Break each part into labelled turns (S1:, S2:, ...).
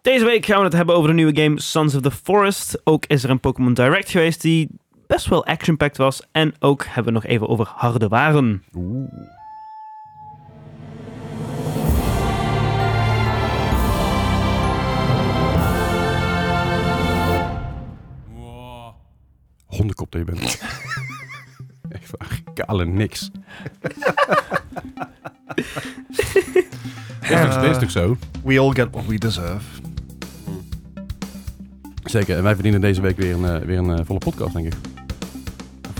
S1: Deze week gaan we het hebben over de nieuwe game Sons of the Forest. Ook is er een Pokémon Direct geweest die best wel action-packed was. En ook hebben we nog even over harde waren.
S2: Hondenkop dat je bent. Echt waar, kale niks. dat, is, dat is toch zo?
S3: We all get what we deserve.
S2: Zeker, en wij verdienen deze week weer een, eh, weer een eh, volle podcast, denk ik.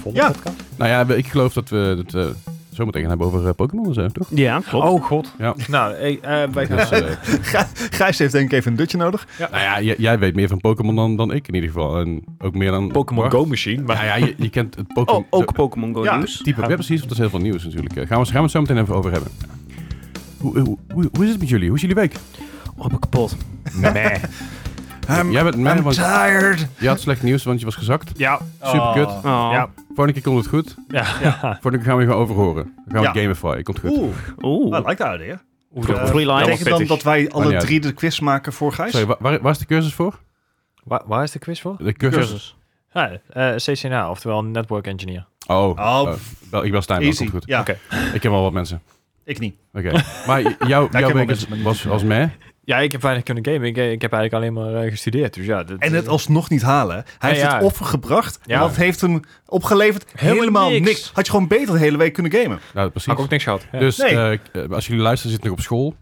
S3: Volle ja.
S2: Nou ja, we- ik geloof dat we het eh, zo meteen gaan hebben over eh, Pokémon en zo, toch?
S1: Ja, klopt.
S4: Oh god.
S2: Ja.
S4: Nou, eh, eh, wij gaan...
S2: Dus, eh,
S3: Gijs heeft denk ik even een dutje nodig.
S2: nou ja, j- jij weet meer van Pokémon dan, dan ik in ieder geval. En ook meer dan...
S4: Pokémon
S2: Bart.
S4: Go Machine. Maar
S2: Nou ja, je, je kent het Pokémon...
S1: Oh, ook Pokémon Go
S3: Ja.
S1: nieuws.
S2: type. Ja, precies, want er is heel veel nieuws natuurlijk. Eh, Gaan we, gaan we het zo meteen even over hebben. Hoe, hoe, hoe, hoe is het met jullie? Hoe is jullie week?
S1: Oh, ben ik kapot.
S4: nee.
S3: I'm,
S2: Jij bent mij,
S3: Ehm, I'm
S2: want
S3: tired.
S2: je had slecht nieuws, want je was gezakt.
S4: Ja.
S2: Super kut.
S1: Oh.
S4: Ja.
S2: Volgende keer komt het goed.
S4: Ja. ja.
S2: Volgende keer gaan we je gewoon overhoren. Dan gaan we
S3: Ja.
S2: het gamify. Komt goed.
S3: Oeh,
S1: Oeh.
S4: I like that idea. Oeh,
S2: dat-
S1: Free line.
S3: betekent dan dat wij
S2: Maar niet
S3: alle
S2: uit.
S3: drie de quiz maken voor Gijs?
S2: Sorry, wa- waar, waar is de cursus voor?
S4: Waar, waar is de quiz voor?
S2: De cursus?
S4: Ja, eh, CCNA, oftewel Network Engineer.
S2: Oh,
S3: Oh,
S2: oh, wel, ik ben Stijn. wel,
S3: Easy.
S2: Komt goed.
S3: Ja,
S4: Oké.
S2: Ik ken wel wat mensen.
S3: ik niet.
S2: Oké. Maar j- jouw-
S3: ken
S2: jouw
S3: wel
S2: week
S3: mensen, maar
S2: is-
S3: niet
S2: was als mij.
S4: Ja, ik heb weinig kunnen gamen. Ik, ik heb eigenlijk alleen maar eh, gestudeerd. Dus ja, dit-
S3: En het alsnog niet halen. Hij heeft
S4: Ja, ja.
S3: het offer gebracht.
S4: Ja.
S3: Dat heeft hem opgeleverd.
S4: Helemaal
S3: Helemaal,
S4: niks.
S3: niks. Had je gewoon beter de hele week kunnen gamen.
S2: Nou,
S4: had
S2: precies.
S4: ik ook niks gehad. Ja.
S2: Dus
S3: Nee.
S2: eh, k- eh, als jullie luisteren, zit ik nog op school.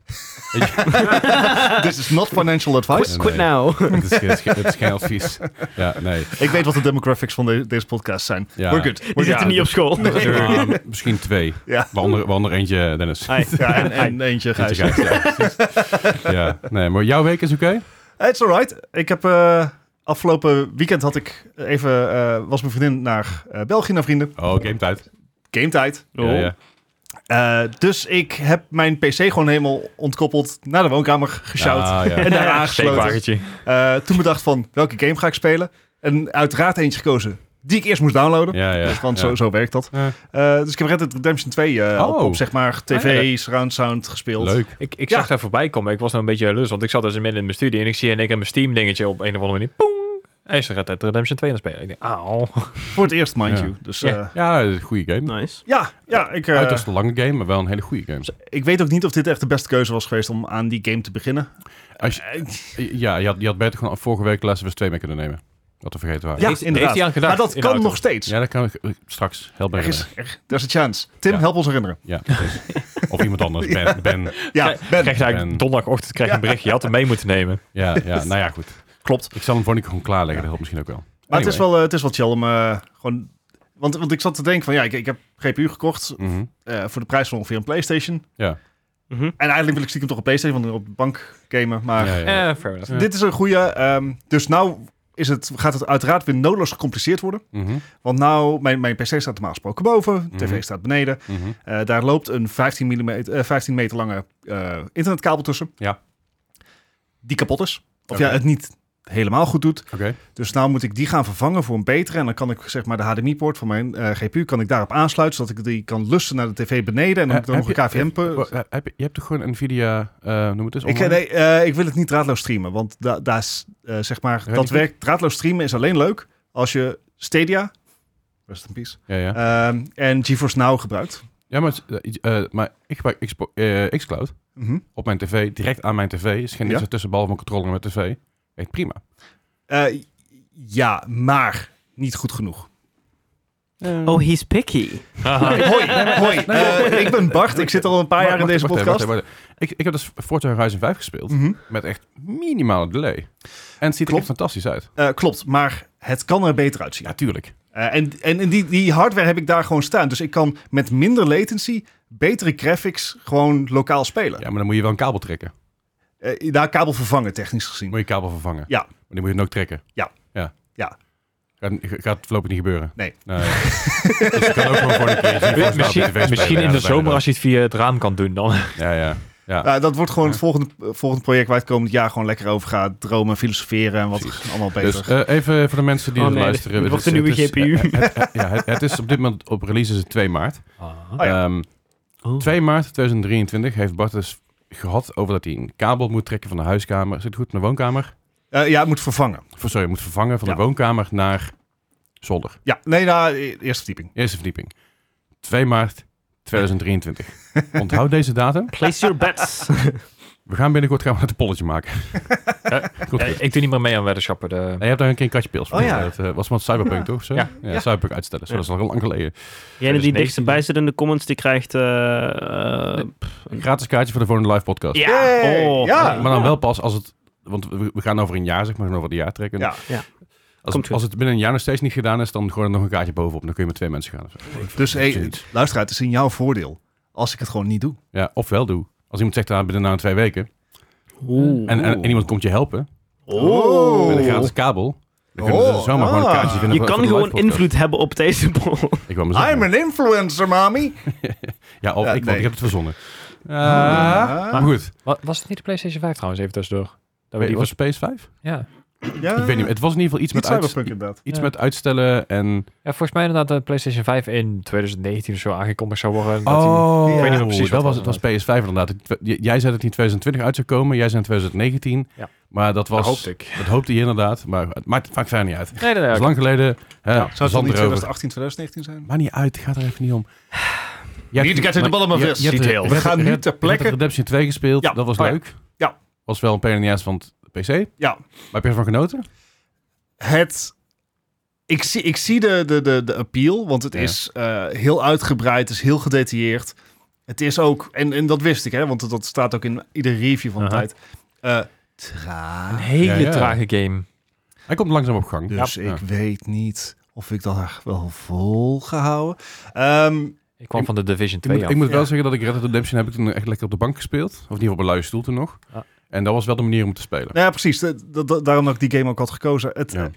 S3: This is not financial advice.
S2: Nee.
S1: Quit
S4: nou.
S1: now.
S2: eh, het, is, geen- het is geen- het is geen advies. Ja, nee.
S3: Ik weet wat de demographics van de- deze podcast zijn.
S2: Ja.
S3: We're good.
S1: Die
S3: We're
S1: zitten
S3: good.
S1: niet op school.
S2: Ja, Ehm, misschien twee.
S3: Ja.
S2: Waaronder, waaronder eentje, eh, Dennis.
S1: Ai.
S3: Ja, en, en eentje Gijs.
S2: Eentje Gijs, ja, precies. ja, nee, maar jouw week is oké?
S3: It's alright. Ik heb eh, afgelopen weekend had ik even eh, was mijn vriendin naar eh, België naar vrienden.
S2: Oh, game tijd.
S3: Game tijd.
S2: Ja, ja.
S3: Eh, dus ik heb mijn PC gewoon helemaal ontkoppeld naar de woonkamer gesjouwd
S2: Ah, ja.
S3: en daar aangesloten.
S4: Steekwagentje.
S3: Eh, toen bedacht van welke game ga ik spelen en uiteraard eentje gekozen die ik eerst moest downloaden.
S2: Ja, ja.
S3: Dus, want
S2: ja.
S3: zo, zo werkt dat.
S2: Ja.
S3: Eh, dus ik heb Red Dead Redemption 2 eh, op,
S2: Oh.
S3: op, zeg maar
S2: Ah,
S3: tv, surround sound gespeeld.
S2: Leuk.
S4: Ik, ik
S3: Ja.
S4: zag daar voorbij komen. Ik was nou een beetje lust, want ik zat dus midden in mijn studie en ik zie in één keer mijn Steam dingetje op een of andere manier. Poeng! En ze gaat Red Dead Redemption 2 aan het spelen. Ik denk, auw.
S3: Voor het eerst, mind
S2: Ja.
S3: you. Dus
S4: Ja.
S3: eh,
S2: Ja, het is een goede game.
S1: Nice.
S3: ja, ja, ik... eh,
S2: Uiterst lange game, maar wel een hele goede game.
S3: Ik weet ook niet of dit echt de beste keuze was geweest om aan die game te beginnen.
S2: Als
S4: Eh,
S3: eh,
S2: je, ja, je had, je had beter gewoon vorige week Last of Us 2 mee kunnen nemen. Wat we vergeten waren.
S3: Ja,
S4: heeft,
S3: inderdaad.
S4: Heeft hij aan gedacht?
S3: maar dat
S4: in
S3: kan
S4: de auto?
S3: nog steeds.
S2: Ja, dat kan ik eh, straks. Help me
S3: er is
S2: herinneren.
S3: er- er is een chance. Tim,
S2: Ja.
S3: help ons herinneren.
S2: Ja, precies. Of iemand anders. Ben. ben.
S3: Ja, Ben.
S4: Krijg- Krijg je eigenlijk
S2: Ben.
S4: donderdagochtend krijg je een berichtje. Je had hem mee moeten nemen.
S2: Ja, ja, nou ja, goed.
S3: Klopt.
S2: Ik zal hem voor nu gewoon klaarleggen. Dat helpt misschien ook wel.
S3: Maar het, is
S2: Anyway.
S3: wel, eh, het is wel chill om eh, gewoon... Want, want ik zat te denken van, ja, ik, ik heb GPU gekocht
S2: Mhm.
S3: eh, voor de prijs van ongeveer een PlayStation.
S2: Ja.
S1: Mhm.
S3: En eigenlijk wil ik stiekem toch een PlayStation, want op de bank gamen. Maar
S2: Ja, ja, ja.
S4: Eh, fair enough.
S2: Ja.
S3: dit is een goede. dus nou is het, gaat het uiteraard weer nodeloos gecompliceerd worden.
S2: Mhm,
S3: Want nou, mijn, mijn PC staat normaal gesproken boven,
S2: Mhm.
S3: tv staat beneden.
S2: mhm.
S3: Eh, daar loopt een 15, millimeter, eh, 15 meter lange eh, internetkabel tussen.
S2: Ja.
S3: Die kapot is. Of
S2: Oké.
S3: ja, het niet helemaal goed doet.
S2: Oké.
S3: Dus nou moet ik die gaan vervangen voor een betere. En dan kan ik zeg maar de HDMI-poort van mijn eh, GPU kan ik daarop aansluiten. Zodat ik die kan lussen naar de tv beneden. En dan moet ik dan nog
S2: Eh, Heb
S3: een
S2: je-
S3: KVM... per-
S2: wa- heb je, je hebt toch gewoon Nvidia, eh noem het eens,
S3: Ik,
S2: online?
S3: nee, eh, ik wil het niet draadloos streamen. Want da, daar is, eh, zeg maar,
S2: Ja,
S3: dat
S2: die-
S3: werkt. Draadloos streamen is alleen leuk als je Stadia... Rest in peace.
S2: Ja, ja.
S3: ehm, en GeForce Now gebruikt.
S2: ja maar, het is, eh, eh, maar ik gebruik Xpo- eh, Xcloud
S3: Mhm.
S2: op mijn tv, direct aan mijn tv. Is geen niks
S3: Ja?
S2: ertussen, behalve mijn controller met tv. Echt prima.
S3: Eh, ja, maar niet goed genoeg.
S1: Oh, he's picky.
S2: Ah.
S3: Hoi, hoi. Eh, ik ben Bart. Ik zit al een paar jaar in
S2: Wacht,
S3: deze
S2: wacht, wacht,
S3: podcast.
S2: wacht, wacht, wacht. Ik, ik heb dus Forza Horizon 5 gespeeld.
S3: Mhm.
S2: Met echt minimale delay. En het ziet er
S3: Klopt.
S2: echt fantastisch uit.
S3: Eh, klopt, maar het kan er beter uitzien.
S2: Ja, tuurlijk.
S3: Eh, en en, en die, die hardware heb ik daar gewoon staan. Dus ik kan met minder latency betere graphics gewoon lokaal spelen.
S2: Ja, maar dan moet je wel een kabel trekken.
S3: Eh, daar kabel vervangen, technisch
S2: Dan
S3: gezien.
S2: moet je kabel vervangen.
S3: Ja.
S2: Maar die moet je dan ook trekken.
S3: Ja.
S2: Ja.
S3: Ja.
S2: Gaat, gaat voorlopig niet gebeuren.
S3: Nee.
S2: dus ik kan ook gewoon voor een keer... zien, volgens mij op de tv
S4: Misschien,
S2: spelen.
S4: misschien
S2: Ja,
S4: in
S2: dat
S4: de
S2: ben ik
S4: zomer als je het via het raam kan doen dan.
S2: wel. Ja, ja. Ja.
S3: Eh, dat wordt gewoon het volgende, eh, volgende project waar het komend jaar gewoon lekker over gaat. Dromen, filosoferen en wat allemaal beter.
S2: Dus eh, even voor de mensen die
S1: Oh,
S2: het
S1: nee,
S2: luisteren.
S1: dit wordt
S2: Het
S1: een
S2: is-
S1: nieuwe
S2: het is- ja, het- het- Ja, het- het is op dus dit moment op release is het 2 maart.
S4: Ah.
S3: Oh ja.
S2: Ehm, 2 maart 2023 heeft Bart dus gehad over dat hij een kabel moet trekken van de huiskamer. Zit het goed? Naar de woonkamer?
S3: Eh, ja, het moet vervangen.
S2: Of, sorry, moet vervangen van
S3: Ja.
S2: de woonkamer naar zolder.
S3: Ja, nee, nou, e- eerste verdieping.
S2: Eerste verdieping. 2 maart 2023. Onthoud deze datum.
S1: Place your bets.
S2: We gaan binnenkort gaan we het een polletje maken. Goed,
S4: Eh, ik doe niet meer mee aan weddenschappen. De...
S2: Je hebt daar een keer een katje pils van.
S3: Oh ja.
S2: Dat eh, was wat Cyberpunk, toch? Of Zo? Ja.
S4: Ja.
S2: Cyberpunk uitstellen. Zo,
S1: Ja.
S2: Dat is al lang geleden.
S1: Degene die
S4: 2019.
S1: dichterbij zit in de comments, die krijgt... eh, eh, pff,
S2: Een gratis kaartje voor de volgende live podcast.
S1: ja,
S3: Yay,
S1: oh.
S3: ja.
S2: Maar dan wel pas als het... Want we we gaan over een jaar, zeg maar. we gaan Over een jaar trekken.
S3: Ja.
S2: Als,
S1: Komt
S2: het,
S1: goed.
S2: als het binnen een jaar nog steeds niet gedaan is, dan gewoon nog een kaartje bovenop. Dan kun je met twee mensen gaan. of zo.
S3: Dus hey,
S2: Zoiets.
S3: luister uit, het is in jouw voordeel. Als ik het gewoon niet doe.
S2: Ja, ofwel doe. Als iemand zegt, ah, binnen na twee weken.
S1: Oeh.
S2: En, en, en iemand komt je helpen. Met een gratis kabel. Dan kunnen
S3: Oh,
S2: ze zomaar gewoon
S3: ah.
S2: een kaartje vinden
S1: Je
S2: voor-
S1: kan
S2: voor de
S1: gewoon
S2: live podcast.
S1: invloed hebben op deze poll.
S2: Ik wou maar zeggen.
S3: I'm an influencer, mami.
S2: Ja, of
S3: Ja,
S2: ik, want
S3: nee.
S2: ik heb het verzonnen. Eh,
S3: Ah.
S2: maar goed.
S4: Wa- Was het niet de PlayStation 5 trouwens, even tussendoor? Dat weet
S2: Weet
S4: ik
S2: was
S4: was...
S2: Space 5?
S4: ja.
S3: Ja.
S2: Ik weet niet. Het was in ieder geval iets,
S3: Ah. Niet
S2: met, uits-
S3: cyberpunk inderdaad.
S2: iets
S4: Ja.
S2: met uitstellen en...
S4: ja, volgens mij inderdaad dat de PlayStation 5 in 2019 of zo aangekondigd zou worden. en dat die-
S2: Oh,
S3: ik weet niet meer
S4: precies
S2: dat
S4: wat
S2: was,
S4: het
S2: het was PS5 inderdaad. Het- j- Jij zei dat die in 2020 uit zou komen. Jij zei in 2019.
S4: Ja.
S2: Maar dat was...
S4: Dat hoopte ik.
S2: Dat hoopte je inderdaad. Maar het maakt, maakt verder niet uit. Het
S4: Nee, nee, nee.
S2: is
S4: oké.
S2: lang geleden. Hè,
S3: Zou het dan
S2: zand
S3: niet
S2: erover.
S3: 2018, 2019 zijn?
S2: Maar niet uit. Gaat er even niet om. Je
S3: Need to get to the bottom of this detail. We gaan nu ter plekke-
S2: Redemption 2 gespeeld.
S3: Ja.
S2: Dat was
S3: Oh ja.
S2: leuk.
S3: Ja.
S2: Was wel een pijn in de ass van het PC. Maar
S3: Ja,
S2: heb je ervan genoten?
S3: het. Ik zie, ik zie de, de, de, de appeal, want het
S2: Ja.
S3: is eh, heel uitgebreid, het is heel gedetailleerd. Het is ook, en, en dat wist ik, hè, want dat staat ook in iedere review van de
S4: Aha.
S3: tijd. Eh, traag.
S4: Een hele
S2: Ja, ja.
S4: trage game.
S2: Hij komt langzaam op gang.
S3: Dus
S2: Ja.
S3: ik weet niet of ik dat echt wel volgehouden. Ehm
S4: Ik kwam van de Division
S2: Ik
S4: 2
S2: moet,
S4: af.
S2: ik moet wel
S3: Ja.
S2: zeggen dat ik Red Dead Redemption heb ik toen echt lekker op de bank gespeeld. Of in ieder geval op een luie stoel toen nog.
S4: Ja.
S2: En dat was wel de manier om te spelen.
S3: nou ja, precies. Dat- dat- dat- daarom dat ik die game ook had gekozen. Het,
S2: Ja.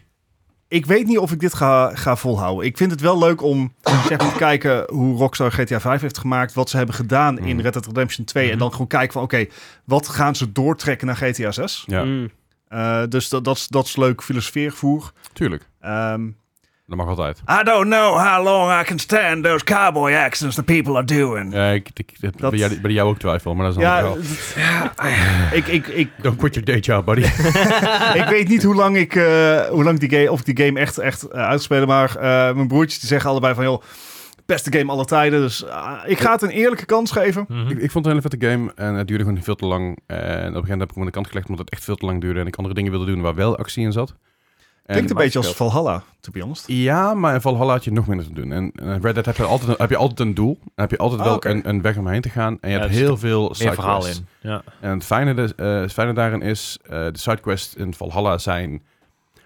S3: Ik weet niet of ik dit ga, ga volhouden. Ik vind het wel leuk om zeg maar, te kijken hoe Rockstar GTA 5 heeft gemaakt. Wat ze hebben gedaan in
S2: Mhm.
S3: Red Dead Redemption 2. En dan gewoon kijken van oké, wat gaan ze doortrekken naar GTA 6?
S2: Ja,
S1: Mm.
S3: Eh, dus dat, dat, is- dat is leuk filosofeervoer.
S2: tuurlijk.
S3: Ehm
S2: Dat mag altijd.
S3: I don't know how long I can stand those cowboy accents the people are doing.
S2: Ja, ik, ik, dat-
S3: Dat-
S2: Bij, jou, bij jou ook twijfel, maar dat is
S3: Ja, eh,
S2: ja, wel.
S3: dat- ik, ik, ik,
S2: Don't quit your day job, buddy.
S3: ik weet niet hoe lang ik, eh, hoe lang die game, of ik die game echt, echt eh, uitspelen. Maar eh, mijn broertjes die zeggen allebei van, joh, beste game aller tijden. Dus ah, ik ga het een eerlijke kans geven.
S4: Mhm.
S2: ik, ik vond het een hele vette game en het duurde gewoon veel te lang. En op een gegeven moment heb ik hem aan de kant gelegd omdat het echt veel te lang duurde. En ik andere dingen wilde doen waar wel actie in zat. En-
S3: Klinkt een beetje als Valhalla, to be honest.
S2: Ja, maar in Valhalla had je nog minder te doen. En eh, Red Dead heb je altijd, een- heb je altijd een doel. En heb je altijd
S3: Ah,
S2: wel
S3: oké.
S2: een, een weg omheen te gaan. En je
S4: Ja,
S2: hebt
S4: er zit
S2: heel veel
S4: Meer verhaal
S2: sidequests.
S4: in. Ja.
S2: En het fijne, dus, eh, het fijne daarin is, eh, de sidequests in Valhalla zijn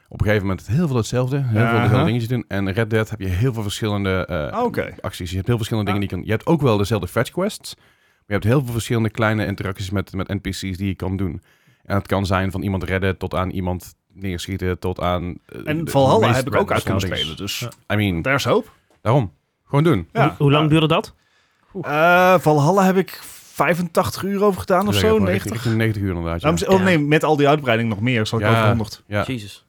S2: op een gegeven moment heel veel hetzelfde. Heel veel
S3: Aha.
S2: dezelfde dingetjes doen. En Red Dead heb je heel veel verschillende eh,
S3: Ah, Oké.
S2: acties. Je hebt heel verschillende
S3: Ah.
S2: dingen die je kan... Je hebt ook wel dezelfde fetch quests. Maar je hebt heel veel verschillende kleine interacties met, met NPC's die je kan doen. En het kan zijn van iemand redden tot aan iemand neerschieten tot aan... eh,
S3: En
S2: de
S3: Valhalla
S2: meest
S3: heb ik ook
S2: random
S3: uit kunnen
S2: dingen.
S3: spelen, dus
S2: I mean,
S3: there's hope.
S2: daarom. Gewoon doen.
S3: Ja.
S1: Hoe, hoe lang duurde dat?
S3: Eh, Valhalla heb ik 85 uur over gedaan of
S2: Dus
S3: zo,
S2: ik heb
S3: 90.
S2: richting 90 uur inderdaad. Ja.
S3: Daarom- Oh nee, met al die uitbreiding nog meer, zal ik
S2: Ja.
S3: over 100.
S2: Ja.
S1: Jezus.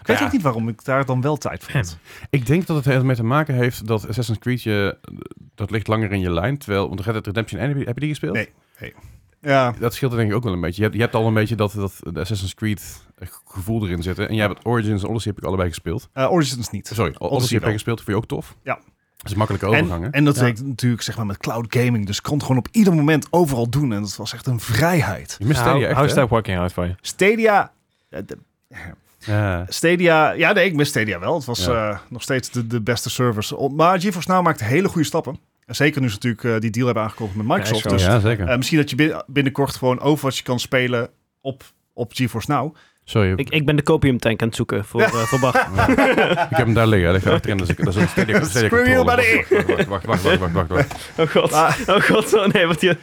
S3: Ik weet
S2: Ja.
S3: ook niet waarom ik daar dan wel tijd voor had.
S2: Ik denk dat het ermee te maken heeft dat Assassin's Creed je... Dat ligt langer in je lijn. Terwijl, want Red Dead Redemption 1, heb je, heb je die gespeeld?
S3: Nee. Ja,
S2: Dat scheelt er denk ik ook wel een beetje. Je hebt, je hebt al een beetje dat, dat de Assassin's Creed gevoel erin zitten. En jij hebt Origins en Odyssey heb ik allebei gespeeld.
S3: eh, Origins niet.
S2: Sorry, Odyssey, heb
S3: wel.
S2: ik gespeeld. Vond je ook tof?
S3: Ja.
S2: Dat is een makkelijke overgang, hè?
S3: En, en dat
S4: Ja.
S3: werkt natuurlijk zeg maar, met cloud gaming. Dus ik kon het gewoon op ieder moment overal doen. En dat was echt een vrijheid.
S2: Je mist
S4: Nou,
S2: Stadia echt,
S4: How's
S2: hè?
S4: that working out for you?
S3: Stadia... eh, de-
S2: Ja.
S3: Stadia, ja nee, ik mis Stadia wel. Het was
S2: Ja.
S3: eh, nog steeds de, de beste service. Op- Maar GeForce Now maakt hele goede stappen. En zeker nu ze natuurlijk eh, die deal hebben aangekomen met Microsoft.
S4: Ja,
S3: dus
S2: Oh ja, zeker.
S3: eh, misschien dat je bin- binnenkort gewoon Overwatch kan spelen op, op GeForce Now.
S2: Sorry,
S1: Ik,
S2: ik,
S1: ik ben de copium tank aan het zoeken voor, eh voor Bart.
S2: heb hem daar liggen. Hij ligt achterin. Dus ik, dat is een Stadia, Stadia
S3: Screw you,
S2: controller. Wacht, wacht, wacht, wacht, wacht, wacht, wacht.
S1: Oh god. Oh god. Oh nee, wat je...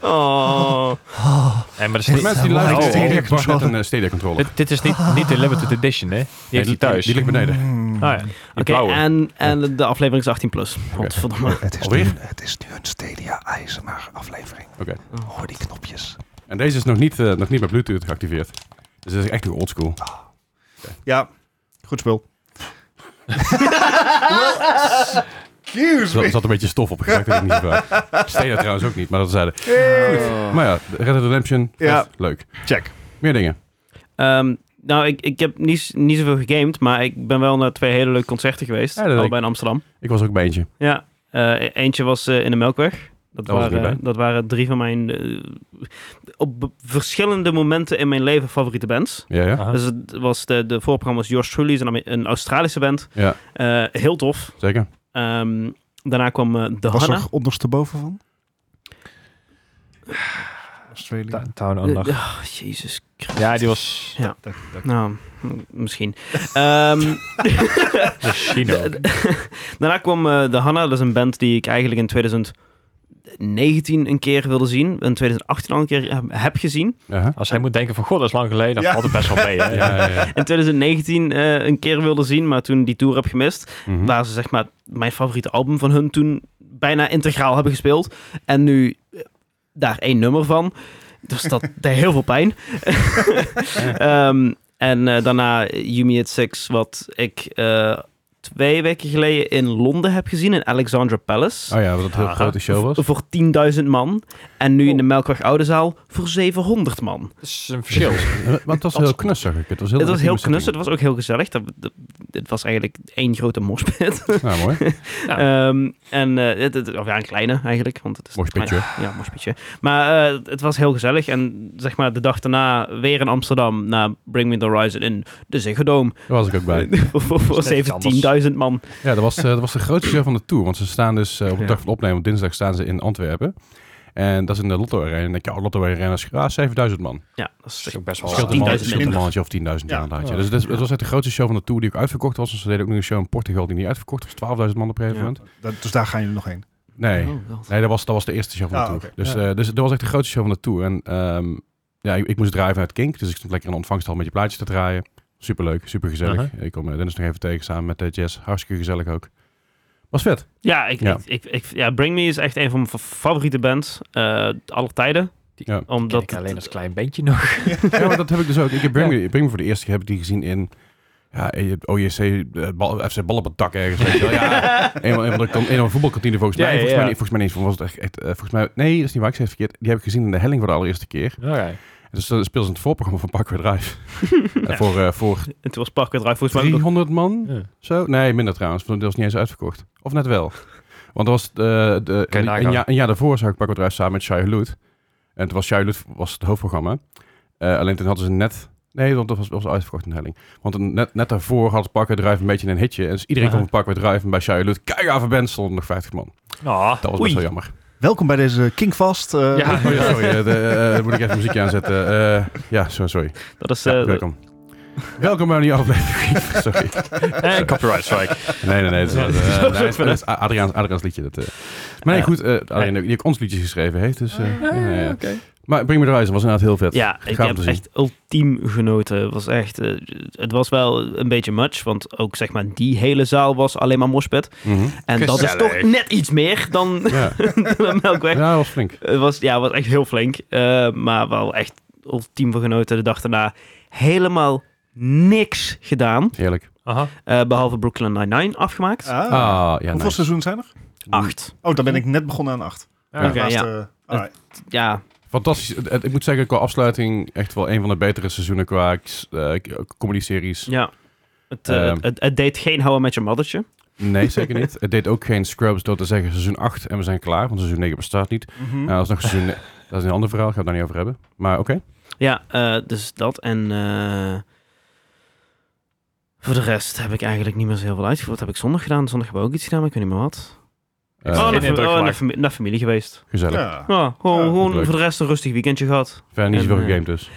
S1: Oh.
S4: En maar dat is
S2: Voor de
S4: niet...
S2: mensen die
S3: Oh,
S2: luisteren,
S3: oh, oh.
S2: Stadia Bart net een eh, Stadia controller.
S4: Dit, dit is niet, niet de limited edition, hè? Die heeft hij thuis.
S2: Die ligt beneden.
S4: Ah, ja. Die
S1: Nou Oké,
S4: blauwe.
S1: en, en de aflevering is 18 plus. Godverdomme.
S3: Het is,
S2: Alweer?
S3: het is nu een Stadia IJzenaar aflevering.
S2: Oké.
S3: Hoor die knopjes.
S2: En deze is nog niet, eh, nog niet met Bluetooth geactiveerd. Dus dat is echt nog oldschool.
S1: Oh,
S3: Ja, goed spul. Excuse
S2: Er
S3: me.
S2: zat een beetje stof op. Ik raakte het niet vraag. Steda trouwens ook niet, maar dat zeiden.
S3: Hey.
S2: Maar ja, Red Dead Redemption, vet,
S3: Ja.
S2: leuk.
S3: Check.
S2: Meer dingen.
S1: Ehm, nou, ik, ik heb niet, z- niet zoveel gegamed, maar ik ben wel naar twee hele leuke concerten geweest.
S2: Ja, dat
S1: allebei
S2: weet
S1: in Amsterdam.
S2: Ik was ook bij eentje.
S1: Ja, eh, eentje was eh, in de Melkweg. Dat,
S2: Daar was ik niet
S1: waren, dat waren drie van mijn eh, op be- verschillende momenten in mijn leven favoriete bands.
S2: Ja, ja.
S4: Ah.
S1: Dus het was de, de voorprogramma was Yours Truly, is een, Ame- een Australische band.
S2: Ja,
S1: Eh, heel tof.
S2: zeker.
S1: Ehm, daarna kwam eh, De
S3: Was
S1: Hanna.
S3: er ondersteboven van? Ah. Australië.
S4: Ta- Town
S1: Eh,
S4: Ondag.
S1: ah, Jezus Christus.
S4: Ja, die was
S1: Nou, m- misschien. Ehm,
S4: misschien ook.
S1: daarna kwam eh, De Hanna, dat is een band die ik eigenlijk in 2019 een keer wilde zien. In 2018 al een keer heb- heb gezien.
S2: Ja, hè?
S4: Als hij moet denken van, god, dat is lang geleden. Dat
S3: Ja.
S4: valt het best wel mee. Hè?
S2: ja, ja, ja.
S1: In 2019 eh, een keer wilde zien, maar toen die tour heb gemist.
S2: Mhm.
S1: Waar ze zeg maar mijn favoriete album van hun toen bijna integraal hebben gespeeld. En nu eh, daar één nummer van. Dus dat deed heel veel pijn. Ehm, en eh, daarna Yumi at Six, wat ik eh, twee weken geleden in Londen heb gezien, in Alexandra Palace.
S2: Oh ja, wat een heel
S4: Ah.
S2: grote show was.
S1: Voor 10.000 man. En nu in de Melkweg Oude Zaal voor 700 man.
S4: Dat is een verschil.
S2: Want het Eh, was heel knus, zag ik. Het was heel,
S1: Het was heel
S2: intieme
S1: knus, het
S2: setting.
S1: was ook heel gezellig. Dat, dat- het was eigenlijk één grote moshpit.
S2: Nou, mooi.
S1: Ehm, en, eh, het, het- of ja, een kleine eigenlijk. Want het is
S2: Moshpitje.
S1: een klein- Ja, moshpitje. Maar eh, het was heel gezellig. En zeg maar de dag daarna weer in Amsterdam naar Bring Me The Horizon in de Ziggo Dome.
S2: Daar was ik ook bij.
S1: voor voor- voor
S4: Dat is net iets
S1: 17.000 man.
S2: Ja, dat was, eh, dat was de grootste show van de tour. Want ze staan dus eh, op de
S1: Ja.
S2: dag van opnemen, op dinsdag staan ze in Antwerpen. En dat is in de Lotto Arena. En dan denk je, oh, Lotto Arena is ah, 7000 man.
S1: Ja, dat is
S4: is
S1: echt
S4: ook best wel
S2: Scheelt
S1: Verschil
S2: een man-
S1: 10.000
S2: scheelt een
S1: minder.
S2: mannetje of 10.000 ja.
S3: Ja.
S2: inderdaad, ja. Dus dat, dat was echt de grootste show van de tour die ook uitverkocht was. En ze deden ook nog een show in Portugal die niet uitverkocht was. 12.000 man op een gegeven
S1: Ja.
S2: moment.
S3: Dat- Dus daar gaan jullie nog heen.
S2: Nee,
S1: Oh, God.
S2: nee dat, was, dat was de eerste show van de
S3: Ah,
S2: tour.
S3: oké.
S2: Dus,
S3: Ja.
S2: eh, dus dat was echt de grootste show van de tour. En ehm, ja, ik, ik moest draaien vanuit Kink. Dus ik stond lekker in de ontvangsthal met je plaatjes te draaien. Superleuk, supergezellig. Ik kom eh, Dennis nog even tegen samen met eh, Jess. Hartstikke gezellig ook. Was vet.
S1: Ja, ik,
S2: Ja.
S1: Ik, ik, ik- ja, Bring Me is echt een van mijn fa- favoriete bands eh aller tijden. Die-
S2: Ja.
S1: Omdat
S4: ik alleen als klein beentje nog.
S2: Ja, maar dat heb ik dus ook. Ik heb Bring, me, Bring Me voor de eerste keer heb ik die gezien in ja, het OJC, eh, bal, FC Bal op het dak ergens. Weet je wel. Ja, een van- een van de kan- een van de voetbalkantine volgens
S4: Ja,
S2: mij.
S4: ja,
S2: volgens,
S4: ja.
S2: mij niet, volgens mij niet. Volgens mij was het echt, echt, eh, volgens mij, nee, dat is niet waar. Ik zei het verkeerd. Die heb ik gezien in de helling voor de allereerste keer.
S4: Oké.
S2: Dus dat speelde ze in het voorprogramma van Parkway Drive. Eh, voor, eh, voor
S1: Het was Parkway Drive volgens mij. nog-
S2: 300 man,
S4: Ja.
S2: zo? Nee, minder trouwens. Want dat was niet eens uitverkocht. Of net wel. Want dat was de, de,
S4: Kan je
S2: een,
S4: nagaan.
S2: jaar, een jaar daarvoor zag ik Parkway Drive samen met Shai Hulud. En toen was Shai Hulud was het hoofdprogramma. Eh, alleen toen hadden ze net... Nee, want dat was, was uitverkocht in de helling. Want een- net, net daarvoor had Parkway Drive een beetje een hitje. En dus iedereen
S4: Aha.
S2: kwam van Parkway Drive en bij Shai Hulud... Kijk, band stonden nog 50 man.
S4: Nou,
S2: Dat
S1: Oei.
S2: was
S1: Ah,
S2: best wel jammer.
S3: Welkom bij deze Kingfast. eh,
S4: Ja.
S2: Oh ja, sorry. eh, de, eh, moet ik even muziekje aanzetten. Eh, ja, sorry. sorry.
S1: Dat is,
S2: Ja,
S1: eh,
S2: welkom. Welkom bij een nieuwe aflevering. sorry.
S1: Eh,
S4: en Eh, copyright strike.
S2: Nee, nee, nee. Het is,
S4: Ja,
S2: eh,
S4: dat is
S2: nee,
S4: ook
S2: het
S4: van, hè?
S2: is Adriaans, Adriaans liedje. Dat, eh. Maar nee,
S1: Ja.
S2: goed. eh Adriaan, die ook ons liedjes geschreven heeft. Dus, eh, ja, ja. Maar Bring Me The Horizon was inderdaad heel vet.
S1: Ja, ik
S2: Gaaf om
S1: heb
S2: te zien.
S1: echt ultiem genoten. Het was, echt, eh, het was wel een beetje much, want ook zeg maar die hele zaal was alleen maar mospet.
S2: Mhm.
S1: En dat is
S4: Gezellig.
S1: toch net iets meer dan
S2: Ja.
S1: de Melkweg.
S2: ja, dat was flink.
S1: Het was, ja, het was echt heel flink, eh, maar wel echt ultiem van genoten. De dag daarna helemaal niks gedaan,
S2: Heerlijk.
S4: Aha.
S1: eh, behalve Brooklyn Nine-Nine afgemaakt.
S3: Ah.
S2: Ah, ja,
S3: Hoeveel
S2: nice.
S3: seizoenen zijn er?
S1: Acht.
S3: Oh, dan ben ik net begonnen aan acht.
S4: Ja.
S1: Oké,
S3: Naast,
S1: ja.
S3: eh, alright.
S1: Ja,
S2: Fantastisch. Het- het- Ik moet zeggen, qua afsluiting echt wel een van de betere seizoenen qua eh, comedy-series.
S1: ja. Het, eh,
S2: Ehm.
S1: het, het, het deed geen houden met je moddertje.
S2: Nee, zeker niet. Het deed ook geen Scrubs door te zeggen seizoen 8 en we zijn klaar, want seizoen 9 bestaat niet.
S1: Hm.
S3: Mhm.
S2: Nou, dat is nog seizoen... Dat is een ander verhaal, gaan we daar niet over hebben. Maar
S1: Oh,
S2: oké.
S1: Ja, eh, dus dat. En eh, voor de rest heb ik eigenlijk niet meer zo heel veel uitgevoerd. Heb ik zondag gedaan. Zondag hebben we ook iets gedaan, maar ik weet niet meer wat.
S2: Eh,
S1: oh, naar,
S4: indruk
S1: fami- oh, naar,
S4: gemaakt.
S1: fami- naar familie geweest.
S2: gezellig.
S3: Ja.
S1: Ja, gewoon
S3: Ja.
S1: gewoon
S2: Leuk.
S1: voor de rest een rustig weekendje gehad.
S2: Verder niet
S1: En,
S2: zoveel
S1: eh,
S2: gegamed dus.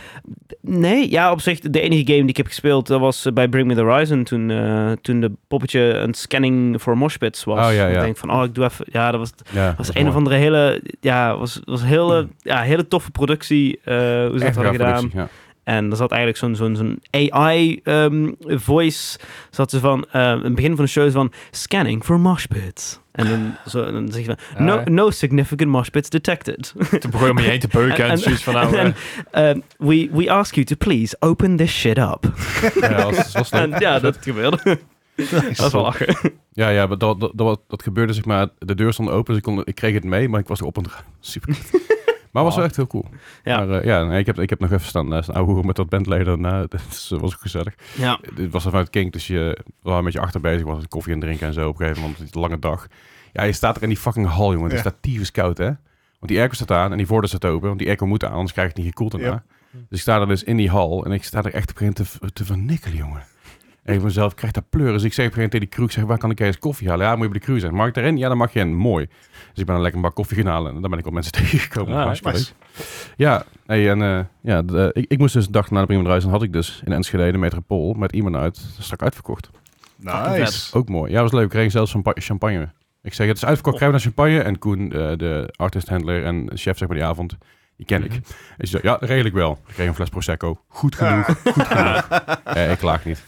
S1: Nee, ja, op zich de enige game die ik heb gespeeld, dat was eh, bij Bring Me The Horizon toen, eh, toen de poppetje een scanning voor moshpits was.
S2: Oh, ja, ja.
S1: Ik denk van, oh, ik doe even... Ja, dat was,
S2: Ja,
S1: was
S2: dat
S1: een
S2: is Hmm.
S1: of andere hele... Ja, was, was hele, ja, hele toffe productie. eh, hoe ze dat
S2: Echt
S1: hadden
S2: gaaf
S1: gedaan.
S2: productie, ja.
S1: En er zat eigenlijk zo'n zo'n zo'n AI-voice. zat ze van, eh, in het begin van de show is van scanning for mosh pits. En dan, zo, en dan zeg je
S2: Ah,
S4: Ja,
S1: van, no,
S4: hè?
S1: no significant mosh pits detected.
S4: Toen begon je om je heen te beuken en,
S1: En-
S4: zoiets van nou...
S1: en-
S4: eh,
S1: Um, we, we ask you to please open this shit up.
S2: Ja, dat was, was leuk.
S1: en ja, dat gebeurde. Dat is wel lachen.
S2: Ja, ja, maar dat, dat, dat, dat gebeurde zeg maar. De deur stond open, dus ik, kon, ik kreeg het mee, maar ik was er op en eraan. Super. kut. Maar was wel echt heel cool.
S1: Ja.
S2: Maar, eh, ja nee, ik, heb, ik heb nog even staan, eh, staan ouwehoeren met dat bandleden daarna. Dat is, eh, was ook gezellig.
S1: Ja,
S2: Dit was vanuit King, dus je was een beetje achter bezig. was koffie en drinken en zo op een gegeven moment. Het is een lange dag. Ja, je staat er in die fucking hal, jongen. Het
S3: Ja.
S2: is daar tyfus koud, hè? Want die airco staat aan en die voordeur staat open. Want die airco moet aan, anders krijg je het niet gekoeld daarna. Dus ik sta er dus in die hal en ik sta er echt op een gegeven moment te, te vernikkelen, jongen. En ik mezelf krijg daar pleuren. Dus ik zeg op een gegeven moment tegen die kroeg, zeg, waar kan ik eens koffie halen? Ja, moet je bij de kroeg zijn. Mag ik daarin? Ja, dan mag je in. Mooi. Dus ik ben dan lekker een bak koffie gaan halen. En daar ben ik op mensen tegengekomen.
S4: Ah,
S2: Hartstikke
S3: nice.
S2: leuk. Ja, hey, en eh, ja, de- ik, ik moest dus de dag na de Prima Druis, en had ik dus in Enschede de Metropool met iemand uit, strak uitverkocht.
S1: Fucking
S3: Nice.
S2: Ook mooi. Ja, was leuk. Ik kreeg zelfs champa- champagne. Ik zeg, het is uitverkocht, krijgen we naar champagne. En Koen, eh, de artist-handler en chef zeg maar die avond, die ken ik.
S4: Mhm.
S2: En ze zei, ja, dat regel ik wel. Ik kreeg een fles Prosecco. Goed genoeg. Goed genoeg. Eh, ik klaag niet.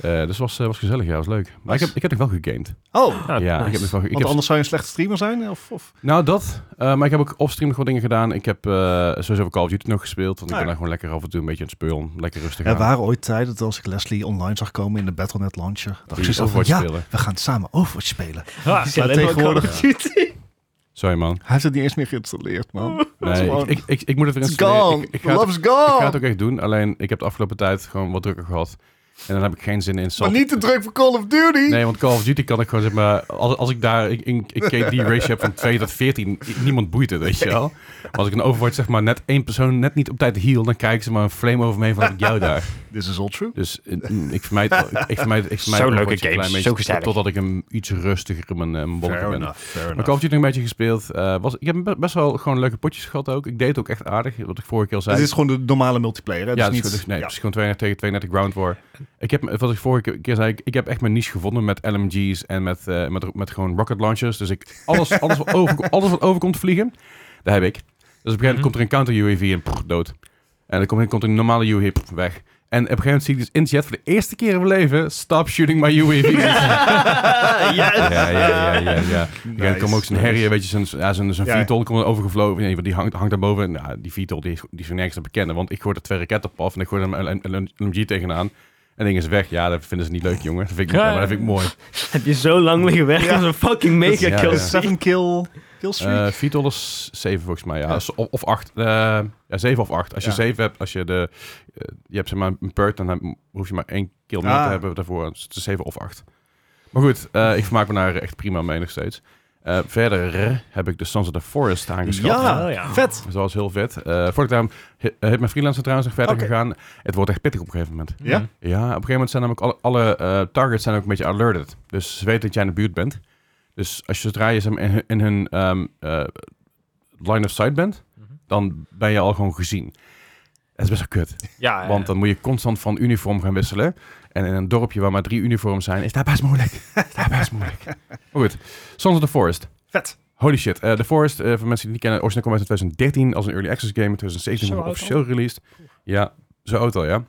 S2: Eh, dus was, eh, was gezellig, ja, was leuk. Maar ik heb, ik heb nog wel gegamed.
S3: Oh,
S4: Ah,
S2: ja,
S1: nice.
S2: ik heb nog wel ge- ik
S3: want
S2: heb,
S3: anders zou je een slechte streamer zijn? Of, of?
S2: Nou, dat. Eh, maar ik heb ook offstream nog wat dingen gedaan. Ik heb eh sowieso Call of Duty nog gespeeld. Want ik
S3: Ah,
S2: ben
S3: ja.
S2: daar gewoon lekker af en toe een beetje aan het speulen. Lekker rustig
S3: Er
S2: aan.
S3: waren ooit tijden dat als ik Leslie online zag komen in de Battle.net launcher, dacht
S2: Die
S3: ik zo van,
S2: Overwatch
S3: ja,
S2: spelen.
S3: we gaan samen Overwatch spelen.
S4: Ah,
S1: is alleen maar
S3: tegenwoordig-
S1: Call of Duty.
S2: Sorry, man.
S3: Hij heeft het niet eens meer geïnstalleerd,
S2: Oh.
S3: man.
S2: Nee, ik,
S3: gewoon-
S2: ik, ik, ik moet het weer
S3: It's
S2: installeren.
S3: gone.
S2: Ik, ik, ga het,
S3: Love's
S2: ik
S3: gone.
S2: ga het ook echt doen. Alleen, ik heb de afgelopen tijd gewoon wat drukker gehad. En dan heb ik geen zin in
S3: maar
S2: salt.
S3: niet te druk voor Call of Duty.
S2: Nee, want Call of Duty kan ik gewoon zeg maar... Als, als ik daar ik, ik, ik KD ratio heb van 2 tot 14, i- niemand boeit het, weet je wel. Maar als ik een Overwatch zeg maar net één persoon net niet op tijd heal, dan kijken ze maar een flame over me heen van heb ik jou daar.
S3: This is all true.
S2: Dus eh, mm, ik vermijd, ik vermijd, ik vermijd
S4: Zo
S2: Overwatch
S4: leuke
S2: een klein
S4: games,
S2: beetje
S4: zo gezellig.
S2: Totdat ik hem iets rustiger mijn, eh, mijn bolletje ben.
S3: fair
S2: Maar Call of Duty nog een beetje gespeeld. Eh, was, ik heb be- best wel gewoon leuke potjes gehad ook. Ik deed het ook echt aardig, wat ik vorige keer al zei.
S3: Het is gewoon de normale multiplayer. Hè?
S2: ja,
S3: dus
S2: dus
S3: niet,
S2: goed, dus nee,
S3: ja.
S2: het is gewoon 32 tegen 32 Ground War. Ik heb, wat ik vorige keer zei, ik, ik heb echt mijn niche gevonden met LMG's en met, eh, met, met gewoon rocket launchers. Dus ik, alles, alles, wat over, alles wat overkomt vliegen, daar heb ik. Dus op een gegeven moment
S4: Mhm.
S2: komt er een counter UAV en prf, dood. En dan komt, komt er een normale UAV prf, weg. En op een gegeven moment zie ik dus in chat voor de eerste keer in mijn leven, stop shooting my UAV.
S1: Yes.
S2: Ja, ja, ja, ja. ja.
S3: Nice.
S2: Ja, er kwam ook zo'n herrie, weet je, zo'n ja, zo'n zo'n
S3: Ja.
S2: VTOL komt overgevlogen. Nee, want die hangt, hangt daarboven. En ja, die VTOL die is, die is gewoon nergens te bekennen. Want ik gooi er twee raketten op af en ik gooi er een L- L- LMG tegenaan. En ding is weg. Ja, dat vinden ze niet leuk, jongen. Dat vind ik,
S4: Ja.
S2: maar dat vind ik mooi.
S1: Heb je zo lang liggen werken als een fucking mega
S2: Ja,
S1: kill
S2: ja.
S1: streak.
S3: Seven kill, kill streak.
S2: Eh VTOL is 7 volgens mij, ja.
S3: Ja.
S2: Of, of 8. ja, 7 of 8. Als je
S3: Ja.
S2: 7 hebt, als je de... eh, je hebt zeg maar een perk, dan heb- hoef je maar één kill meer
S3: Ah.
S2: te hebben daarvoor. Dus het is 7 of 8. Maar goed, eh, ik vermaak me daar echt prima mee nog steeds. Eh, verder heb ik de Sons of the Forest aangeschaft.
S3: ja,
S4: Ja, ja.
S3: vet.
S2: Dus dat was heel vet. Eh voordat ik daarom he- eh, heeft mijn freelancer trouwens nog verder
S3: Oké.
S2: gegaan. Het wordt echt pittig op een gegeven moment.
S3: Ja?
S4: Mm.
S2: Ja, op een gegeven moment zijn namelijk alle, alle eh, targets zijn ook een beetje alerted. Dus ze weten dat jij in de buurt bent. Dus als je zodra je zeg maar, in hun, in hun ehm, eh, line of sight bent,
S4: Mhm.
S2: dan ben je al gewoon gezien. Dat is best wel kut.
S4: Ja,
S2: Want
S4: want
S2: dan moet je constant van uniform gaan wisselen. En in een dorpje waar maar drie uniforms zijn, is dat best moeilijk. is dat best moeilijk. Maar goed, Sons of the Forest.
S3: Vet.
S2: Holy shit. Eh The Forest, eh, voor mensen die het niet kennen, origineel kwam uit in 2013 als een early access game. In
S4: Zo
S2: 2017
S4: oud
S2: wordt officieel released. Ja, zo oud al, ja.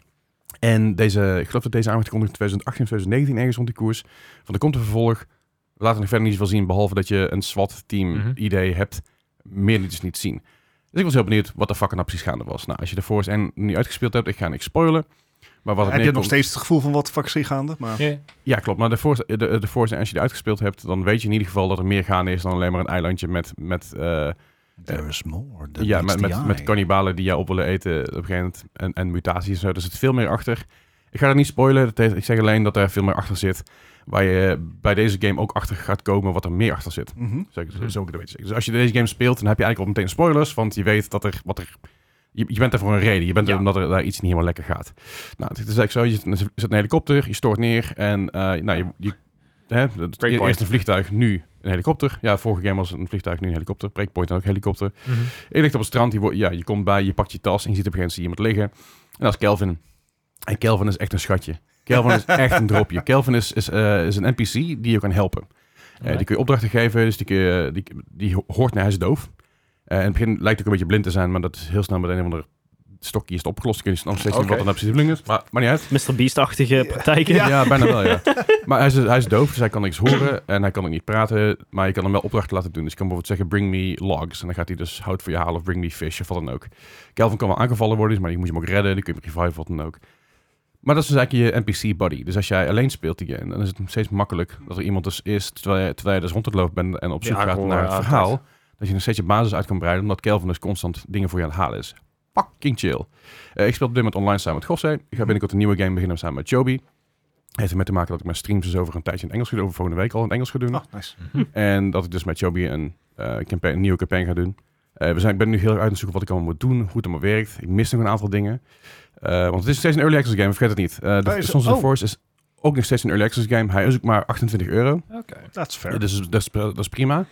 S2: En deze, ik geloof dat deze aangekondigd in 2018 of 2019 ergens rond die koers. Want er komt een vervolg. We laten nog verder niet veel zien, behalve dat je een SWAT-team
S4: Mhm.
S2: idee hebt. Meer liet dus niet zien. Dus ik was heel benieuwd wat de fuck er nou precies gaande was. Nou, als je de Forest en niet uitgespeeld hebt, ik ga niks spoilen. Maar wat het
S3: Heb je nog
S2: neerkomt-
S3: steeds het gevoel van wat fuck is hier gaande? Maar...
S4: Ja.
S2: ja, klopt. Maar de Force, de, de Force, als je die uitgespeeld hebt, dan weet je in ieder geval dat er meer gaande is dan alleen maar een eilandje met, met, eh,
S3: There is more. than
S2: ja,
S3: meets
S2: met,
S3: the
S2: met,
S3: eye.
S2: met kannibalen die jou op willen eten op een gegeven moment. En, en mutaties en zo. Er zit veel meer achter. Ik ga dat niet spoilen. Dat heeft- ik zeg alleen dat er veel meer achter zit. Waar je bij deze game ook achter gaat komen wat er meer achter zit.
S3: Mhm.
S2: Zo, zo,
S4: Mhm.
S2: zo moet ik het een beetje zeggen. Dus als je deze game speelt, dan heb je eigenlijk al meteen spoilers. Want je weet dat er wat er. Je, je bent er voor een reden. Je bent er
S4: Ja.
S2: omdat er daar iets niet helemaal lekker gaat. Nou, het is eigenlijk zo. Je zit, in een- zit in een helikopter, je stort neer. En eh, nou, je, je, hè, het-
S4: Breakpoint.
S2: eerst een vliegtuig, nu een helikopter. Ja, vorige game was een vliegtuig, nu een helikopter. Breakpoint en ook helikopter.
S4: Mhm.
S2: Je ligt op het strand, je, wordt- ja, je komt bij, je pakt je tas en je ziet op een gegeven moment iemand liggen. En dat is Kelvin. En Kelvin is echt een schatje. Kelvin is echt een dropje. Kelvin is, is, eh, is een NPC die je kan helpen. Eh, die kun je opdrachten geven, dus die, kun je- die, die hoort naar hij is doof. Eh, in het begin lijkt hij ook een beetje blind te zijn, maar dat is heel snel met een of ander stokje is het opgelost. Dan kun je nog steeds niet
S4: Oké.
S2: wat dan precies de bedoeling is, maar, maar niet uit.
S1: Mr. Beast-achtige praktijken.
S2: Ja, bijna wel, ja. Maar hij is, hij is doof, dus hij kan niks horen en hij kan ook niet praten. Maar je kan hem wel opdrachten laten doen. Dus je kan bijvoorbeeld zeggen, bring me logs. En dan gaat hij dus hout voor je halen of bring me fish of wat dan ook. Kelvin kan wel aangevallen worden, maar je moet hem ook redden. Dan kun je hem reviven, wat dan ook. Maar dat is dus eigenlijk je NPC-buddy. Dus als jij alleen speelt die game, dan is het steeds makkelijk dat er iemand dus is, terwijl je, terwijl je dus rond het lopen bent en op
S4: Die
S2: zoek gaat
S4: aankomen
S2: naar het
S4: altijd.
S2: verhaal, dat je nog steeds je basis uit kan breiden, omdat Kelvin dus constant dingen voor je aan het halen is. Fucking chill. Eh, ik speel op dit moment online samen met Gosse. Ik ga binnenkort een nieuwe game beginnen samen met Joby. Heeft ermee te maken dat ik mijn streams dus over een tijdje in het Engels ga doen, over volgende week al in het Engels ga doen.
S3: Oh, nice.
S2: En dat ik dus met Joby een, eh, campaign, een nieuwe campagne ga doen. Eh, we zijn, ik ben nu heel erg uit aan het zoeken wat ik allemaal moet doen, hoe het allemaal werkt. Ik mis nog een aantal dingen. Eh, want het is steeds een early access game, vergeet het niet. Eh de
S3: Hij is-
S2: Sons of the
S3: oh.
S2: Force is ook nog steeds een early access game. Hij is ook maar 28 euro.
S4: Oké.
S3: That's fair.
S2: Dus dat is, dat is prima.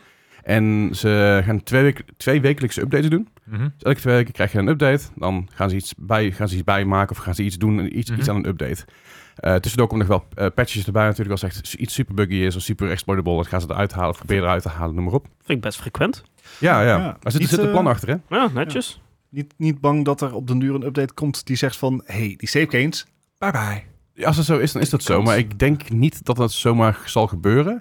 S2: En ze gaan twee, week, twee wekelijkse updates doen.
S4: Mhm.
S2: Dus elke twee weken krijg je een update. Dan gaan ze iets bij, gaan ze iets bijmaken of gaan ze iets doen, iets, iets
S4: Mhm.
S2: aan een update. Eh, tussendoor komen nog wel eh, patches erbij natuurlijk. Als echt iets super buggy is of super exploitable, dat gaan ze eruit halen of proberen eruit te halen, noem maar op.
S1: Vind ik best frequent.
S2: Ja, ja.
S3: Ja,
S2: Maar er zit, er
S3: niet,
S2: zit een
S3: eh,
S2: plan achter, hè?
S1: Ja, netjes.
S3: Niet, niet bang dat er op den duur een update komt die zegt van... hey, die save games, bye bye.
S2: Ja, Als dat zo is, dan is dat zo.
S3: Kans.
S2: Maar ik denk niet dat dat zomaar zal gebeuren.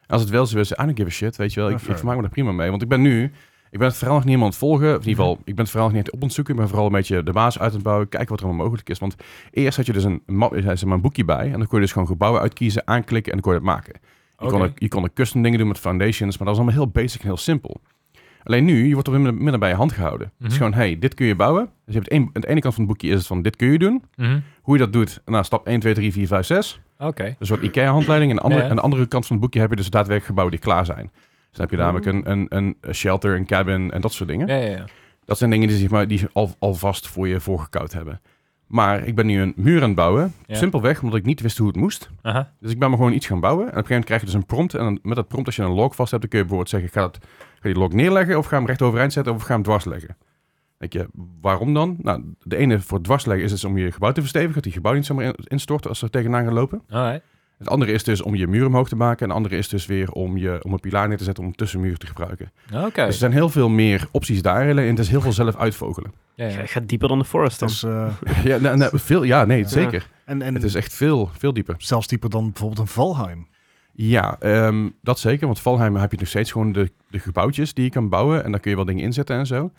S2: En als het wel zo is, I don't give a shit, weet je wel. Ik,
S3: Ja,
S2: ik
S3: fair.
S2: vermaak me daar prima mee. Want ik ben nu... Ik ben het verhaal nog niet helemaal aan het volgen. Of in ieder geval, ik ben het verhaal nog niet aan het op aan het zoeken. Ik ben vooral een beetje de baas uit aan het bouwen. Kijken wat er allemaal mogelijk is. Want eerst had je dus een, map, eh, zeg maar een boekje bij. En dan kon je dus gewoon gebouwen uitkiezen, aanklikken en dan kon je dat maken. Je, kon,
S4: Oké.
S2: er, je kon er custom dingen doen met foundations. Maar dat was allemaal heel basic en heel simpel. Alleen nu, je wordt op midden, midden bij je hand gehouden. Het is
S4: Mhm.
S2: gewoon, hey, dit kun je bouwen. Dus je hebt één- aan de ene kant van het boekje is het van, dit kun je doen
S4: Mhm.
S2: hoe je dat doet. Nou, stap 1, 2, 3, 4, 5, 6.
S4: Oké.
S2: Een soort IKEA-handleiding. En aan de andere,
S4: Ja.
S2: aan de andere kant van het boekje heb je dus daadwerkelijk gebouwen die klaar zijn. Dus dan heb je namelijk een, een, een shelter, een cabin en dat soort dingen.
S4: Ja, ja, ja.
S2: Dat zijn dingen die, zeg maar, die al, alvast voor je voorgekoud hebben. Maar ik ben nu een muur aan het bouwen.
S4: Ja.
S2: Simpelweg omdat ik niet wist hoe het moest.
S4: Aha.
S2: Dus ik ben maar gewoon iets gaan bouwen. En op een gegeven moment krijg je dus een prompt. En dan, met dat prompt, als je een log vast hebt, dan kun je bijvoorbeeld zeggen... Ga, dat, ga die log neerleggen of ga hem recht overeind zetten of ga hem dwars leggen. Denk je, waarom dan? Nou, de ene voor dwars leggen is dus om je gebouw te verstevigen. Dat die gebouw niet zomaar in- instort als ze tegenaan gaan lopen.
S4: Alright.
S2: Het andere is dus om je muur omhoog te maken. En het andere is dus weer om, je, om een pilaar neer te zetten om een tussenmuur te gebruiken.
S4: Oké.
S2: Dus er zijn heel veel meer opties daarin. En het is heel veel zelf uitvogelen.
S4: Ja, ja.
S1: Ga, ga dieper dan de forest dan.
S3: Dus, eh,
S2: ja, nou, nou, veel, ja, nee, zeker.
S3: en en
S2: Het is echt veel, veel dieper.
S3: zelfs dieper dan bijvoorbeeld een Valheim.
S2: Ja, ehm, dat zeker. Want Valheim heb je nog steeds gewoon de, de gebouwtjes die je kan bouwen. En daar kun je wel dingen inzetten en zo.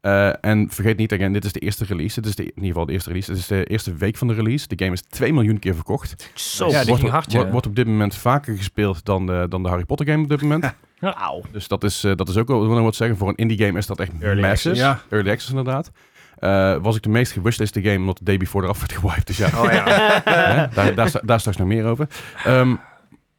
S2: Eh, en vergeet niet, again, dit is de eerste release. Dit is de, in ieder geval de eerste release. Dit is de eerste week van de release. De game is 2 miljoen keer verkocht.
S1: Zo.
S4: Ja, die
S2: wordt,
S4: ging hard, ja.
S2: wordt, wordt op dit moment vaker gespeeld dan de, dan de Harry Potter game op dit moment.
S1: Auw.
S2: dus dat is, eh, dat is ook wel wil ik wat zeggen. Voor een indie game is dat echt
S4: Early
S2: massive.
S3: access.
S2: Early access inderdaad. Eh, was ik de meest gewishliste game omdat de day before eraf werd gewiped. Dus ja, Hè? daar, daar, sta- daar straks nog meer over. Ehm,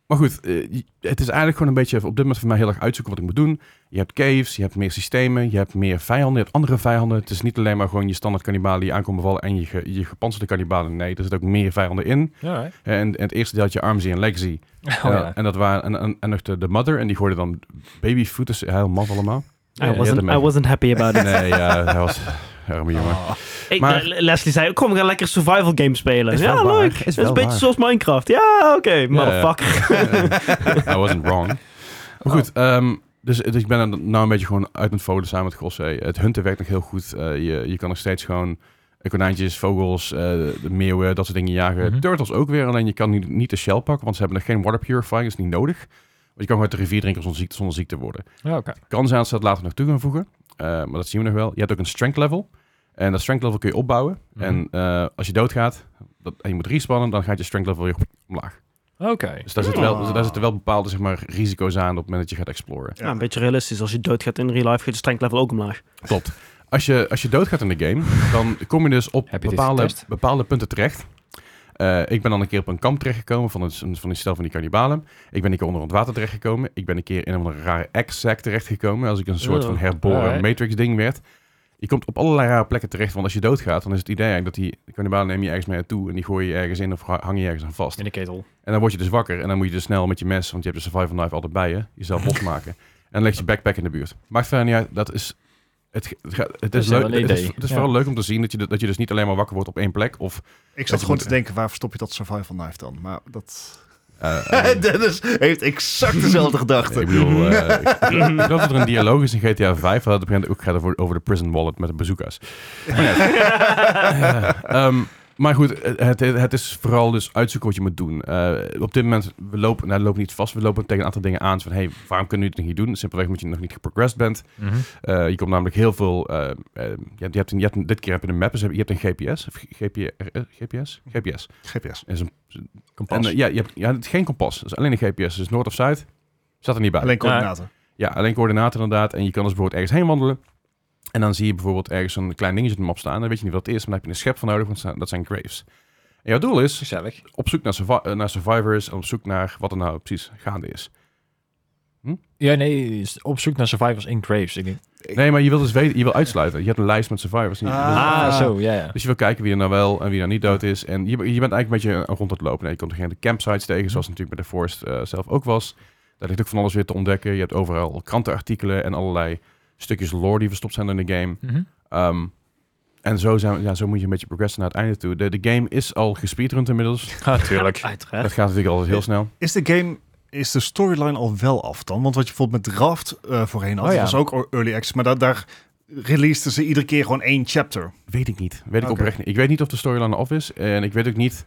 S2: maar goed, eh, je- het is eigenlijk gewoon een beetje op dit moment voor mij heel erg uitzoeken wat ik moet doen. Je hebt caves, je hebt meer systemen, je hebt meer vijanden, je hebt andere vijanden. Het is niet alleen maar gewoon je standaard kannibalen die aankomen vallen en je, ge- je gepantserde kannibalen. Nee, er zitten ook meer vijanden in.
S4: Alright.
S2: En, en het eerste deel had je Armsy en Legacy.
S4: Oh,
S2: Eh,
S4: ja.
S2: En dat waren en, en, en nog de, de Mother en die gooiden dan babyfoot, dus heel maf allemaal.
S4: Ja,
S1: I, wasn't,
S2: ermee.
S1: I wasn't happy about it.
S2: Nee, ja, dat was Oh, arme jongen.
S1: Ik-
S2: Maar-
S1: eh, Leslie zei, kom, we gaan lekker survival game spelen.
S2: Is
S1: ja,
S2: wel waar.
S1: leuk.
S2: Is
S1: Het is
S2: wel
S1: een beetje
S2: waar.
S1: zoals Minecraft. Ja, oké, motherfucker.
S2: I wasn't wrong. Maar goed, ehm, dus, dus ik ben er nou een beetje gewoon uit aan het vogelen samen met Gosse. Het hunten werkt nog heel goed. Eh, je, je kan nog steeds gewoon eh, konijntjes, vogels, eh, de meeuwen, dat soort dingen jagen.
S4: Mhm.
S2: Turtles ook weer, alleen je kan nu niet de shell pakken, want ze hebben nog geen water purifying, dat is niet nodig. Want je kan gewoon uit de rivier drinken zonder ziek, zonder ziek te worden.
S4: Ja, Oké.
S2: Kan zijn dat ze dat later nog toe gaan voegen, eh, maar dat zien we nog wel. Je hebt ook een strength level. En dat strength level kun je opbouwen.
S4: Mhm.
S2: En eh, als je doodgaat dat, en je moet respannen, dan gaat je strength level weer omlaag.
S4: Mhm. Oké.
S2: Dus daar, zitten wel,
S3: Ah.
S2: daar zitten wel bepaalde zeg maar, risico's aan op het moment dat je gaat exploren.
S1: Ja, een beetje realistisch. Als je doodgaat in real life, gaat je strength level ook omlaag.
S2: Klopt. Als je, als je doodgaat in de game, dan kom je dus op
S4: Heb je dit
S2: bepaalde,
S4: getest?
S2: bepaalde punten terecht. Eh, ik ben dan een keer op een kamp terechtgekomen van, een, van die stel van die kannibalen. Ik ben een keer onder het water terechtgekomen. Ik ben een keer in een rare egg-sack terechtgekomen. Als ik een soort
S4: Oh,
S2: van herboren
S4: alright.
S2: Matrix-ding werd. Je komt op allerlei rare plekken terecht. Want als je doodgaat, dan is het idee eigenlijk dat die de kannibalen neem je ergens mee naartoe. En die gooi je ergens in of ha- hang je ergens aan vast.
S4: In de ketel.
S2: En dan word je dus wakker en dan moet je dus snel met je mes, want je hebt de survival knife altijd bij je, jezelf losmaken. En dan ligt je backpack in de buurt. Maakt verder niet uit, dat is... Het, ge- het, ga- het,
S4: Dat
S2: is,
S4: is wel
S2: leuk,
S4: een
S2: het is,
S4: idee.
S2: het is
S4: Ja.
S2: vooral leuk om te zien dat je, de- dat je dus niet alleen maar wakker wordt op één plek. Of,
S3: Ik
S2: Dat
S3: zat gewoon
S2: moet-
S3: te denken, waar verstop je dat survival knife dan? Maar dat...
S2: eh, eh,
S3: Dennis heeft exact dezelfde gedachte.
S2: ik bedoel, eh, ik ik geloof dat er een dialoog is in GTA 5, waar het op een gegeven moment ook gaat over, over de prison wallet met de bazooka's. Maar ja. Eh, ehm, Maar goed, het, het, het is vooral dus uitzoeken wat je moet doen. Eh, op dit moment, we lopen, nou, we lopen niet vast. We lopen tegen een aantal dingen aan. Zo Van, hey, waarom kunnen we dit nog niet doen? Simpelweg omdat je nog niet geprogressed bent.
S4: Mhm.
S2: Eh, je komt namelijk heel veel... eh, eh, je hebt, je hebt, een- je hebt een- dit keer heb je een map. Dus je hebt een GPS. Of GPR, GPS? GPS.
S3: GPS.
S2: Is een,
S4: Kompas.
S2: en, eh, ja, je hebt, ja, het is geen kompas. Het is alleen een GPS. Dus noord of zuid staat er niet bij.
S3: Alleen coördinaten.
S2: Ja, alleen coördinaten inderdaad. En je kan dus bijvoorbeeld ergens heen wandelen. En dan zie je bijvoorbeeld ergens een klein dingetje op de map staan. Dan weet je niet wat het is, maar dan heb je een schep van nodig, want dat zijn- dat zijn graves. En jouw doel is
S4: Gezellig.
S2: op zoek naar, survi- eh, naar survivors en op zoek naar wat er nou precies gaande is.
S4: Ja, nee, is op zoek naar survivors in graves. Ik denk,
S2: Nee, maar je wilt dus weten, je wil uitsluiten. Je hebt een lijst met survivors. en je-
S3: Ah.
S4: ah, zo, ja, ja.
S2: Dus je wil kijken wie er nou wel en wie er niet dood is. En je, je bent eigenlijk een beetje eh, rond het lopen. En je komt tegen de campsites tegen, zoals het natuurlijk bij de Forest eh, zelf ook was. Daar ligt ook van alles weer te ontdekken. Je hebt overal krantenartikelen en allerlei stukjes lore die verstopt zijn in de game.
S4: Mhm.
S2: Ehm, en zo, zijn, we- ja, zo moet je een beetje progressen naar het einde toe. De, de game is al gespeedrund inmiddels.
S4: Ja, Ah, tuurlijk.
S1: Uiteraard.
S2: Dat gaat natuurlijk altijd heel snel.
S3: Is de game, is de storyline al wel af dan? Want wat je bijvoorbeeld met Draft eh, voorheen had,
S4: Oh ja.
S3: dat was ook o- early access, maar daar, daar releaseden ze iedere keer gewoon één chapter.
S2: Weet ik niet. Weet ik
S3: Oké.
S2: oprecht niet. Ik weet niet of de storyline af is. En ik weet ook niet...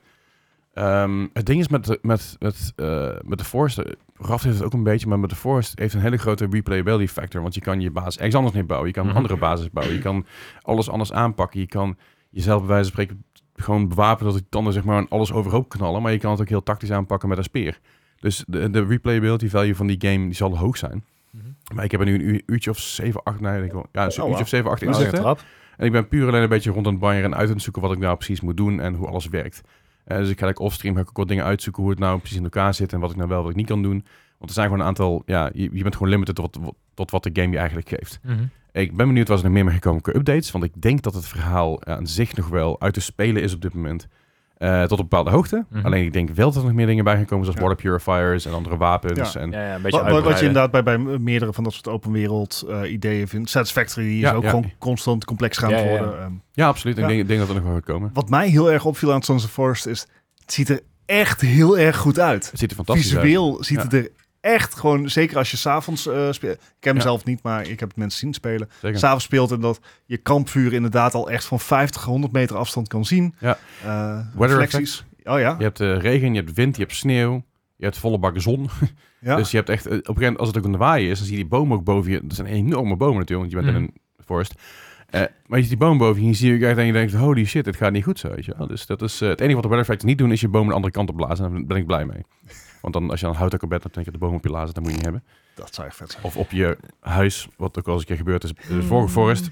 S2: ehm, het ding is met, de- met, met, eh, met de Forest... eh, Raft heeft het ook een beetje, maar met de Forest heeft een hele grote replayability factor. Want je kan je basis ergens anders niet bouwen. Je kan een
S4: Mhm.
S2: andere basis bouwen. Je kan alles anders aanpakken. Je kan jezelf bij wijze van spreken gewoon bewapenen tot die tanden zeg maar en alles overhoop knallen. Maar je kan het ook heel tactisch aanpakken met een speer. Dus de, de replayability value van die game die zal hoog zijn.
S4: Mhm.
S2: Maar ik heb er nu een uur- uurtje of 7, 8, nee, ik denk wel, ja, een
S3: Oh, wauw.
S2: uurtje of 7, 8 in
S4: Dus
S2: zitten.
S4: een trap.
S2: En ik ben puur alleen een beetje rond aan het banjeren en uit aan het zoeken wat ik nou precies moet doen en hoe alles werkt. Eh, dus ik ga like, offstream ga ik ook wat dingen uitzoeken hoe het nou precies in elkaar zit en wat ik nou wel wat ik niet kan doen. Want er zijn gewoon een aantal, ja, je, je bent gewoon limited tot, wat- tot wat de game je eigenlijk geeft.
S4: Mhm.
S2: Ik ben benieuwd wat er nog meer mee gekomen qua updates, want ik denk dat het verhaal eh, aan zich nog wel uit te spelen is op dit moment. eh, tot op een bepaalde hoogte.
S4: Mhm.
S2: Alleen ik denk wel dat er nog meer dingen bij gaan komen, zoals
S3: Ja.
S2: water purifiers en andere wapens.
S3: Ja.
S2: En,
S4: Ja, ja, een beetje
S3: Wat, wat- wat je
S4: uitbreiden.
S3: inderdaad bij, bij meerdere van dat soort open wereld eh, ideeën vindt. Satisfactory die is
S2: Ja,
S3: ook
S2: ja.
S3: gewoon constant complex gaan
S4: Ja, ja, ja.
S3: worden. Ehm,
S2: ja absoluut.
S3: Ja.
S2: Ik denk, ik denk dat er nog wel gaat komen.
S3: wat mij heel erg opviel aan Sons of Forest is, het ziet er echt heel erg goed uit.
S2: Het ziet er fantastisch uit.
S3: Visueel ziet het er echt gewoon, zeker als je s'avonds eh speelt. Ik ken
S2: Ja.
S3: mezelf niet, maar ik heb het mensen zien spelen.
S2: Zeker.
S3: s'avonds speelt en dat je kampvuur inderdaad al echt van 50, 100 meter afstand kan zien.
S2: Ja.
S3: Eh,
S2: Weather
S3: reflecties. Oh ja.
S2: Je hebt eh, regen, je hebt wind, je hebt sneeuw, je hebt volle bak zon.
S3: ja.
S2: Dus je hebt echt, eh, op een gegeven moment, als het ook aan de waaien is, dan zie je die boom ook boven je. Dat zijn enorme bomen natuurlijk, want je bent
S4: Mhm.
S2: in een forest. Eh, maar je ziet die boom boven je, en je ziet je echt en je denkt, holy shit, dit gaat niet goed zo. Weet je wel. Dus dat is, eh, het enige wat de weather effects niet doen, is je boom de andere kant op blazen. En daar ben ik blij mee. Want dan, als je dan hout ook op bed hebt, denk je de boom op je blazen, dat moet je niet hebben.
S3: Dat zou echt vet zijn.
S2: Of op je huis, wat ook wel eens een keer gebeurd is, de vorige forest.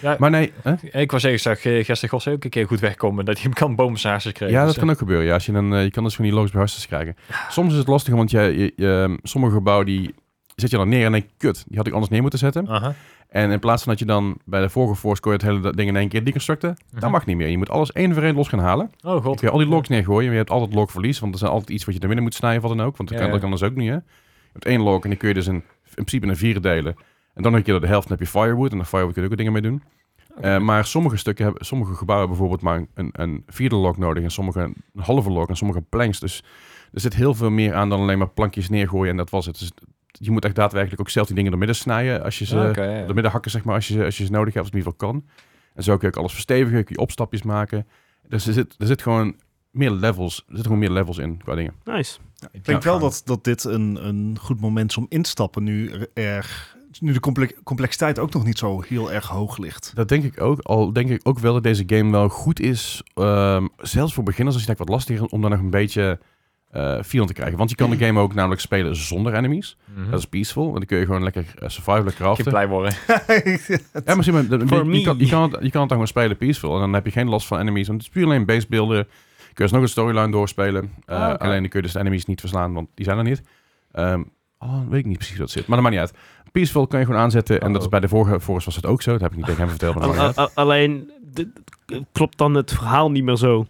S4: Ja.
S2: Maar nee, hè?
S4: Ik was zeggen, ik zag eh, gisteren Gosse ook een keer goed wegkomen dat hij hem kan boomsaasjes kreeg.
S2: Ja,
S4: Dus,
S2: dat kan
S4: eh,
S2: ook gebeuren. Ja. Als je, dan, eh, je kan dus gewoon die logische beharters krijgen. Soms is het lastig, want je, je- je- sommige gebouwen die zet je dan neer en denk je, kut, die had ik anders neer moeten zetten.
S4: eh, aha.
S2: En in plaats van dat je dan bij de vorige force kon je het hele da- ding in één keer deconstructen, dat
S4: Mhm.
S2: mag niet meer. Je moet alles één voor één los gaan halen.
S4: Oh
S2: Dan
S4: god.
S2: kun je al die logs neergooien, maar je hebt altijd logverlies, want er zijn altijd iets wat je er binnen moet snijden of wat dan ook, want dat
S4: Ja,
S2: kan,
S4: ja.
S2: dat kan dus ook niet, hè. Je hebt één log en die kun je dus in, in principe in vier delen. En dan heb je de helft, dan heb je firewood, en dan firewood kun je ook dingen mee doen. Eh, maar sommige stukken hebben, sommige gebouwen hebben bijvoorbeeld maar een, een vierde log nodig en sommige een halve log en sommige planks. Dus er zit heel veel meer aan dan alleen maar plankjes neergooien en dat was het. Dus je moet echt daadwerkelijk ook zelf die dingen door midden snijden als je ze
S4: Ah, oké, ja, ja.
S2: door midden hakken, zeg maar, als je, ze- als je ze nodig hebt, als het in ieder geval kan. En zo kun je ook alles verstevigen, kun je opstapjes maken. Dus er zit, er zit gewoon meer levels, er zitten gewoon meer levels in qua dingen.
S1: Nice.
S3: Ik denk wel dat, dat dit een, een goed moment is om instappen nu er- er, nu de comple- complexiteit ook nog niet zo heel erg hoog ligt.
S2: Dat denk ik ook. Al denk ik ook wel dat deze game wel goed is, ehm, zelfs voor beginners, als je denkt wat lastiger, om daar nog een beetje eh feel in te krijgen. Want je kan de game ook namelijk spelen zonder enemies.
S4: Mhm.
S2: Dat is peaceful. En dan kun je gewoon lekker eh, survivalen
S4: Ik
S2: craften.
S4: blij worden.
S2: Ja, maar zie maar, dat-
S1: For
S2: je, je
S1: me.
S2: kan, je, kan het, je kan het dan gewoon spelen peaceful. En dan heb je geen last van enemies. Want het is puur alleen base builden. Kun je dus nog een storyline doorspelen. Eh,
S4: Ah, oké.
S2: Alleen dan kun je dus de enemies niet verslaan, want die zijn er niet. Ehm oh, weet ik niet precies hoe dat zit. Maar dat maakt niet uit. Peaceful kan je gewoon aanzetten. En
S4: Oh.
S2: dat is bij de vorige Forest was dat ook zo. Dat heb ik niet tegen hem verteld. Maar dat maakt
S1: Al- al- alleen dit- klopt dan het verhaal niet meer zo.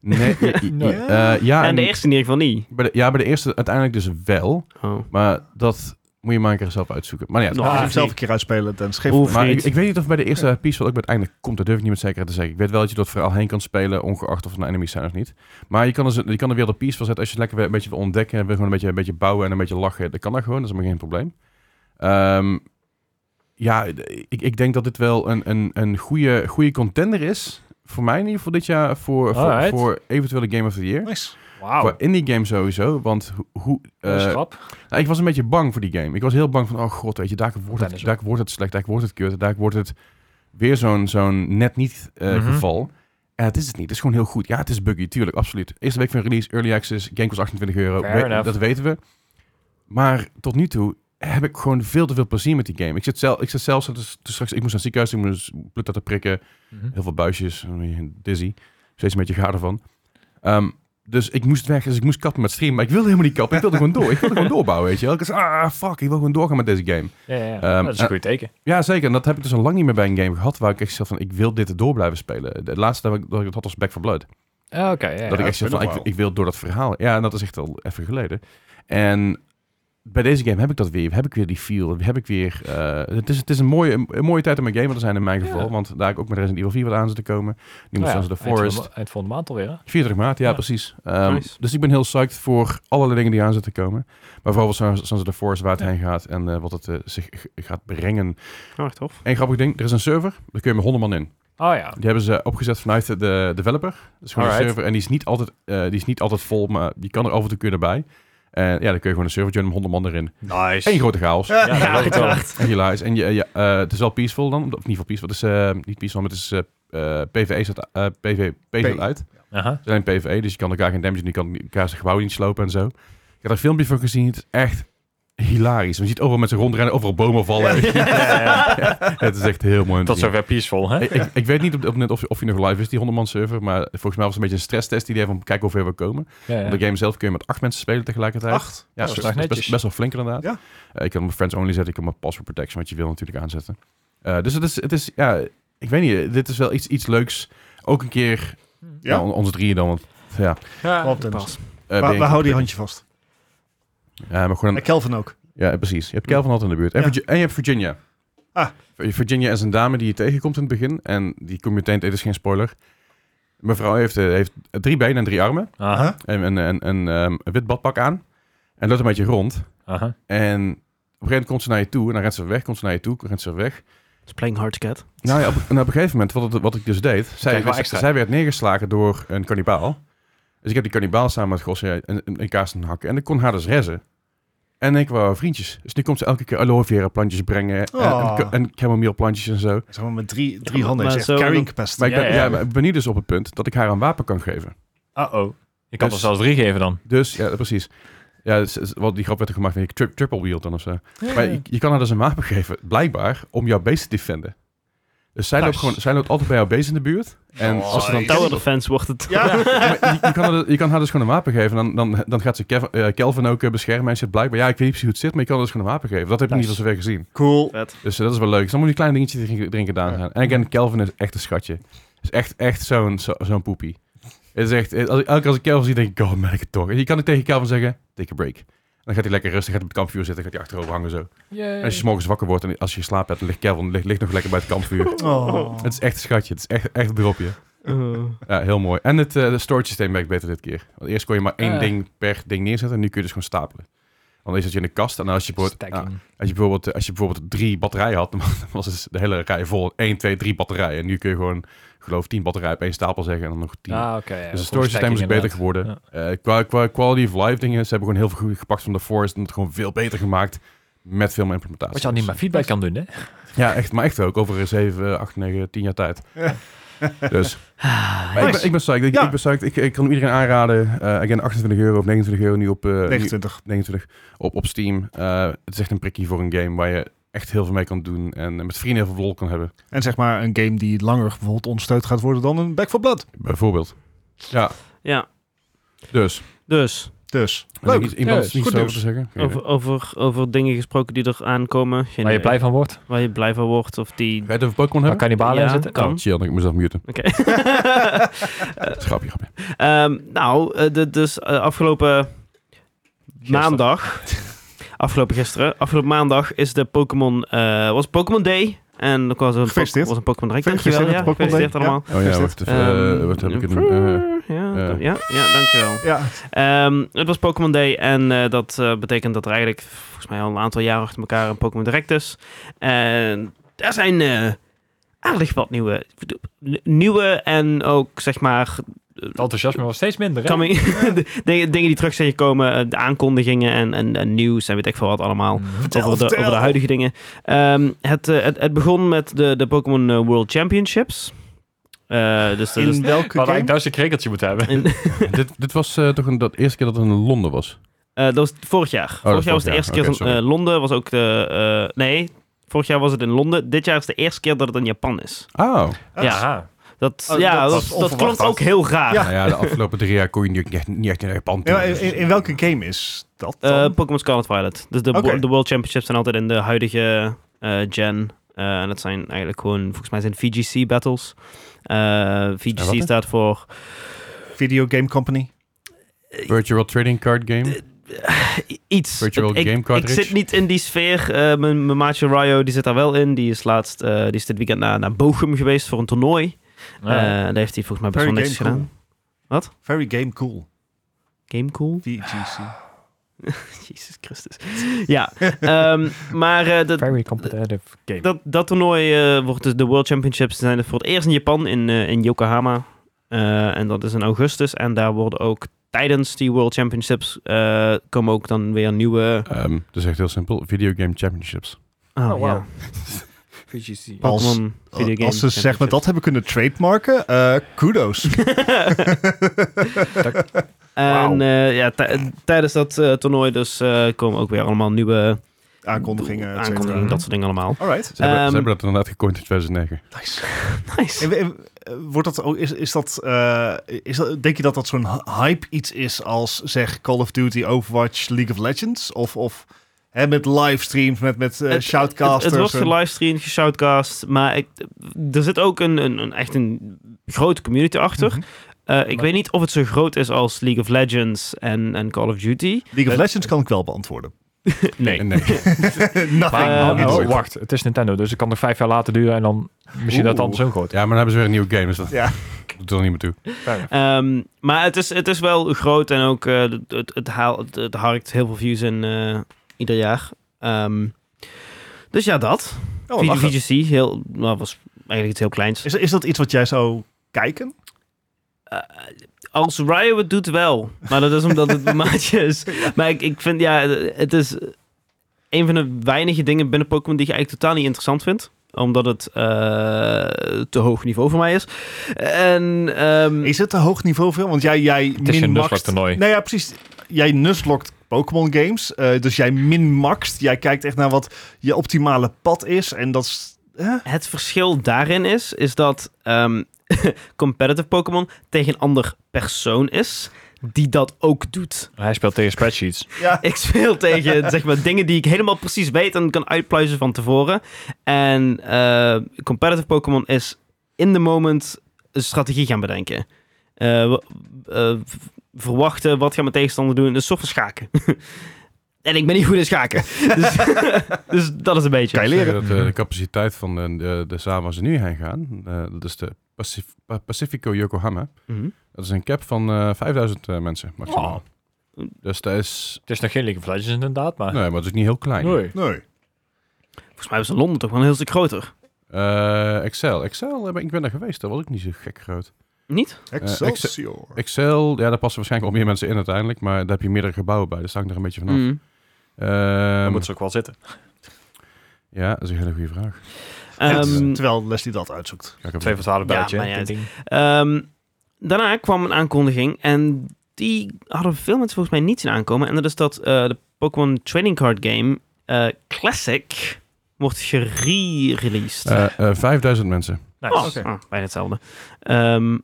S2: niet uit. Nee, je- je-
S4: Nee.
S2: eh, ja,
S1: en de
S2: en-
S1: eerste in ieder geval niet.
S2: bij de- ja, bij de eerste uiteindelijk dus wel.
S1: Oh.
S2: Maar dat moet je maar een keer zelf uitzoeken. Maar ja,
S1: Nou,
S3: Als je
S1: ah,
S3: hem zelf
S1: nee.
S3: een keer uitspelen, dan schrijf
S1: Hoef
S2: Maar
S1: niet.
S2: ik, ik weet niet of bij de eerste piece wat ook bij het einde komt. Dat durf ik niet met zekerheid te zeggen. Ik weet wel dat je door het verhaal heen kan spelen, ongeacht of het nou enemies zijn of niet. Maar je kan, dus, je kan er weer de piece van zetten als je het lekker weer een beetje wil ontdekken. En wil gewoon een beetje, een beetje bouwen en een beetje lachen. Dat kan dat gewoon, dat is helemaal geen probleem. Ehm, ja, d- ik, ik denk dat dit wel een, een, een goede, goede contender is voor mij in ieder geval dit jaar voor, voor,
S4: Alright.
S2: voor eventuele Game of the Year.
S3: Nice.
S2: Voor
S4: Wauw.
S2: indie game sowieso, want ho- hoe... eh,
S4: Dat is grap.
S2: nou, ik was een beetje bang voor die game. Ik was heel bang van, oh god, weet je, daar wordt het,
S4: Dennis ook.
S2: daar wordt het slecht, daar wordt het kut, daar wordt het weer zo'n zo'n net niet eh,
S4: Mhm.
S2: geval. En het is het niet. Het is gewoon heel goed. Ja, het is buggy, tuurlijk, absoluut. Eerste week van release, early access, game kost 28 euro.
S4: Fair
S2: We-
S4: enough.
S2: dat weten we. Maar tot nu toe heb ik gewoon veel te veel plezier met die game. Ik zit, zelf, ik zit zelfs, dus, straks, ik moest naar het ziekenhuis, ik moest bloed laten prikken.
S4: Mhm.
S2: Heel veel buisjes, eh, dizzy. Steeds een beetje gaar ervan. Ehm, dus ik moest weg, dus ik moest kappen met streamen. Maar ik wilde helemaal niet kappen, ik wilde gewoon door. Ik wilde gewoon doorbouwen, weet je wel. Ik was, ah, fuck, ik wil gewoon doorgaan met deze game.
S4: Ja, ja, ja.
S2: Ehm,
S4: dat is
S2: eh,
S4: een goed teken.
S2: Ja, zeker. En dat heb ik dus al lang niet meer bij een game gehad... waar ik echt zelf van, ik wil dit door blijven spelen. De laatste dat ik, dat ik dat had was Back for Blood.
S4: Ah, Oké, ja,
S2: dat
S4: ja.
S2: ik
S3: dat
S2: echt zei van,
S3: vind ik
S2: ik,
S3: wel.
S2: ik wil door dat verhaal. Ja, en dat is echt al even geleden. En bij deze game heb ik dat weer. Heb ik weer die feel. Heb ik weer... eh, het, is, het is een mooie, een, mooie tijd om een gamer te zijn in mijn geval.
S4: Ja.
S2: Want daar heb ik ook met Resident Evil 4 wat aan zit te komen. Nu moet
S4: Nou ja,
S2: zelfs The
S4: eind van de-
S2: Forest.
S4: Eind volgende maand alweer, hè?
S2: 24 maart, ja,
S4: Ja.
S2: precies. Ehm,
S1: Nice.
S2: Dus ik ben heel psyched voor allerlei dingen die aan zitten te komen. Maar vooral wat Sons of the Force, waar het
S4: Ja.
S2: heen gaat en eh, wat het eh, zich g- gaat brengen.
S1: Hard tof.
S2: En grappig ding, er is een server, daar kun je met 100 man in.
S4: Oh ja.
S2: Die hebben ze opgezet vanuit de, de developer. Dus gewoon een
S4: Alright.
S2: server en die is, niet altijd, eh, die is niet altijd vol, maar die kan er af en toe kunnen bij. En ja, dan kun je gewoon een server joinen met 100 man erin.
S4: Nice.
S2: Eén grote chaos.
S4: Ja, dat geloof ik wel.
S2: Helaas. En je, je, eh, het is wel peaceful dan. Of in ieder geval peaceful. Het is eh, niet peaceful, maar het is eh eh, PvE staat, eh, PvP staat uit.
S4: Aha.
S2: Het is alleen PvE, dus je kan elkaar geen damage doen. Je kan elkaar zijn gebouw niet slopen en zo. Ik heb daar een filmpje van gezien. Het is echt hilarisch. Je ziet overal mensen rondrennen, overal bomen vallen.
S4: Ja, ja.
S2: het is echt heel mooi. om te
S4: Tot
S2: zien.
S4: zover peaceful, hè?
S2: Ik, ik, ik weet niet op, op net of, of je nog live is, die 100-man server. Maar volgens mij was het een beetje een stresstest idee van kijken hoe ver we komen.
S4: Ja, ja.
S2: Want de game zelf kun je met acht mensen spelen tegelijkertijd.
S3: Acht.
S2: Ja,
S4: Oh,
S2: dat
S4: dat is
S2: is
S4: nog
S2: best,
S4: netjes.
S2: best wel flink inderdaad.
S3: Ja.
S2: Eh, ik kan mijn friends only zetten, ik kan mijn password protection, wat je wil natuurlijk aanzetten. Eh, dus het is, het is, ja, ik weet niet, dit is wel iets, iets leuks. Ook een keer,
S3: Ja.
S2: nou, on- onze drieën dan, want ja. eh,
S4: Ja.
S3: Klopt, Dennis.
S1: Pas.
S3: We-
S2: ben
S3: we
S2: je-
S3: houden die handje vast.
S2: Ja, maar gewoon
S3: En Kelvin ook.
S2: Ja, precies. Je hebt Kelvin altijd in de buurt. En,
S3: Ja.
S2: Virgi- en je hebt Virginia.
S3: Ah.
S2: Virginia is een dame die je tegenkomt in het begin. En die kom je meteen, dit is geen spoiler. Mevrouw heeft, eh, heeft drie benen en drie armen.
S4: Aha.
S2: En, en, en, en ehm, een wit badpak aan. En loopt een beetje rond.
S4: Aha.
S2: En op een gegeven moment komt ze naar je toe. En dan rent ze weg, komt ze naar je toe, rent ze weg.
S1: It's playing hard to get.
S2: Nou ja, op, en op een gegeven moment, wat, het- wat ik dus deed... Zij,
S4: Krijg wel
S2: z-
S4: extra.
S2: zij werd neergeslagen door een kannibaal. Dus ik heb die kannibaal samen met Gosje een, een, een kaas aan het hakken. En ik kon haar dus rezzen. En ik wou vriendjes. Dus nu komt ze elke keer aloe vera plantjes brengen. en-
S3: Oh.
S2: En, en chamomile plantjes en zo.
S3: Zeg maar met drie, drie
S1: Ja,
S3: handen. is
S1: maar
S3: echt
S1: zo-
S3: carrying capacity.
S2: Maar ik
S4: Ja,
S2: ben, ja,
S4: ja.
S2: maar ik ben nu dus op het punt dat ik haar een wapen kan geven.
S4: Uh-oh. Je kan
S2: Dus-
S4: er zelfs drie geven dan.
S2: Dus, ja, precies. Ja, dus- dus wat die grap werd er gemaakt van je tri- triple wield dan of zo. Maar je, je kan haar dus een wapen geven, blijkbaar, om jouw beest te defenden. Dus zij, loopt
S4: Nice.
S2: gewoon, zij loopt altijd bij jouw beest in de buurt. En
S3: Oh,
S2: als ze dan
S3: nice.
S1: Tower Defense wordt het.
S3: Ja.
S2: Maar je, je kan haar, je kan haar dus gewoon een wapen geven. Dan, dan, dan gaat ze Kev- eh, Kelvin ook eh, beschermen. En zit blijkbaar, ja, ik weet niet precies hoe het zit, maar je kan haar dus gewoon een wapen geven. Dat heb ik
S4: Nice.
S2: niet van zover gezien.
S3: Cool.
S2: Dus eh, dat is wel leuk. Dus dan moet je een klein dingetje erin- erin gedaan zijn. En again, Kelvin is echt een schatje. Is echt, echt zo'n zo, zo'n poepie. Het is echt, eh, als ik, elke keer als ik Kelvin zie, denk ik, oh, merk het toch. En je kan ook tegen Kelvin zeggen, take a break. En dan gaat hij lekker rustig, gaat hij op het kampvuur zitten, gaat hij achterover hangen zo. En
S4: Eh.
S2: als je 's morgens wakker wordt en als je slaap hebt, dan ligt Kelvin ligt, ligt nog lekker bij het kampvuur.
S3: Oh.
S2: Het is echt een schatje, het is echt, echt een dropje.
S1: Oh.
S2: Ja, heel mooi. En het eh, de storage systeem werkt beter dit keer. Want eerst kon je maar één
S4: Ah.
S2: ding per ding neerzetten en nu kun je dus gewoon stapelen. Want dan zat je in de kast en als je bijvoorbeeld, ah,
S4: Stacking.
S2: als je bijvoorbeeld, eh, als je bijvoorbeeld drie batterijen had, dan was het de hele rij vol. 1, 2, 3 batterijen. En nu kun je gewoon, ik geloof, 10 batterijen op één stapel zeggen en dan nog 10.
S4: Ah, oké. ja,
S2: dus
S4: voor
S2: het storage systeem is
S4: stacking
S2: beter
S4: inderdaad.
S2: geworden. Eh, qua, qua quality of life dingen, ze hebben gewoon heel veel goed gepakt van de Forest en het gewoon veel beter gemaakt met veel meer implementatie.
S4: Wat je al niet
S2: Dus-
S4: met feedback kan doen, hè?
S2: ja, echt, maar echt ook. Over 7, 8, 9, 10 jaar tijd. Dus. Maar ik, ben,
S3: Nice.
S2: ik ben psyched. Ik,
S3: Ja.
S2: ik ben psyched. Ik, ik kan iedereen aanraden. Eh, again, 28 euro of 29 euro nu op, eh, nu-
S3: 29.
S2: 29 op, op Steam. Eh, het is echt een prikkie voor een game waar je echt heel veel mee kan doen. En met vrienden heel veel lol kan hebben.
S3: En zeg maar een game die langer bijvoorbeeld ondersteund gaat worden dan een Back for Blood.
S2: Bijvoorbeeld. Ja,
S1: Ja,
S2: dus.
S1: dus
S3: Dus,
S2: Leuk.
S3: leuk.
S2: Iets, iemand
S4: Yes.
S2: iets
S3: Goed
S2: over
S3: nieuws.
S2: te zeggen? Geen
S1: over,
S2: idee.
S1: over, over dingen gesproken die er aankomen. Geen
S4: Waar je
S1: idee.
S4: blij van wordt.
S1: waar je blij van wordt of die...
S2: Ga je het over Pokémon
S4: Waar
S2: hebben?
S4: kannibalen in
S1: Ja,
S4: zitten.
S1: kan.
S2: Oh, chill, dan kan ik mezelf muten.
S1: Oké.
S2: Schrapje, grapje.
S1: Ehm, nou, eh, de- dus eh, afgelopen maandag, afgelopen gisteren, afgelopen maandag is de Pokémon, eh, was Pokémon Day. En er was een,
S3: Gefeliciteerd.
S1: was een Pokémon Drink,
S3: Gefeliciteerd
S1: dankjewel.
S3: met
S1: Ja,
S3: de Pokémon Day.
S1: gefeliciteerd allemaal.
S2: Oh ja, wat,
S3: Is
S1: Ehm,
S2: eh, wat heb ik in... eh,
S1: ja,
S2: eh.
S1: ja, ja, dankjewel.
S3: Ja,
S1: Ehm, het was Pokémon Day en eh, dat eh, betekent dat er eigenlijk volgens mij al een aantal jaar achter elkaar een Pokémon Direct is. En daar zijn eh, aardig wat nieuwe. ik bedoel, n- Nieuwe en ook zeg maar.
S4: Het enthousiasme was steeds minder. Hè?
S1: coming- de- dingen, dingen die terug zijn gekomen, eh, de aankondigingen en, en, en nieuws en weet ik veel wat allemaal.
S3: Vertel,
S1: over, de,
S3: vertel.
S1: over de huidige dingen. Ehm, het, eh, het, het begon met de, de Pokémon eh, World Championships. Eh, dus dat is.
S3: In welke
S4: We hadden
S3: game?
S4: eigenlijk thuis een krekeltje moeten hebben.
S1: in-
S2: dit, dit was eh, toch een, dat eerste keer dat het in Londen was.
S1: Eh, dat was vorig jaar. vorig
S2: was
S1: jaar was
S2: Oh, vorig
S1: de
S2: jaar.
S1: eerste
S2: Oké,
S1: keer in
S2: sorry.
S1: Londen. Was ook de, eh, nee, vorig jaar was het in Londen. Dit jaar is de eerste keer dat het in Japan is.
S2: Oh.
S1: Ja.
S4: Aha.
S1: Dat,
S3: Ah. Oh,
S1: ja,
S3: dat
S1: dat,
S3: was
S1: dat,
S3: onverwacht.
S1: klonk ook heel raar.
S3: Ja.
S2: Nou ja, de afgelopen drie jaar kon je niet echt, niet echt naar Japan toe.
S3: Ja, in, in- in welke game is dat dan?
S1: Eh, Pokémon Scarlet Violet. Dus de,
S3: Oké.
S1: de World Championships zijn altijd in de huidige eh, gen. Eh, en dat zijn eigenlijk gewoon, volgens mij zijn het VGC battles. Eh,
S2: En wat,
S1: VGC
S2: hè?
S1: staat voor...
S3: Video Game Company.
S2: Virtual Trading Card Game.
S1: I- iets.
S2: Virtual
S1: Het- ik,
S2: game
S1: ik
S2: cartridge.
S1: zit niet in die sfeer. Eh, mijn, mijn maatje Ryo die zit daar wel in. Die is laatst, eh, die is dit weekend naar, naar Bochum geweest voor een toernooi. Eh
S4: Ah, Ja.
S1: daar heeft hij volgens mij best wel
S3: Very Game
S1: niks gedaan.
S3: Cool.
S1: Wat?
S3: Very Game Cool.
S1: Game cool?
S3: VGC.
S1: Ah, Jezus Christus. Ja, ehm, maar eh, dat,
S4: Very competitive game.
S1: dat, dat toernooi eh, wordt dus de World Championships. Ze zijn het voor het eerst in Japan, in, eh, in Yokohama. Eh, en dat is in augustus. En daar worden ook tijdens die World Championships eh, komen ook dan weer nieuwe.
S2: Ehm dat is echt heel simpel. Video Game Championships.
S1: Oh,
S4: Oh,
S1: ja.
S4: wow. VGC.
S3: Als-
S1: Pokémon video game
S3: Als ze zeg maar
S1: championships.
S3: dat hebben kunnen trademarken, eh, kudos.
S1: En eh, ja, tij- tijdens dat eh, toernooi dus eh, komen ook weer allemaal nieuwe
S3: Aankondigingen, et cetera.
S1: aankondigingen, dat soort dingen allemaal.
S3: Alright.
S2: Ze, hebben,
S1: Ehm.
S2: ze hebben dat inderdaad gecoind in 2009.
S3: Nice.
S1: Nice.
S3: En- en- eh, Wordt dat ook, is, is dat, eh, is dat, denk je dat dat zo'n hy- hype iets is als zeg Call of Duty, Overwatch, League of Legends? Of, of hè, met livestreams, met, met eh,
S1: Het-
S3: shoutcasters?
S1: Het, het wordt
S3: en-
S1: gelivestreamd, geshoutcast, maar ik, er zit ook een, een, een- echt een grote community achter.
S3: Mhm.
S1: Eh, ik
S4: Maar-
S1: weet niet of het zo groot is als League of Legends en, en Call of Duty.
S3: League of Legends kan ik wel beantwoorden.
S1: Nee.
S2: nee.
S3: Nothing.
S4: Maar
S1: Eh,
S4: oh,
S2: nooit.
S4: wacht, het is Nintendo, dus het kan nog vijf jaar later duren en dan misschien dat
S3: Oeh.
S4: het andersom gooit.
S2: Ja, maar dan hebben ze weer een nieuwe game. Dus dat
S3: Ja.
S2: doet er niet meer toe.
S1: Ehm, maar het is, het is wel groot en ook eh, het, het, het, haalt, het, het harkt heel veel views in eh, ieder jaar. Ehm, dus ja, dat.
S3: Oh,
S1: V-
S3: lachen.
S1: VGC, heel, nou, was eigenlijk iets heel kleins.
S3: is, is dat iets wat jij zou kijken?
S1: Eh, als Ryo het doet wel. Maar dat is omdat het mijn maatje is. Maar ik, ik vind, ja, het is een van de weinige dingen binnen Pokémon die ik eigenlijk totaal niet interessant vind. Omdat het eh, te hoog niveau voor mij is. En ehm,
S3: Is het te hoog niveau veel? Want jij, jij
S4: Het is een
S3: min-maxt-
S4: nuslock toernooi.
S3: Nou ja, precies. Jij nuslokt Pokémon games. eh, dus jij min-maxt. Jij kijkt echt naar wat je optimale pad is. En dat is... hè?
S1: het verschil daarin is, is dat ehm, competitive Pokémon tegen een ander persoon is die dat ook doet.
S4: Hij speelt tegen spreadsheets.
S3: Ja.
S1: Ik speel tegen zeg maar, dingen die ik helemaal precies weet en kan uitpluizen van tevoren. En eh, competitive Pokémon is in the moment een strategie gaan bedenken. Eh, w- eh, v- verwachten, wat gaat mijn tegenstander doen? Een soort van schaken. en ik ben niet goed in schaken. dus, dus dat is een beetje.
S3: Kan je leren?
S2: Dat, eh, de capaciteit van de, de, de zaal waar ze nu heen gaan, eh, dat is de Pacif- Pa- Pacifico Yokohama.
S1: Mhm.
S2: Dat is een cap van eh, 5000 eh, mensen maximaal. Dus dat is...
S4: Het is nog geen League of Legends inderdaad, maar...
S2: Nee, maar het is niet heel klein.
S4: Nee.
S3: Nee.
S1: Volgens mij was Londen toch wel een heel stuk groter.
S2: Eh, Excel. Excel, eh, ik ben daar geweest. Dat was ook niet zo gek groot.
S1: Niet?
S4: Eh,
S3: Excelsior.
S2: Excel, ja, daar passen waarschijnlijk wel meer mensen in uiteindelijk. Maar daar heb je meerdere gebouwen bij. Daar sta ik er een beetje vanaf.
S1: Mm.
S2: Ehm,
S4: Dan moet ze ook wel zitten.
S2: Ja, dat is een hele goede vraag.
S1: Ehm,
S3: Terwijl Leslie dat uitzoekt.
S2: Ga ik even-
S4: Twee van twaalf
S1: Ja,
S4: buitje.
S1: maar ja,
S4: Ding, ding.
S1: Ehm, daarna kwam een aankondiging en die hadden veel mensen volgens mij niet zien aankomen. En dat is dat eh, de Pokémon Trading Card Game eh, Classic wordt gere-released.
S2: Eh, eh, 5000 mensen.
S4: Nice.
S1: oh,
S3: oké.
S1: ah, bijna hetzelfde. Ehm,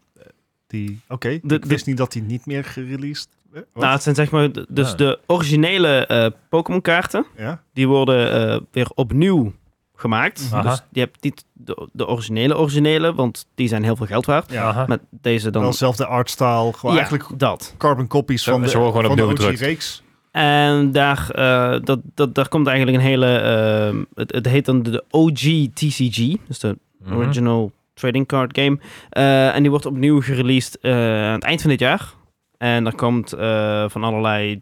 S3: Die, oké.
S1: De-
S3: ik wist niet dat die niet meer gereleased... eh, wat?
S1: nou, het zijn zeg maar d- dus
S3: Ah.
S4: Ja.
S1: de originele eh, Pokémon kaarten.
S3: ja?
S1: Die worden eh, weer opnieuw gemaakt.
S4: Aha.
S1: Dus je hebt niet de, de originele originele, want die zijn heel veel geld waard.
S3: Ja.
S4: Aha.
S1: Maar deze
S3: Dan
S1: dan...
S3: dezelfde artstyle. Gewoon
S1: Ja,
S3: eigenlijk
S1: dat.
S3: carbon copies
S4: Ze-
S3: van de,
S4: ze worden gewoon
S3: van de
S4: opnieuw
S3: OG
S4: gedrukt.
S3: reeks.
S1: En daar, eh, dat, dat, daar komt eigenlijk een hele. ehm, het, het heet dan de, de OG TCG, dus de
S4: Mhm.
S1: Original Trading Card Game. Eh, en die wordt opnieuw gereleased eh, aan het eind van dit jaar. En daar komt eh, van allerlei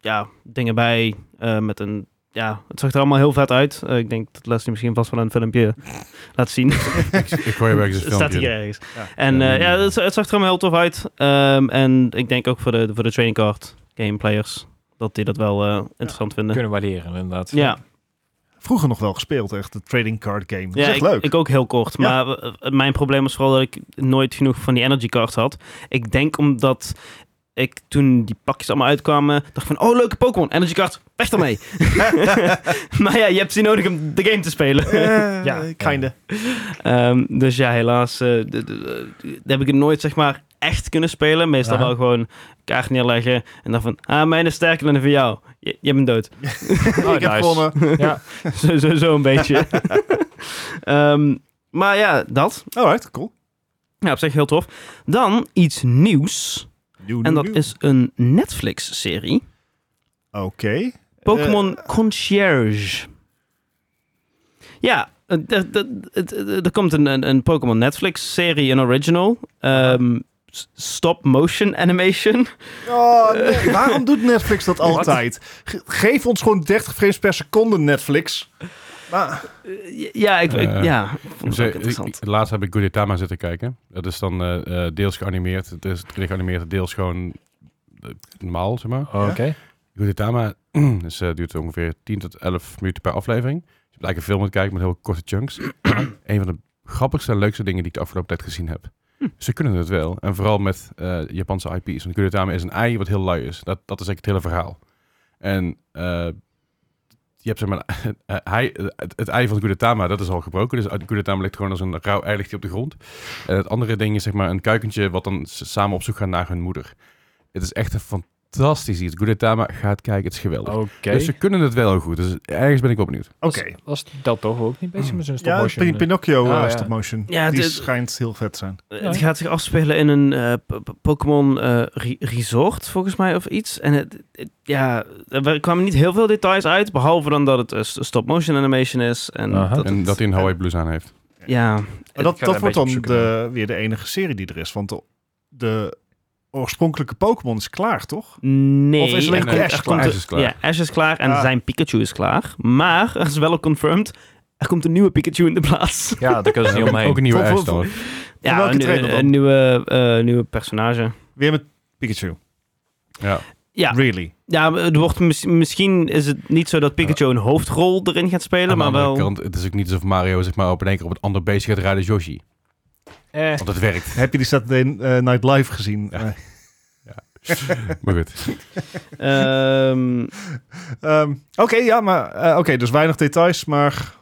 S1: ja, dingen bij. eh, met een ja, het zag er allemaal heel vet uit. Eh, ik denk dat Leslie misschien vast wel een filmpje laat zien.
S2: Ik gooi je ergens een
S1: staat hier
S2: filmpje.
S1: ergens.
S3: Ja.
S1: En
S2: Ja,
S1: eh, ja,
S2: ja.
S1: het, het zag er allemaal heel tof uit. Ehm, en ik denk ook voor de, voor de training card gameplayers dat die dat wel eh, interessant vinden.
S4: Kunnen waarderen, inderdaad.
S1: Ja,
S3: Vroeger nog wel gespeeld, echt. De trading card game. Dat is
S1: ja
S3: echt
S1: ik,
S3: leuk.
S1: ik ook heel kort.
S3: Ja.
S1: Maar eh, eh, mijn probleem was vooral dat ik nooit genoeg van die energy cards had. Ik denk omdat ik toen die pakjes allemaal uitkwamen, dacht van, oh leuke Pokémon, energy card, weg ermee. maar ja, je hebt ze nodig om de game te spelen.
S3: ja, kinda.
S1: Ehm, dus ja, helaas eh, d- d- d- d- heb ik het nooit zeg maar echt kunnen spelen. Meestal
S4: Ja.
S1: wel gewoon kaart neerleggen en dan van, ah, mijn is sterker dan die van jou. Je, je bent dood.
S4: Oh,
S3: ik heb
S4: nice.
S3: gewonnen.
S4: Ja.
S1: zo, zo, zo een beetje. Ehm, maar ja, dat.
S3: Alright, cool.
S1: Ja, op zich heel tof. Dan iets nieuws. En dat is een Netflix-serie.
S3: Oké.
S1: Pokémon
S2: Eh,
S1: Concierge. Ja, eh, d- d- d- d- er komt een, een, een Pokémon Netflix-serie, een original. Ehm, s- Stop-motion animation.
S3: Oh, nee. Waarom doet Netflix dat altijd? Ge- geef ons gewoon 30 frames per seconde, Netflix. Maar,
S1: Eh, Ja, ik, ik-
S2: Eh,
S1: ja, ik vond het ook
S2: Ze-
S1: interessant.
S2: ik- laatst heb ik Gudetama zitten kijken. Dat is dan eh, eh, deels geanimeerd, het is geanimeerd, deels gewoon eh, normaal, zeg maar.
S4: Oké.
S2: Gudetama dus, eh, duurt ongeveer 10 tot 11 minuten per aflevering. Dus je hebt eigenlijk een film te kijken met heel korte chunks. een van de grappigste en leukste dingen die ik de afgelopen tijd gezien heb. Dus Ze kunnen het wel. En vooral met eh, Japanse IP's. Want Gudetama is een ei wat heel lui is. Dat, dat is eigenlijk het hele verhaal. En eh, je hebt zeg maar, eh, hij, het, het ei van Gudetama, dat is al gebroken. Dus Gudetama ligt gewoon als een rauw ei ligt hij op de grond. En het andere ding is zeg maar een kuikentje wat dan s- samen op zoek gaat naar hun moeder. Het is echt een fantastisch iets. Gudetama, ga het kijken, het is geweldig.
S4: Oké.
S2: Dus ze kunnen het wel heel goed. Dus ergens ben ik wel benieuwd.
S3: oké.
S4: Was dat toch ook niet bezig met zijn
S3: Ja,
S4: stopmotion?
S3: Pin- Pinocchio
S4: Ah,
S3: eh,
S4: ja.
S3: stop-motion.
S1: Ja,
S3: Die
S1: dit-
S3: schijnt heel vet te zijn.
S1: Eh, Het gaat zich afspelen in een eh, P- P- Pokémon eh, re- resort, volgens mij, of iets. En het, het- ja, er kwamen niet heel veel details uit, behalve dan dat het eh, s- stop-motion animation is. En
S4: Aha.
S1: dat,
S2: En
S1: het-
S2: dat hij een Hawaii Blues aan heeft.
S1: ja,
S3: Maar dat
S4: Ik ga
S3: dat
S4: daar
S3: wordt
S4: een
S3: dan
S4: beetje op zoeken,
S3: de, weer de enige serie die er is. Want de, de oorspronkelijke Pokémon is klaar, toch?
S1: Nee.
S3: Of is alleen
S1: er komt-
S3: Ash
S1: er
S3: klaar?
S1: komt-
S2: Ash is klaar.
S1: Ja, Ash is klaar en
S3: Ah.
S1: zijn Pikachu is klaar. Maar, er is wel al confirmed, er komt een nieuwe Pikachu in de plaats.
S4: Ja, daar kunnen ze niet omheen.
S2: Ook een nieuwe
S3: Voor- voor-
S2: ijsdal.
S1: Ja,
S3: welke
S1: een,
S3: trainer dan?
S1: een nieuwe, eh, nieuwe personage.
S3: Weer met Pikachu.
S2: Ja.
S1: Ja,
S3: Really?
S1: ja er wordt mis- misschien is het niet zo dat Pikachu een hoofdrol erin gaat spelen,
S2: Aan de
S1: maar
S2: andere
S1: wel...
S2: kant, het is ook niet alsof Mario zeg maar, op een één keer op het andere beestje gaat rijden als Yoshi.
S4: Eh,
S2: Want het werkt.
S3: Heb je die Saturday eh, Night Live gezien?
S2: Ja.
S3: Eh,
S2: Maar goed.
S1: Ehm,
S3: ehm, Oké, ja, maar... eh, Oké, dus weinig details, maar...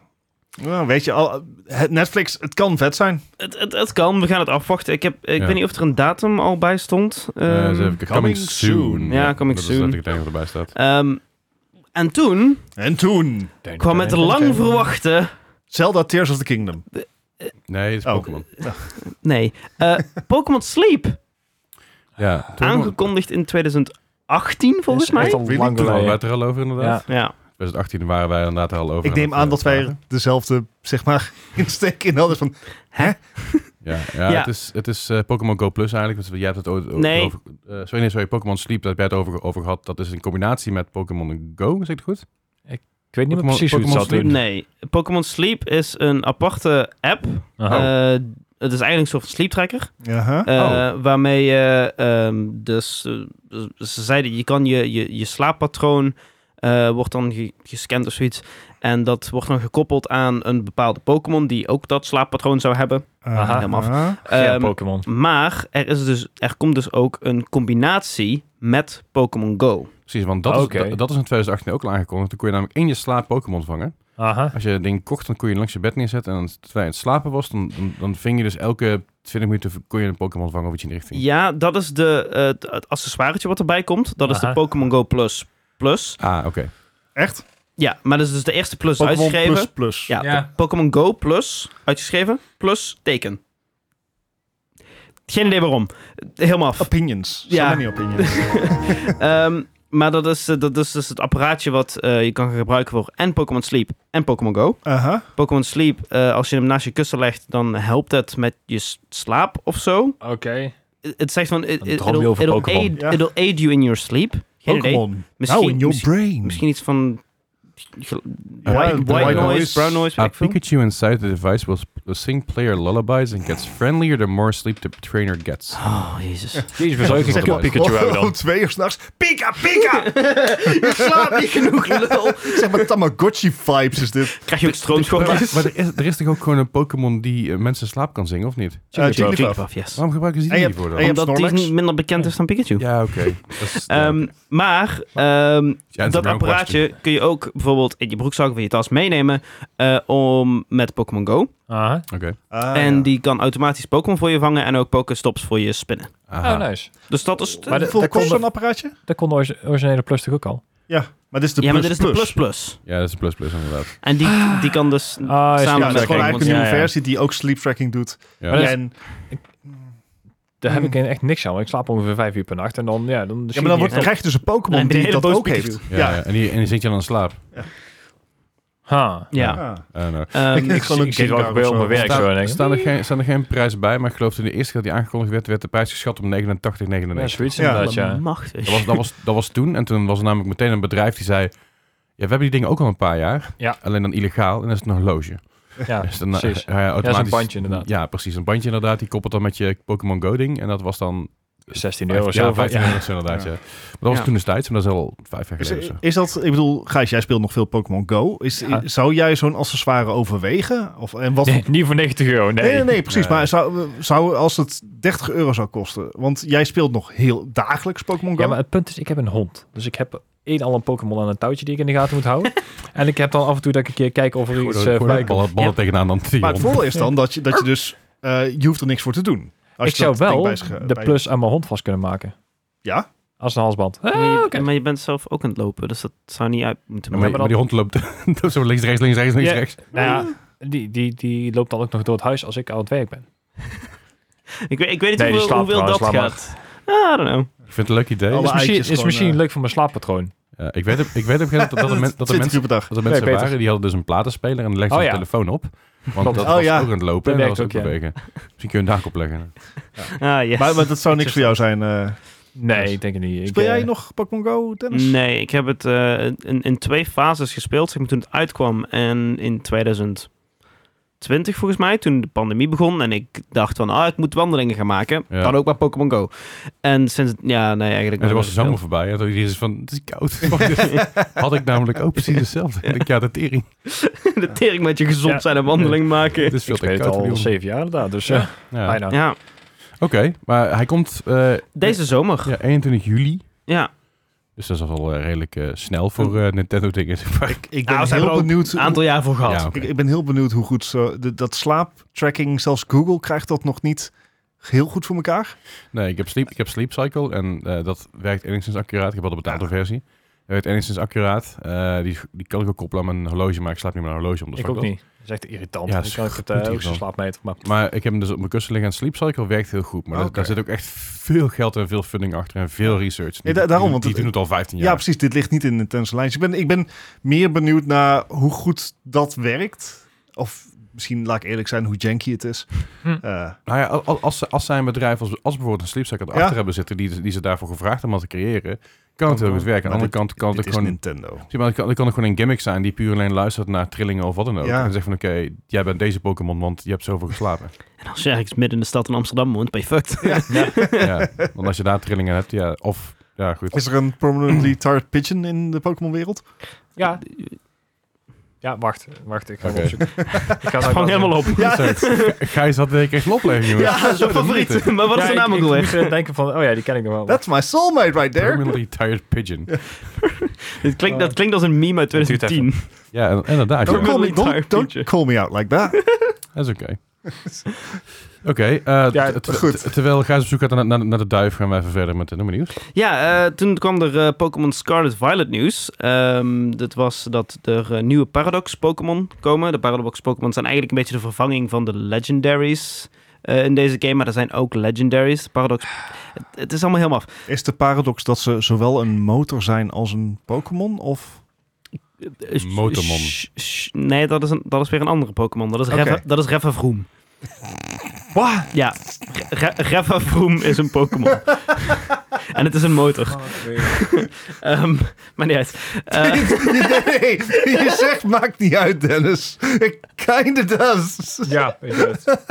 S3: Nou, weet je, al, het Netflix, het kan vet zijn.
S1: het, het, het kan, we gaan het afwachten. Ik, heb, ik
S2: Ja.
S1: weet niet of er een datum al bij stond.
S2: Eh,
S1: Ehm,
S2: even kijken. coming soon.
S1: Ja, coming
S2: dat
S1: soon.
S2: is dat ik wat erbij staat.
S1: ehm, en toen
S3: En toen...
S1: kwam het lang verwachte...
S3: Zelda Tears of the Kingdom.
S2: Nee, het is
S3: Oh.
S2: Pokémon.
S1: Nee, eh, Pokémon Sleep,
S2: Ja, toen
S1: aangekondigd in 2018 volgens mij.
S4: al
S3: Really?
S4: lang
S2: toen hadden wij
S4: geleden.
S2: het er al over inderdaad.
S4: Ja.
S1: Ja.
S2: 2018 waren wij inderdaad er al over.
S3: Ik neem
S2: het,
S3: aan
S2: eh,
S3: dat wij er
S2: praten.
S3: dezelfde, zeg maar, insteek in hadden van...
S2: Ja, ja,
S1: Ja.
S2: het is, het is eh, Pokémon Go Plus eigenlijk. Want jij hebt het ooit o-
S1: Nee.
S2: over... eh, sorry, nee, sorry. Pokémon Sleep, daar heb jij het over, over gehad. Dat is in combinatie met Pokémon Go, zeg ik het goed?
S4: Ik weet niet meer
S2: Pokémon-
S4: precies hoe het
S2: Pokémon
S4: zat toen.
S1: Nee, Pokémon Sleep is een aparte app.
S4: Aha.
S1: Eh, het is eigenlijk een soort sleep tracker.
S3: Aha.
S1: eh,
S4: Oh.
S1: Waarmee je ehm, dus, eh, ze zeiden, je kan je, je, je slaappatroon eh, wordt dan ge- gescand of zoiets. En dat wordt dan gekoppeld aan een bepaalde Pokémon die ook dat slaappatroon zou hebben.
S4: Aha.
S1: helemaal
S3: Aha.
S4: Ja,
S1: Ehm,
S4: Pokémon.
S1: maar er, is dus, er komt dus ook een combinatie met Pokémon Go.
S2: Precies, want dat,
S4: Oké.
S2: is, dat, dat is in 2018 ook al aangekondigd. Toen kon je namelijk in je slaap Pokémon vangen.
S4: Aha.
S2: Als je het ding kocht, dan kon je langs je bed neerzetten. En dan, terwijl je aan het slapen was, dan, dan, dan ving je dus elke 20 minuten v- kon je een Pokémon vangen of iets in die richting.
S1: Ja, dat is de, eh, het- het accessoiretje wat erbij komt. Dat is de
S4: Aha.
S1: Pokémon Go Plus Plus.
S2: Ah, oké.
S3: Echt?
S1: Ja, maar dat is dus de eerste plus
S3: Pokémon
S1: uitgeschreven.
S3: plus plus.
S1: Ja,
S4: Ja.
S1: Po- Pokémon Go plus uitgeschreven plus teken. Geen idee waarom. Helemaal af.
S3: Opinions.
S1: Ja.
S3: Ja. many opinions.
S1: Ehm, maar dat is, eh, dat is dus het apparaatje wat eh, je kan gaan gebruiken voor en Pokémon Sleep en Pokémon Go.
S3: Aha.
S1: Pokémon Sleep, eh, als je hem naast je kussen legt, dan helpt het met je s- slaap of zo.
S4: Oké.
S1: Het het zegt van, it,
S4: Dan
S1: it,
S4: droom je
S1: it'll,
S4: over
S1: it'll
S4: Pokémon.
S1: aid,
S3: Ja.
S1: it'll aid you in your sleep. Geen idee.
S3: Pokémon.
S1: Misschien-
S3: Now in your
S1: misschien-
S3: brain.
S1: Misschien iets van gel-
S2: Ja,
S1: white,
S2: brown
S1: white noise,
S2: noise.
S1: brown noise,
S2: A
S3: Ah,
S1: weet ik veel.
S2: Ah, Pikachu inside the device will sp- will sing player lullabies and gets friendlier the more sleep the trainer gets.
S1: Oh, jezus.
S4: Jezus, we zouden
S2: Zeg
S4: geen
S2: maar,
S4: Pikachu hebben
S3: Om
S4: dan.
S3: Oh, twee uur s'nachts. Pika, pika!
S1: Je slaapt niet genoeg, lul.
S3: zeg maar Tamagotchi-vibes is dit.
S1: Krijg je ook
S2: Maar,
S1: stroomschokjes?
S2: maar er, is, er is toch ook gewoon een Pokémon die eh, mensen in slaap kan zingen, of niet?
S3: Eh, Jigglypuff.
S1: Jigglypuff, yes.
S2: Waarom gebruiken ze die
S3: En je
S2: niet voor dan?
S3: en je
S1: Omdat die
S3: Snorlax.
S1: niet minder bekend is dan Pikachu.
S2: Ja, oké. Dat is- ja,
S1: Ehm,
S2: oké.
S1: maar ehm,
S2: Ja, en
S1: dat
S2: zo'n
S1: apparaatje kun je ook bijvoorbeeld in je broekzak of in je tas meenemen eh, om, met Pokémon Go.
S4: Aha.
S2: Oké.
S3: Ah,
S1: en
S3: ja.
S1: die kan automatisch Pokémon voor je vangen en ook Pokéstops voor je spinnen.
S2: Aha.
S4: Oh, nice.
S1: Dus dat is...
S4: Maar de-
S3: Hoeveel
S4: daar
S3: kost
S4: komt-
S3: zo'n apparaatje?
S4: Dat kon de orgi- originele Plus toch ook al?
S3: Ja, maar dit is de
S1: ja, maar
S3: plus
S1: dit is de plus plus.
S2: Ja, dat is een plus plus inderdaad.
S1: En die, die kan dus
S4: Ah,
S1: samen met
S3: Ja, dat is gewoon
S1: Pokémon
S3: eigenlijk een
S1: zijn.
S3: nieuwe
S4: Ja, ja.
S3: versie die ook sleep tracking doet.
S2: Ja.
S4: Ja.
S3: en,
S4: Daar heb ik echt niks aan. want Ik slaap ongeveer vijf uur per nacht. En dan, ja, dan
S3: ja, maar dan, wordt,
S4: het
S3: dan krijg je dus een Pokémon
S1: Nee, de
S3: die
S1: hele
S3: dat
S1: boze
S3: ook
S1: Pikachu.
S3: heeft.
S2: Ja, ja. En, die, en die zit je dan in slaap.
S4: Ha.
S1: Ja.
S3: Ah.
S2: Eh, nou.
S1: Ehm,
S3: Ik- ik-
S4: Ik, ik zit wel
S3: Gengar of
S4: gebeurd op
S3: zo.
S4: mijn werk. Zo, en
S2: Staan,
S4: denk,
S2: staan, er geen, staan er geen prijzen bij, maar ik geloof dat de eerste keer dat die aangekondigd werd, werd de prijs geschat op 89,99.
S4: ja, zoiets
S3: Ja.
S4: inderdaad, ja.
S1: Machtig.
S2: Dat was, dat, was, dat was toen. En toen was er namelijk meteen een bedrijf die zei... Ja, we hebben die dingen ook al een paar jaar.
S4: Ja.
S2: Alleen dan illegaal. En dan is het nog een loge.
S4: Ja,
S2: Dus dan,
S4: precies.
S2: eh, hij
S4: Ja,
S2: automatisch,
S4: dat is een bandje inderdaad.
S2: Ja, precies. Een bandje inderdaad. Die koppelt dan met je Pokémon Go ding. En dat was dan...
S4: 16
S2: vijf-
S4: euro.
S2: ja,
S4: zo,
S2: 15
S4: ja.
S2: euro zo inderdaad, ja. Maar dat was
S1: Ja.
S2: toen destijds. Maar dat is al vijf jaar
S3: Is,
S2: geleden. of zo.
S3: is dat, ik bedoel, Gijs, jij speelt nog veel Pokémon Go. Is,
S4: Ja.
S3: Zou jij zo'n accessoire overwegen? Of, en wat,
S4: Nee, niet voor 90 euro, nee.
S3: Nee, nee, nee, precies.
S2: Nee.
S3: Maar zou, zou als het 30 euro zou kosten? Want jij speelt nog heel dagelijks Pokémon Go.
S4: Ja, maar het punt is, ik heb een hond. Dus ik heb één al een Pokémon aan een touwtje die ik in de gaten moet houden. en ik heb dan af en toe dat ik een keer kijk of er
S2: Gooi
S4: iets
S2: er-
S4: eh,
S2: gooi er
S4: voorbij komt.
S2: ballen, ballen tegenaan dan die
S3: Maar het
S2: hond.
S3: voordeel is dan dat je, dat je dus... eh, je hoeft er niks voor te doen. Als
S4: Ik
S3: je
S4: zou
S3: dat ding
S4: wel
S3: bij zich, eh,
S4: de
S3: bij-
S4: plus aan mijn hond vast kunnen maken.
S3: Ja?
S4: Als een halsband. Ah,
S1: Maar je-
S4: oké.
S1: Maar je bent zelf ook aan het lopen, dus dat zou niet uit moeten
S2: Ja, maar,
S1: maken.
S2: maar die hond loopt zo links, rechts, links, rechts, links,
S4: Ja.
S2: rechts.
S4: Nou ja, die, die, die loopt dan ook nog door het huis als ik aan het werk ben.
S1: Ik, weet- ik weet niet
S4: Nee, die
S1: hoeveel,
S4: slaapt
S1: hoeveel dat
S4: trouwens, laat
S1: gaat. Ah, I don't know.
S2: Ik vind het een leuk idee.
S3: Alle
S4: Is misschien,
S3: eitjes
S4: is
S3: gewoon,
S4: misschien
S3: eh,
S4: leuk voor mijn slaappatroon.
S2: Ja, ik weet op ik weet op een gegeven moment dat, dat, de men- dat de
S3: 20
S2: mensen,
S3: uur per dag.
S2: dat de mensen
S4: Nee, beter.
S2: waren, die hadden dus een platenspeler en die legden
S4: Oh,
S2: ze
S4: ja.
S2: de telefoon op. Want
S4: Klopt.
S2: dat
S3: Oh,
S2: was
S3: ja.
S2: ook aan het lopen
S4: Dat
S2: en dat
S4: werkt
S2: was ook
S4: ook, ja.
S2: bewegen. Misschien kun je een dag opleggen.
S1: Ah, yes.
S3: Maar, maar dat zou niks voor jou zijn. eh.
S4: Nee, ik denk het niet. Ik,
S3: Speel
S4: eh,
S3: jij nog Pokémon Go, Dennis?
S1: Nee, ik heb het eh, in, in twee fases gespeeld. Zeg maar, toen het uitkwam en in 2020 volgens mij, toen de pandemie begon. En ik dacht van, ah, ik moet wandelingen gaan maken.
S2: Ja.
S1: Dan ook bij Pokémon Go. En sinds, ja, nee, eigenlijk...
S2: En toen
S1: nooit
S2: was de zomer
S1: gespeeld.
S2: voorbij en toen iedereen is van, het is koud. Fuck dit. Had ik namelijk ook precies hetzelfde. Ik denk, ja, de tering.
S1: de tering met je gezond
S4: Ja.
S1: zijn en wandeling maken.
S2: Het is veel
S4: ik
S2: te
S4: speel
S2: koud.
S4: het
S2: voor die
S4: al
S2: hond.
S4: zeven jaar inderdaad, dus
S3: Ja.
S4: eh,
S2: Ja.
S4: bijna.
S1: Ja,
S2: Oké, maar hij komt eh,
S1: deze zomer.
S2: ja, 21 juli.
S1: Ja.
S2: Dus dat is al eh, redelijk eh, snel
S4: Hm.
S2: voor eh, Nintendo dingen.
S3: Ik, ik ben
S1: Nou, ze hebben
S3: heel
S1: er ook
S3: benieuwd.
S1: Een aantal jaar voor gehad.
S2: Ja,
S3: hoe-
S2: oké.
S3: ik, ik ben heel benieuwd hoe goed zo, de- dat slaaptracking, zelfs Google krijgt dat nog niet heel goed voor elkaar.
S2: Nee, ik heb Sleep, ik heb sleep Cycle en eh, dat werkt enigszins accuraat. Ik heb al de betaalde versie. Dat werkt enigszins accuraat. Eh, die, die kan ik ook koppelen aan mijn horloge, maar ik slaap niet met een horloge om de
S4: ik ook niet. Dat is echt irritant.
S2: Ja,
S4: Ja,
S2: dat
S4: ik
S2: is
S4: kan ook het
S2: goed
S4: eh, ook zo'n
S2: hiervan.
S4: slaapmeter. Maar
S2: Maar ik heb hem dus op mijn kussen liggen en Sleep Cycle werkt heel goed. Maar dat-
S3: Oké.
S2: daar zit ook echt veel geld en veel funding achter en veel research.
S3: Ja, da- daarom,
S2: Die-
S3: want
S2: die
S3: het-
S2: doen het al 15
S3: Ja,
S2: jaar.
S3: precies. Dit ligt niet in Nintendo's lijntje. Ik ben, ik ben meer benieuwd naar hoe goed dat werkt. Of misschien, laat ik eerlijk zijn, hoe janky het is.
S4: Hm.
S3: Eh,
S2: Nou ja, al- al- als, ze- als zij een bedrijf als, als bijvoorbeeld een Sleep Cycle erachter hebben zitten, die, die ze daarvoor gevraagd hebben om dat te creëren, kan het heel goed werken. Aan de
S3: Oh,
S2: andere
S3: Maar
S2: kant kan het
S3: dit
S2: ook
S3: is
S2: gewoon
S3: Nintendo.
S2: Zie, maar dat kan, dat kan ook gewoon een gimmick zijn die puur alleen luistert naar trillingen of wat dan ook.
S3: Ja.
S2: En zegt van oké, jij bent deze Pokémon, want je hebt zoveel geslapen.
S1: En als je ergens midden in de stad in Amsterdam woont, ben je fucked.
S2: ja. Want als je daar trillingen hebt, ja, of ja, goed.
S3: Is er een permanently tarred pigeon in de Pokémon-wereld?
S4: ja. Ja, wacht. Wacht, ik ga
S2: Oké.
S4: het opzoeken. ik ga het
S1: Hang helemaal op.
S3: Ja,
S2: Sorry. Gijs had ik echt een oplegging, jongen.
S1: Ja, dat is mijn favoriet. Maar wat is de naam ook
S4: Ik
S1: alweer?
S4: moest eh, denken van, oh ja, die ken ik nog wel.
S3: that's my soulmate right there.
S2: Permanently tired pigeon.
S1: Dit klinkt, dat klinkt als een meme uit
S4: Oh. Doe het even.
S1: 2010.
S2: Ja, en- inderdaad.
S3: Don't
S2: ja.
S3: call, me,
S1: Permanently
S3: don't,
S1: tarred
S3: don't
S1: pigeon.
S3: call me out like that.
S2: Dat is oké. Oké, eh,
S4: Ja,
S2: t- t-
S3: goed.
S2: t- terwijl Gijs op zoek gaat naar, naar, naar de duif, gaan we even verder met de nummer nieuws.
S1: Ja, eh, toen kwam er eh, Pokémon Scarlet Violet nieuws. Ehm, dat was dat er eh, nieuwe Paradox Pokémon komen. De Paradox Pokémon zijn eigenlijk een beetje de vervanging van de Legendaries eh, in deze game. Maar er zijn ook Legendaries. De Paradox... Het, het is allemaal helemaal af.
S3: Is de paradox dat ze zowel een motor zijn als een Pokémon? Of
S1: Eh, eh,
S2: Motormon.
S1: sh- sh- Nee, dat is, een, dat is weer een andere Pokémon. Dat is
S3: Oké.
S1: Reva- dat is Revavroom. Ja, Re- Revavroom is een Pokémon. En het is een motor.
S4: Oh.
S1: Ehm, maar niet uit. Eh,
S3: nee, je zegt maakt niet uit, Dennis. It kinda does.
S4: ja, inderdaad.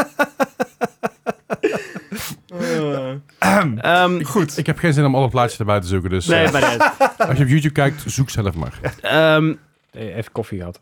S1: ehm,
S3: Goed.
S2: Ik heb geen zin om alle plaatjes erbij te zoeken, dus
S1: nee,
S2: eh,
S1: maar niet uit.
S2: als je op YouTube kijkt, zoek zelf maar.
S1: Ehm,
S4: Eh, Even koffie gehad.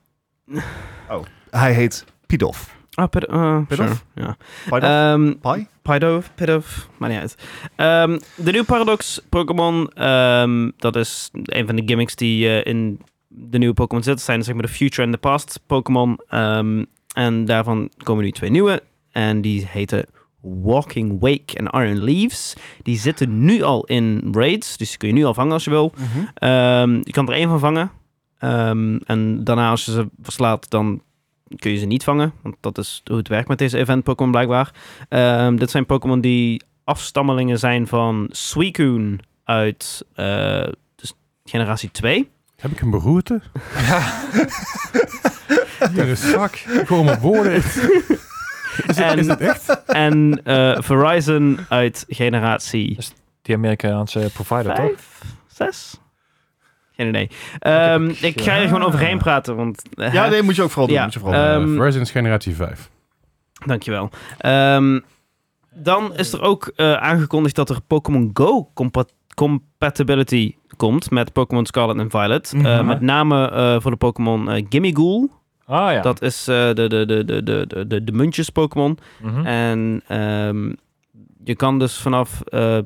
S3: Hij heet Pidof.
S1: ah, pid- eh,
S3: Pidoff?
S1: sure, Ja.
S3: Pardon?
S1: Ehm,
S3: Pai?
S1: Pido, Pidof, maar niet uit. Ehm, de nieuwe Paradox Pokémon, ehm, dat is een van de gimmicks die eh, in de nieuwe Pokémon zitten. Dat zijn zeg maar de Future en de Past Pokémon. Ehm, en daarvan komen nu twee nieuwe. En die heten Walking Wake en Iron Leaves. Die zitten nu al in raids, dus die kun je nu al vangen als je wil. Ehm, je kan er één van vangen. Ehm, en daarna als je ze verslaat, dan kun je ze niet vangen. Want dat is hoe het werkt met deze event Pokémon blijkbaar. Ehm, dit zijn Pokémon die afstammelingen zijn van Suicune uit eh, dus generatie 2.
S2: Heb ik een beroerte? Dus Ja. Hier een zak. Gewoon mijn woorden. Eh, Is dit,
S1: En-
S2: is dit echt?
S1: en eh, Verizon uit generatie
S4: Die Amerikaanse provider, toch?
S1: 5, 6? Geen idee. Ehm,
S4: Ik heb-
S1: ik ga er gewoon overheen praten, want... eh,
S3: Ja,
S1: hè?
S3: nee, moet je ook vooral doen.
S1: Ja.
S3: Moet je vooral doen.
S2: Van, eh,
S1: Ehm,
S2: Verizon is generatie 5.
S1: Dankjewel. Ehm, dan is er ook eh, aangekondigd dat er Pokémon Go compa- compatibility komt met Pokémon Scarlet en Violet. Eh,
S3: Mhm.
S1: met name eh, voor de Pokémon eh, Gimmigool.
S4: Ah ja.
S1: Dat is eh, de, de, de, de, de, de, de, de muntjes Pokémon.
S4: Mhm.
S1: En ehm, je kan dus vanaf eh,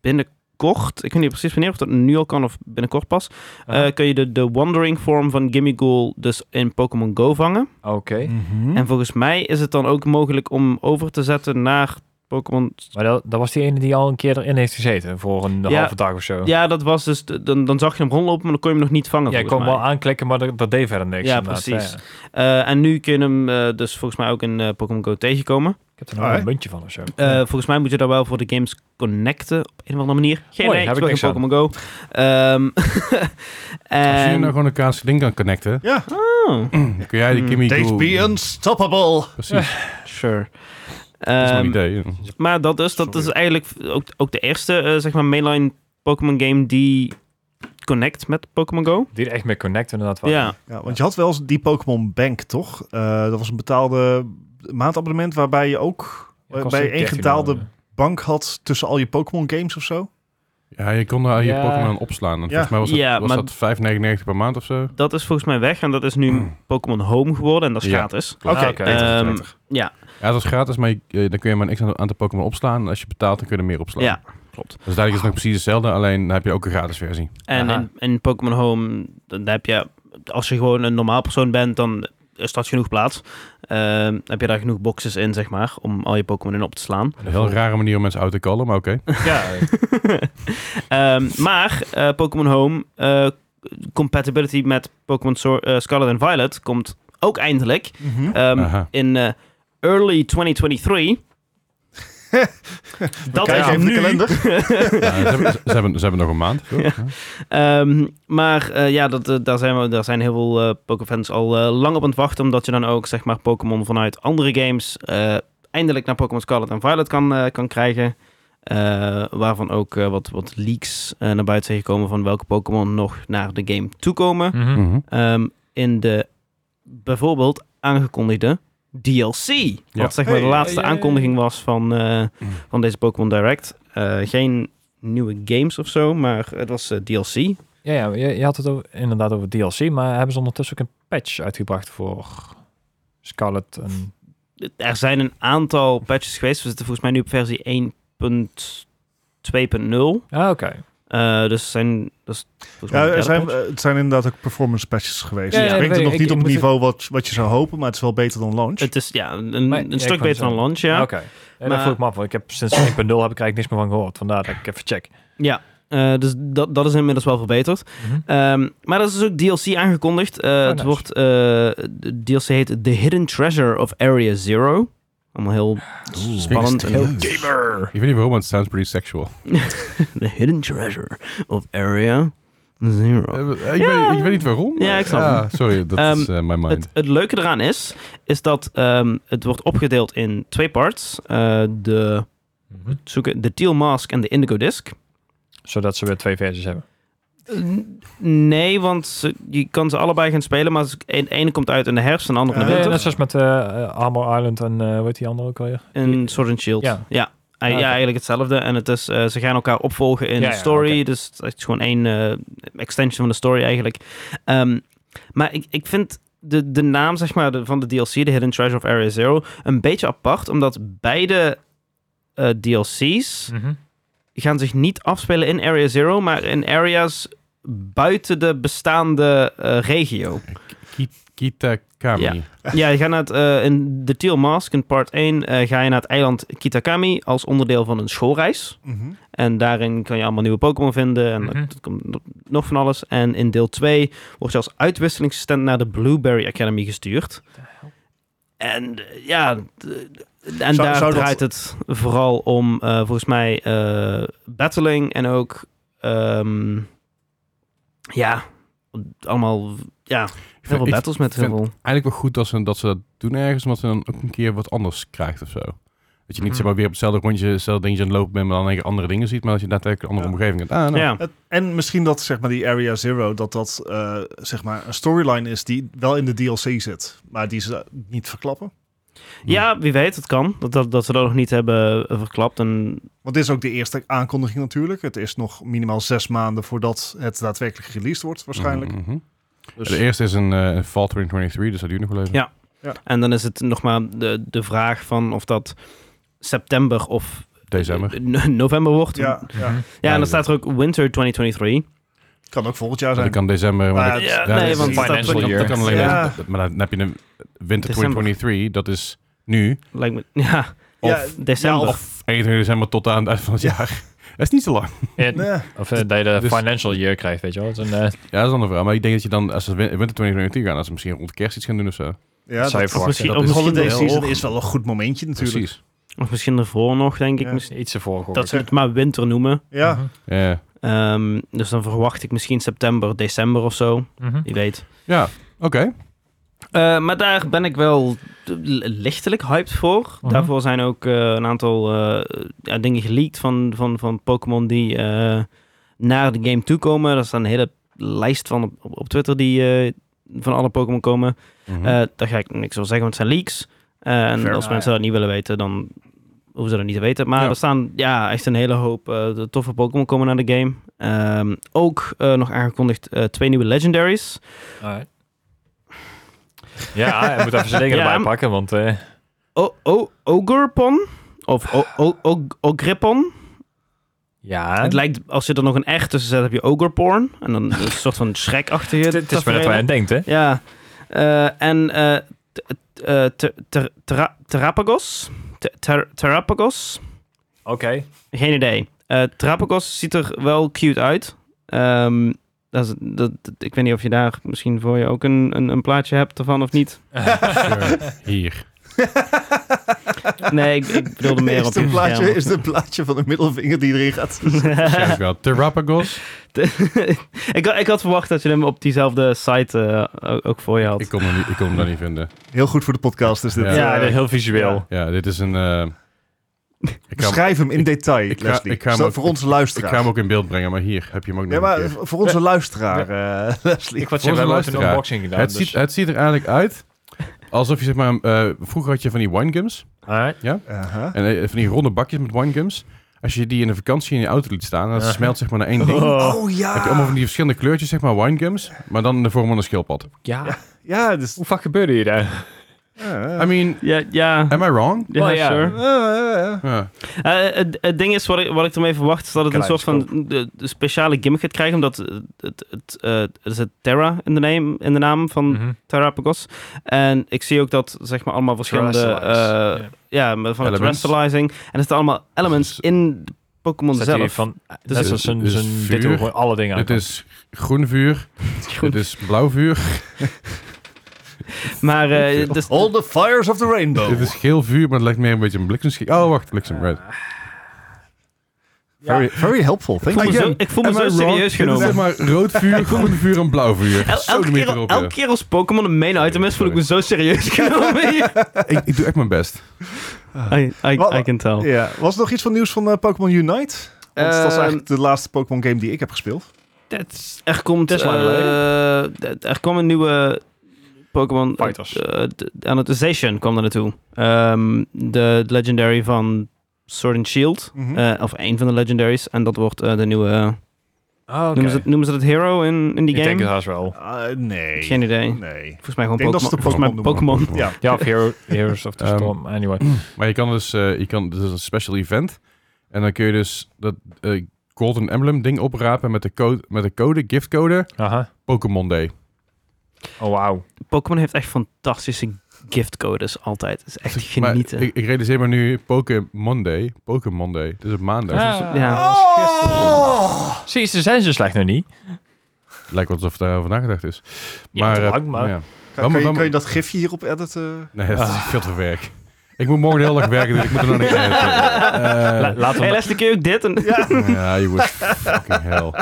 S1: binnenkort, ik weet niet precies wanneer, of dat nu al kan of binnenkort pas, eh,
S4: Aha.
S1: kun je de, de Wandering Form van Gimmigool dus in Pokémon Go vangen.
S4: Oké. Hm?
S3: Mhm.
S1: En volgens mij is het dan ook mogelijk om over te zetten naar Pokémon.
S4: Maar dat, dat was die ene die al een keer erin heeft gezeten voor een
S1: Ja.
S4: halve dag of zo.
S1: Ja, dat was dus. de- Dan, dan zag je hem rondlopen, maar dan kon je hem nog niet vangen.
S4: Ja, ik kon
S1: volgens
S4: hem
S1: mij.
S4: wel aanklikken, maar dat, dat deed verder niks.
S1: Ja,
S4: inderdaad.
S1: precies.
S4: Ja.
S1: Eh, en nu kun je hem eh, dus volgens mij ook in eh, Pokémon Go tegenkomen.
S4: Ik heb er nog wel
S3: Alright.
S4: een muntje van of zo.
S1: Eh, Volgens mij moet je daar wel voor de games connecten op een of andere manier. Geen
S4: Mooi,
S1: idee,
S4: heb
S1: ik
S4: ik
S1: speel geen
S4: niks
S1: Pokémon Go. Ehm,
S2: Als je
S1: en...
S2: nou gewoon een kaas ding kan connecten,
S3: Ja.
S1: Oh,
S2: dan kun jij die
S1: Hmm.
S2: Kimmy
S3: They'd be unstoppable.
S2: Precies, dat is
S1: sure.
S2: mijn
S1: Ehm,
S2: idee.
S1: Maar dat is, dat is
S2: Sorry.
S1: eigenlijk ook, ook de eerste eh, zeg maar mainline Pokémon game die connect met Pokémon Go.
S4: Die er echt mee connecten inderdaad. wel.
S1: Ja,
S3: Ja, want je had wel eens die Pokémon Bank, toch? Eh, dat was een betaalde maandabonnement waarbij je ook eh,
S4: Dat kost
S3: bij
S4: een
S3: één getaalde
S4: €13.
S3: bank had tussen al je Pokémon games of zo.
S2: Ja, je kon daar je
S4: Ja.
S2: Pokémon opslaan. En
S3: Ja.
S2: Volgens mij was dat,
S1: Ja,
S2: was
S1: maar-
S2: dat 5,99 per maand of zo.
S1: dat is volgens mij weg en dat is nu Pokémon Home geworden en dat is
S2: Ja.
S1: gratis.
S3: Oké.
S4: Ah, oké.
S1: Eh, Ehm,
S2: 30.
S1: Ja,
S2: Ja, dat is gratis, maar je- eh, dan kun je maar een x aantal Pokémon opslaan. En Als je betaalt, dan kun je er meer opslaan.
S1: ja, klopt.
S2: Dus eigenlijk is het nog precies hetzelfde, alleen dan heb je ook een gratis versie.
S1: En
S4: Aha.
S1: in, in Pokémon Home, dan heb je, als je gewoon een normaal persoon bent, dan is dat genoeg plaats. Ehm, heb je daar genoeg boxes in, zeg maar, om al je Pokémon in op te slaan.
S2: Een heel rare manier om mensen uit te callen, maar oké.
S4: ja, eh,
S1: Ehm, maar eh, Pokémon Home, eh, compatibility met Pokémon Sor- eh, Scarlet en Violet komt ook eindelijk.
S4: Mhm.
S1: Ehm,
S2: Aha.
S1: in eh, early 2023. dat
S3: kijken
S1: is
S3: even de
S1: nu.
S3: kalender.
S2: Ja, Nou, ze, hebben, ze, hebben, ze hebben nog een maand. toch?
S1: Ja. Ehm, maar eh, ja, dat, eh, daar, zijn we, daar zijn heel veel eh Pokéfans al eh, lang op aan het wachten. Omdat je dan ook zeg maar, Pokémon vanuit andere games eh, eindelijk naar Pokémon Scarlet en Violet kan, eh, kan krijgen. Eh, waarvan ook eh, wat, wat leaks eh, naar buiten zijn gekomen van welke Pokémon nog naar de game toekomen.
S4: mhm.
S2: Mhm.
S1: Ehm, in de bijvoorbeeld aangekondigde DLC. Wat zeg maar de
S3: Hey,
S1: laatste
S4: hey, hey.
S1: aankondiging was van, eh, van deze Pokémon Direct. Eh, geen nieuwe games of zo, maar het was eh, DLC.
S4: ja, ja, je, je had het over- inderdaad over DLC, maar hebben ze ondertussen ook een patch uitgebracht voor Scarlet en...
S1: Er zijn een aantal patches geweest. We zitten volgens mij nu op versie 1.2.0.
S4: Ah, oké.
S1: Eh, dus er zijn... Dat is volgens mij de
S3: Ja, er
S1: derde
S3: zijn,
S1: patch.
S3: eh, het zijn inderdaad ook performance patches geweest.
S4: Ja, ja,
S3: het
S4: dat
S3: brengt het nog
S4: weet ik.
S3: niet
S4: Ik
S3: op het
S4: moet het-
S3: niveau wat, wat je zou hopen, maar het is wel beter dan launch.
S1: Het is ja, een,
S4: Maar-
S1: een
S4: ja, ik
S1: stuk
S4: wou
S1: beter dan
S4: zeggen. Ah,
S1: launch, ja.
S4: Oké. Ja,
S1: Maar-
S4: dat vroeg ik me af, want ik heb sinds 1.0 heb ik er eigenlijk niks meer van gehoord. Vandaar dat ik even check.
S1: Ja, eh, dus dat, dat is inmiddels wel verbeterd.
S4: Mhm.
S1: Ehm, maar dat is dus ook DLC aangekondigd. Eh, het
S4: Oh, nice.
S1: wordt, eh, de DLC heet The Hidden Treasure of Area Zero. Allemaal heel spannend. en heel-
S2: Ik weet niet waarom, want het sounds pretty sexual.
S1: The Hidden Treasure of Area Zero.
S2: Eh, ik, weet, ik weet niet waarom. maar-
S1: Ja, ik snap
S2: sorry, dat
S1: Ehm,
S2: is eh, my mind.
S1: Het, het leuke eraan is, is dat ehm, het wordt opgedeeld in twee parts. Eh, de,
S4: Mhm.
S1: zoeken, de Teal Mask en de Indigo Disc.
S4: Zodat ze weer twee versies hebben.
S1: N- Nee, want ze- je kan ze allebei gaan spelen, maar ze- en- de ene komt uit in de herfst en de andere in
S3: Ja,
S1: de
S4: Nee,
S1: winter.
S4: net zoals met eh, eh, Armor Island en eh hoe heet die andere ook alweer?
S1: Een Sword and Shield.
S4: Ja.
S1: Ja. Ja.
S4: Ah, oké.
S1: eigenlijk hetzelfde. En het is, eh, ze gaan elkaar opvolgen in
S4: Ja,
S1: de
S4: ja,
S1: story.
S4: oké.
S1: Dus het is gewoon één eh, extension van de story eigenlijk. Ehm, maar ik, ik vind de, de naam zeg maar, de- van de DLC, de Hidden Treasure of Area Zero, een beetje apart. Omdat beide eh, DLC's gaan zich niet afspelen in Area Zero, maar in areas buiten de bestaande eh, regio.
S2: Kitakami.
S1: Ja. Ja, je gaat naar het, eh, in The Teal Mask in part 1 eh, ga je naar het eiland Kitakami als onderdeel van een schoolreis.
S3: Mhm.
S1: En daarin kan je allemaal nieuwe Pokémon vinden en
S4: Mhm.
S1: dat komt nog- nog van alles. En in deel 2 wordt je als uitwisselingsstand naar de Blueberry Academy gestuurd. En eh, ja, d- en
S3: Zou-
S1: daar
S3: zou dat-
S1: draait het vooral om eh, volgens mij eh, battling en ook ehm, ja, allemaal ja,
S2: Ik
S1: heel
S2: vind-
S1: veel
S2: ik
S1: battles met heel
S2: vind-
S1: veel...
S2: Eigenlijk wel goed dat ze dat, ze dat doen ergens, omdat ze dan ook een keer wat anders krijgt of zo. Dat je niet
S1: Mhm.
S2: zeg
S4: Hmm.
S2: maar, weer op hetzelfde rondje, hetzelfde dingetje aan het lopen bent, maar dan in één keer andere dingen ziet, maar dat je daadwerkelijk een andere
S3: Ja.
S2: omgeving hebt. Ah, nou.
S1: Ja.
S3: Het- en misschien dat zeg maar, die Area Zero, dat dat eh, zeg maar een storyline is die wel in de DLC zit, maar die ze niet verklappen.
S1: Ja, wie weet, het kan. Dat, dat, dat ze dat nog niet hebben eh, verklapt. En
S3: Want dit is ook de eerste aankondiging natuurlijk. Het is nog minimaal zes maanden voordat het daadwerkelijk released wordt waarschijnlijk.
S2: Mhm, mhm.
S3: Dus-
S2: De eerste is een eh Fall 2023, dus dat duurt nog wel even.
S1: Ja. En dan is het nog maar de, de vraag van of dat september of
S2: December.
S1: eh, no- november wordt.
S3: ja, ja.
S4: Mhm.
S1: Ja, en
S2: Ja,
S1: dan staat er ook winter 2023.
S3: kan ook volgend jaar
S2: Dat
S3: zijn.
S2: kan december, maar
S3: Maar
S2: dat-
S3: ja,
S1: Ja,
S2: ja,
S1: nee,
S2: dat-
S1: want
S2: dat-
S1: dat
S4: financial
S1: dat-
S2: dat-
S4: year.
S2: dat kan alleen
S3: Ja.
S2: maar- Maar dan heb je een winter
S1: December.
S2: 2023, dat is nu,
S1: Lijkt me, ja, eh,
S2: of
S3: Ja,
S1: december.
S3: ja,
S2: of 21 december tot aan het eind van het
S3: Ja.
S2: jaar. Dat is niet zo lang.
S4: Ja,
S3: Nee.
S4: Of eh, dat je de
S2: Dus-
S4: financial year krijgt, weet je wel. Dat is een,
S2: Ja,
S4: eh,
S2: dat is een andere vraag. Maar ik denk dat je dan, als ze win- winter 2023 gaan, dat ze misschien rond kerst iets gaan doen of zo.
S3: Ja,
S4: Dat zou je
S3: dat-
S1: of
S4: verwachten.
S1: misschien,
S2: dat
S1: of
S2: is-
S1: misschien,
S3: holiday season
S1: ervoor,
S3: is wel een goed momentje natuurlijk.
S2: Precies.
S1: of misschien ervoor nog, denk ik.
S3: Ja.
S1: Misschien-
S4: iets ervoor gehoord.
S1: Dat ze het maar winter noemen.
S3: Ja,
S4: Mhm.
S2: Ja.
S1: Ehm, dus dan verwacht ik misschien september, december of zo.
S4: Mhm.
S1: Wie weet.
S2: Ja, oké.
S1: Eh, maar daar ben ik wel eh, lichtelijk hyped voor.
S4: Mhm.
S1: Daarvoor zijn ook eh, een aantal eh, ja, dingen geleakt van, van, van Pokémon die eh, naar de game toe komen. Er staat een hele lijst van op, op op Twitter die eh, van alle Pokémon komen.
S2: Mhm.
S1: Eh, daar ga ik niks over zeggen, want het zijn leaks. Eh, en
S3: Fair.
S1: als
S3: Ah,
S1: mensen dat niet willen weten, dan hoeven ze dat niet te weten. Maar
S2: Ja.
S1: er staan ja, echt een hele hoop eh, de toffe Pokémon komen naar de game. Ehm, ook eh, nog aangekondigd eh, twee nieuwe Legendaries.
S4: Alright. Ja, hij moet even zijn dingen
S1: Ja,
S4: erbij
S1: m-
S4: pakken, want... eh,
S1: O- o- Ogrepon? Of o- o- o- Ogrepon?
S4: ja,
S1: Het lijkt, als je er nog een R tussen zet, heb je Ogreporn. En dan een soort van schrek-achtige...
S4: het, het is maar net waar je aan denkt, hè.
S1: Ja. Eh, en eh, t- t- eh, ter- ter- tera- Terapagos? Ter- ter- Terapagos?
S4: Oké.
S1: Geen idee. Eh Terapagos ziet er wel cute uit. Ehm, dat is, dat, dat- ik weet niet of je daar misschien voor je ook een, een, een plaatje hebt ervan of niet.
S2: Sure. Hier.
S1: Nee, ik, ik bedoelde meer
S3: is,
S1: op
S3: het een
S1: je
S3: plaatje,
S1: scherm.
S3: is het een plaatje van de middelvinger die erin gaat?
S2: Kijk wel. Terrapagos.
S1: ik, had- ik had verwacht dat je hem op diezelfde site eh, ook- ook voor je had.
S2: Ik kon hem niet, ik kon hem daar niet vinden.
S3: Heel goed voor de podcast is dit.
S2: Ja.
S4: Ja,
S3: Eh,
S4: heel visueel.
S2: Ja, dit is een... eh, ik, ga, hem-
S3: Beschrijf hem in
S2: ik-
S3: detail,
S2: ik ga-
S3: Leslie.
S2: ik ga hem
S3: Zo-
S2: ook-
S3: voor onze
S2: ik
S3: luisteraar.
S2: ga hem ook in beeld brengen, maar hier heb je hem ook nog
S3: Ja,
S2: een
S3: maar
S2: keer.
S3: v- voor onze luisteraar, eh, Leslie.
S4: Ik was
S2: Voor
S4: zeggen, we
S2: onze
S4: hebben een
S2: luisteraar.
S4: unboxing gedaan.
S2: het,
S4: dus-
S2: ziet, het ziet er eigenlijk uit alsof je zeg maar... eh, vroeger had je van die winegums.
S4: Alright.
S3: Aha.
S2: En eh, van die ronde bakjes met winegums. Als je die in de vakantie in je auto liet staan, dan
S4: Ja.
S2: smelt zeg maar naar één ding.
S3: Oh, ja.
S2: Heb je allemaal van die verschillende kleurtjes, zeg maar winegums. Maar dan in de vorm van een schildpad.
S4: Ja.
S3: Ja, dus...
S4: Hoe vaak gebeurde hier daar?
S2: I mean,
S1: Ja, ja.
S2: am I wrong?
S1: Ja,
S4: Wel, Oh, ja.
S1: sure.
S3: Eh,
S2: Ja.
S1: Eh, het, het ding is, wat ik, wat ik ermee verwacht, is dat het een soort van de, de speciale gimmick gaat krijgen. Omdat het, het, het, eh, het is het Terra in de, name, in de naam van
S4: Mhm.
S1: Terrapagos. En ik zie ook dat, zeg maar, allemaal verschillende...
S4: Terrestrialize.
S1: eh, ja, met- van het
S2: Elements.
S1: terrestrializing. En er zitten allemaal elements in de Pokémon
S4: Dus- Zet hier
S1: zelf.
S4: van,
S1: Dus
S4: net
S1: het-
S4: zoals een,
S2: dus
S4: zo'n-
S2: vuur.
S4: dit doen we gewoon alle dingen aan.
S2: Dit is groen vuur. Dit is blauw vuur.
S1: Maar eh, het is-
S3: All the fires of the rainbow.
S2: Dit is geel vuur, maar het lijkt meer een beetje een bliksemschiet. Oh, wacht, bliksem, right.
S3: Very, very helpful,
S1: ik
S3: thank
S1: voel me
S3: you.
S1: zo, ik voel me zo serieus
S2: Dit is
S1: genomen.
S2: zeg maar rood vuur, groen vuur en blauw vuur.
S1: El-
S2: Zo
S1: elke,
S2: de meter
S1: keer,
S2: erop,
S1: elke
S2: ja.
S1: keer als Pokémon een main item is, voel ik me zo serieus genomen. hier.
S2: ik, ik doe echt mijn best.
S1: I, I,
S3: Wat-
S1: I can tell.
S3: Ja. Was er nog iets van nieuws van eh, Pokémon Unite? Want dat is
S1: Ehm,
S3: eigenlijk de laatste Pokémon game die ik heb gespeeld.
S1: dat- er komt...
S4: Dat is lang
S1: eh, d- er kwam een nieuwe Pokémon... eh,
S4: Fighters.
S1: eh, d- aan het Station kwam er naartoe. Ehm, de legendary van Sword and Shield.
S3: Mhm.
S1: Eh, of één van de legendaries. En dat wordt eh, de nieuwe... eh,
S4: Oh,
S1: noemen, ze het, noemen ze dat hero in, in die
S4: Ik
S1: game?
S4: denk het haast wel.
S3: Ah, nee.
S1: Geen idee.
S3: Nee.
S1: Volgens mij gewoon
S3: denk dat ze
S1: Pokémon.
S3: de
S1: Volgens mij
S3: Pokémon
S1: Pokémon.
S3: Ja.
S4: Ja, of Hero, Heroes of the
S2: Ehm,
S4: Storm. Anyway.
S2: Maar je kan dus, eh, je kan, dit is een special event. En dan kun je dus dat eh, Golden Emblem ding oprapen met de code, met de code giftcode
S4: Aha.
S2: Pokémon Day.
S4: Oh, wauw.
S1: Pokémon heeft echt fantastische giftcodes altijd. Het is echt
S2: Maar
S1: genieten.
S2: ik, ik realiseer me nu Pokémon Day. Pokémon Day. Het is op maandag.
S4: Ah.
S1: ja.
S3: Oh!
S4: Zie je, ze zijn zo slecht nog niet.
S2: Lijkt wel alsof daar over nagedacht is.
S4: Ja,
S2: Maar, eh,
S4: lang, maar- Ah.
S2: ja.
S3: Kan, kan je,
S2: dan-
S3: kan je dat gifje hierop editen?
S2: Nee, dat is veel te werk. Ik moet morgen de hele dag werken, dus ik moet er nog niet uit. Eh.
S4: La- laten, we,
S1: Hey, laatste keer ook dit. En...
S2: ja, jongens, fucking hell.
S4: Oh,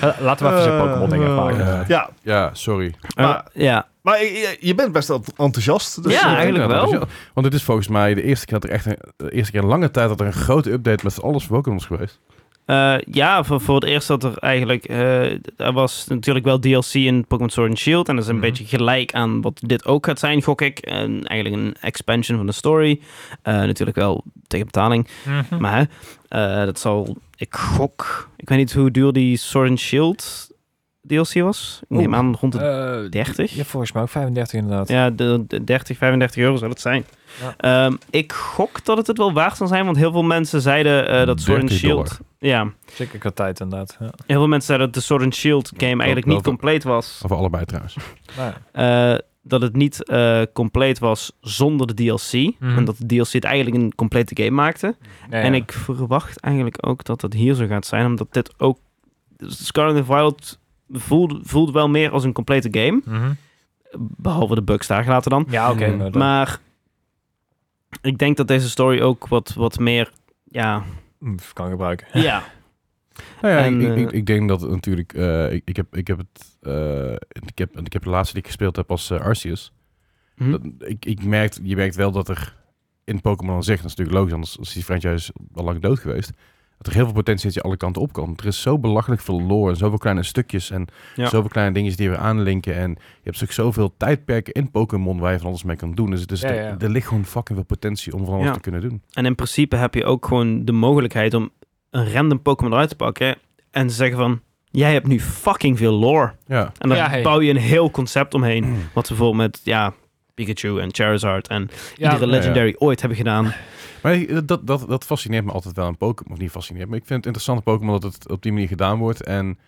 S4: eh, laten we even zijn
S3: Eh,
S4: Pokémon dingen
S3: eh,
S4: maken.
S2: Ja.
S3: Ja,
S2: Ja, sorry.
S3: Maar-
S1: Eh, ja.
S3: maar je, je bent best enthousiast. Dus
S1: Ja,
S3: eh,
S1: eigenlijk
S2: Ja,
S1: wel.
S2: dat is- Want dit is volgens mij de eerste keer dat er echt een, de eerste keer in lange tijd dat er een grote update met alles Pokémon is geweest.
S1: Eh, ja, voor, voor het eerst dat er eigenlijk... eh, er was natuurlijk wel DLC in Pokémon Sword and Shield. En dat is een
S4: Mhm.
S1: beetje gelijk aan wat dit ook gaat zijn, gok ik. En eigenlijk een expansion van de story. Eh, natuurlijk wel tegen betaling.
S4: Mhm.
S1: Maar hè, eh, dat zal... Ik gok... Ik weet niet hoe duur die Sword and Shield DLC was. Ik neem
S4: Oeh.
S1: aan rond de
S4: Eh,
S1: 30.
S4: Ja, volgens mij ook 35 inderdaad.
S1: Ja, de, de 30, 35 euro zal het zijn. Ehm, ik gok dat het het wel waard zal zijn, want heel veel mensen zeiden eh, dat Sword and
S2: 30
S1: Shield...
S2: dollar.
S1: Ja,
S4: Zeker qua tijd inderdaad. Ja.
S1: heel veel mensen zeiden dat de Sword and Shield game eigenlijk
S2: wel-
S1: niet compleet was.
S2: Of allebei trouwens.
S4: Nou ja.
S1: Eh, dat het niet eh, compleet was zonder de DLC.
S4: Mhm.
S1: En dat de DLC het eigenlijk een complete game maakte.
S4: Ja,
S1: En
S4: ja.
S1: ik verwacht eigenlijk ook dat dat hier zo gaat zijn, omdat dit ook... Scarlet and Wild voelde, voelde wel meer als een complete game.
S4: Mhm.
S1: Behalve de bugs daar gelaten dan.
S4: Ja, oké. nou,
S2: Mhm.
S4: maar dan-
S1: Mm. Maar ik denk dat deze story ook wat, wat meer. Ja.
S4: Mm, kan gebruiken.
S1: ja.
S2: Nou ja,
S1: En,
S2: ik, ik-
S1: eh,
S2: ik, ik denk dat het natuurlijk... eh, ik, ik, heb, ik, heb het, eh, ik, heb, ik heb de laatste die ik gespeeld heb als eh, Arceus.
S1: Hm?
S2: Dat, ik, ik merkt, je merkt wel dat er in Pokémon aan zich, dat is natuurlijk logisch, anders is die franchise al lang dood geweest, dat er heel veel potentie is die alle kanten op kan. Er is zo belachelijk veel lore en zoveel kleine stukjes en
S1: Ja.
S2: zoveel kleine dingetjes die we aanlinken. En je hebt natuurlijk zoveel tijdperken in Pokémon waar je van alles mee kan doen. Dus, dus
S4: Ja,
S2: er,
S4: ja.
S2: er ligt gewoon fucking veel potentie om van alles
S1: Ja.
S2: te kunnen doen.
S1: En in principe heb je ook gewoon de mogelijkheid om een random Pokémon eruit te pakken. En te zeggen van. Jij hebt nu fucking veel lore.
S2: Ja,
S1: En daar
S4: Ja, hey.
S1: bouw je een heel concept omheen. Wat ze bijvoorbeeld met ja, Pikachu en Charizard en iedere
S2: ja, ja.
S1: legendary ooit hebben gedaan.
S2: maar ik- dat, dat, dat fascineert me altijd wel in Pokémon. Of niet fascineert me. Ik vind het interessant in Pokémon dat het op die manier gedaan wordt. En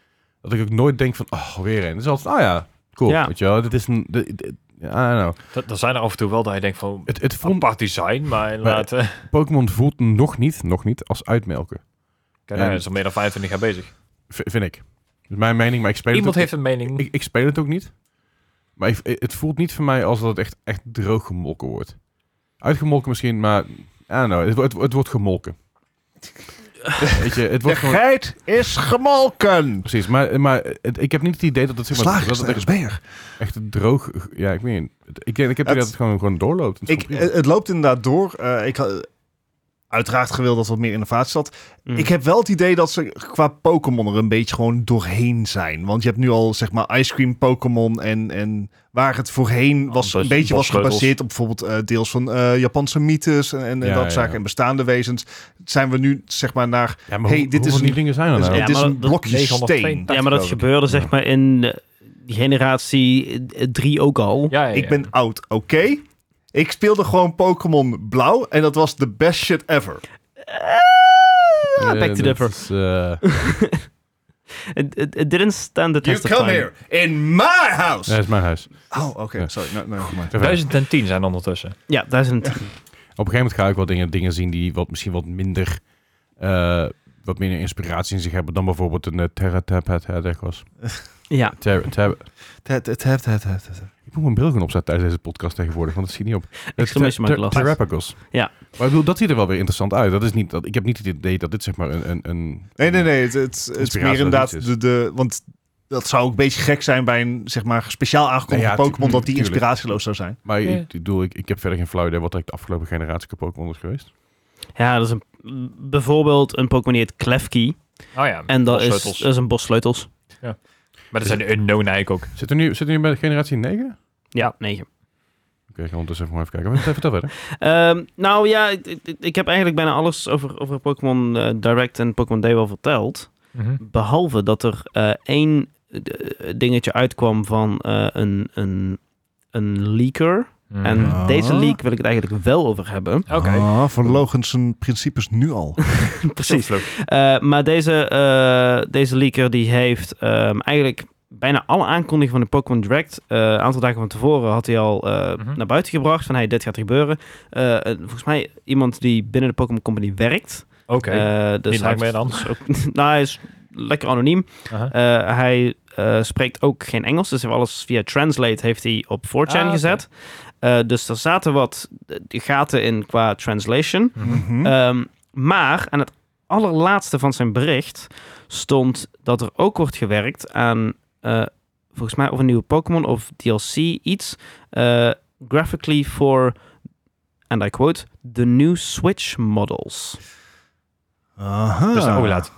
S2: dat ik ook nooit denk van, oh, weer een. Het is altijd, ah ja, cool.
S1: Ja.
S2: Weet je wel, dit is een... Dit, dit- I don't know.
S4: Dat, er zijn er af en toe wel dat je denkt van...
S2: Het, het voelt
S4: Apart design, maar inderdaad... eh,
S2: Pokémon voelt nog niet, nog niet als uitmelken.
S4: Kijk, hij is al meer dan 25 jaar bezig.
S2: V- vind ik. Dat is mijn mening, maar ik speel
S4: Iemand
S2: het
S4: heeft een mening.
S2: ook, ik, ik speel het ook niet. Maar ik- het voelt niet voor mij als dat het echt, echt droog gemolken wordt. Uitgemolken misschien, maar I don't know, het, wo- het, wo- het wordt gemolken. Weet je, het
S3: De
S2: wordt gewoon...
S3: geit is gemolken.
S2: Precies, maar, maar het- ik heb niet het idee dat het, zeg maar, dat het echt,
S3: Slagersberg.
S2: echt droog... Ja, ik weet niet. Ik, denk, ik heb het idee dat het gewoon, gewoon doorloopt. Het is
S3: Ik, eh,
S2: gewoon prima.
S3: het loopt inderdaad door. Eh, ik had uiteraard gewild dat er wat meer innovatie zat.
S1: Mm.
S3: Ik heb wel het idee dat ze qua Pokémon er een beetje gewoon doorheen zijn. Want je hebt nu al, zeg maar, Ice Cream Pokémon en, en waar het voorheen was,
S4: bos-
S3: een beetje was
S4: bossleutels.
S3: gebaseerd op bijvoorbeeld eh, deels van eh, Japanse mythes en, en, en
S2: Ja,
S3: dat
S2: ja,
S3: zaken
S2: ja.
S3: en bestaande wezens. Zijn we nu, zeg maar, naar...
S2: ja, maar
S3: hey,
S2: hoe-
S3: dit is
S2: hoeveel
S3: een-
S2: die dingen zijn er nou?
S1: Ja,
S3: het is
S1: maar
S3: een
S1: dat-
S3: blokje
S4: 982
S3: steen.
S1: ja, maar dat
S4: geloof ik.
S1: gebeurde zeg maar in eh, generatie 3 ook al.
S4: Ja, ja, ja.
S3: Ik ben oud, oké? Ik speelde gewoon Pokémon Blauw en dat was de best shit ever.
S1: Ah,
S2: Eh,
S1: back to
S2: dat
S1: differ.
S2: is, eh,
S1: It, it, it didn't stand the
S3: You
S1: test of
S3: come
S1: time.
S3: here in my
S2: ja, dat
S3: house.
S2: is mijn huis.
S3: Oh, oké,
S2: Ja.
S3: sorry. Nou, nou, goed maar.
S2: Even-
S4: 1010 zijn ondertussen.
S1: Ja, daar is het.
S2: Op een gegeven moment ga ik wel dingen, dingen zien die wat, misschien wat minder, eh, wat minder inspiratie in zich hebben dan bijvoorbeeld een uh, Terra Tab het Headache was.
S1: Ja.
S2: Terra Tab.
S3: Het, het, het, het, het, het.
S2: Ik moet mijn bril gaan opzetten tijdens deze podcast tegenwoordig, want dat ziet niet op. Eh,
S1: Exclamation mark last.
S2: Terrapagos.
S1: Ja.
S2: Maar ik bedoel, dat ziet er wel weer interessant uit. Dat is niet, dat, ik heb niet het idee dat dit zeg maar een... een, een
S3: Nee, nee, nee. Het, het, het is meer
S2: Inspiratie dat
S3: inderdaad
S2: niet
S3: de, de... Want dat zou ook een beetje gek zijn bij een zeg maar, speciaal aangekondigde
S2: Nou ja,
S3: Pokémon... dat die
S2: tuurlijk.
S3: inspiratieloos zou zijn.
S2: Maar
S4: Ja.
S2: ik, ik bedoel, ik, ik heb verder geen flauw idee wat eigenlijk de afgelopen generatie Pokémon is geweest.
S1: Ja, dat is een, bijvoorbeeld een Pokémon die heet Klefki.
S4: Oh ja,
S1: En dat is, eh, dus- dat
S4: bosleutels.
S1: is een bos sleutels.
S4: Maar dat zijn de unknown eigenlijk ook.
S2: Zit er nu, zit er nu bij de generatie 9? Oké,
S1: Ja, negen.
S2: ik ga ondertussen even, maar even kijken. Maar Even vertel verder.
S1: Ehm, nou ja, ik, ik- ik heb eigenlijk bijna alles over, over Pokémon eh, Direct en Pokémon Day wel verteld. Behalve dat er eh, één eh, dingetje uitkwam van eh, een, een, een leaker.
S4: Mhm.
S1: En
S3: Ah.
S1: deze leak wil ik het eigenlijk wel over hebben.
S4: Oké.
S3: Ah, verlogen zijn principes nu al.
S1: Precies.
S4: Zo vlug.
S1: Eh, maar deze, eh, deze leaker die heeft ehm, eigenlijk bijna alle aankondigingen van de Pokémon Direct. eh, Een aantal dagen van tevoren had hij al eh,
S4: Mhm.
S1: naar buiten gebracht van hey, dit gaat er gebeuren. Eh, eh, volgens mij iemand die binnen de Pokémon Company werkt.
S4: Oké.
S1: Eh, dus
S4: Niet
S1: hij
S4: lang meer
S1: heeft-
S4: dan.
S1: dus ook- nou, hij is lekker anoniem.
S4: Aha.
S1: Eh, hij eh, spreekt ook geen Engels, dus hij heeft alles via Translate heeft hij op 4chan
S4: Ah, oké.
S1: gezet. Eh, dus er zaten wat eh, gaten in qua translation.
S4: Mhm.
S3: Hm?
S1: Ehm, maar aan het allerlaatste van zijn bericht stond dat er ook wordt gewerkt aan, eh, volgens mij, of een nieuwe Pokémon of DLC iets. eh, graphically for, and I quote, the new Switch models.
S3: Aha.
S1: Ah.
S4: Dat is de OLED.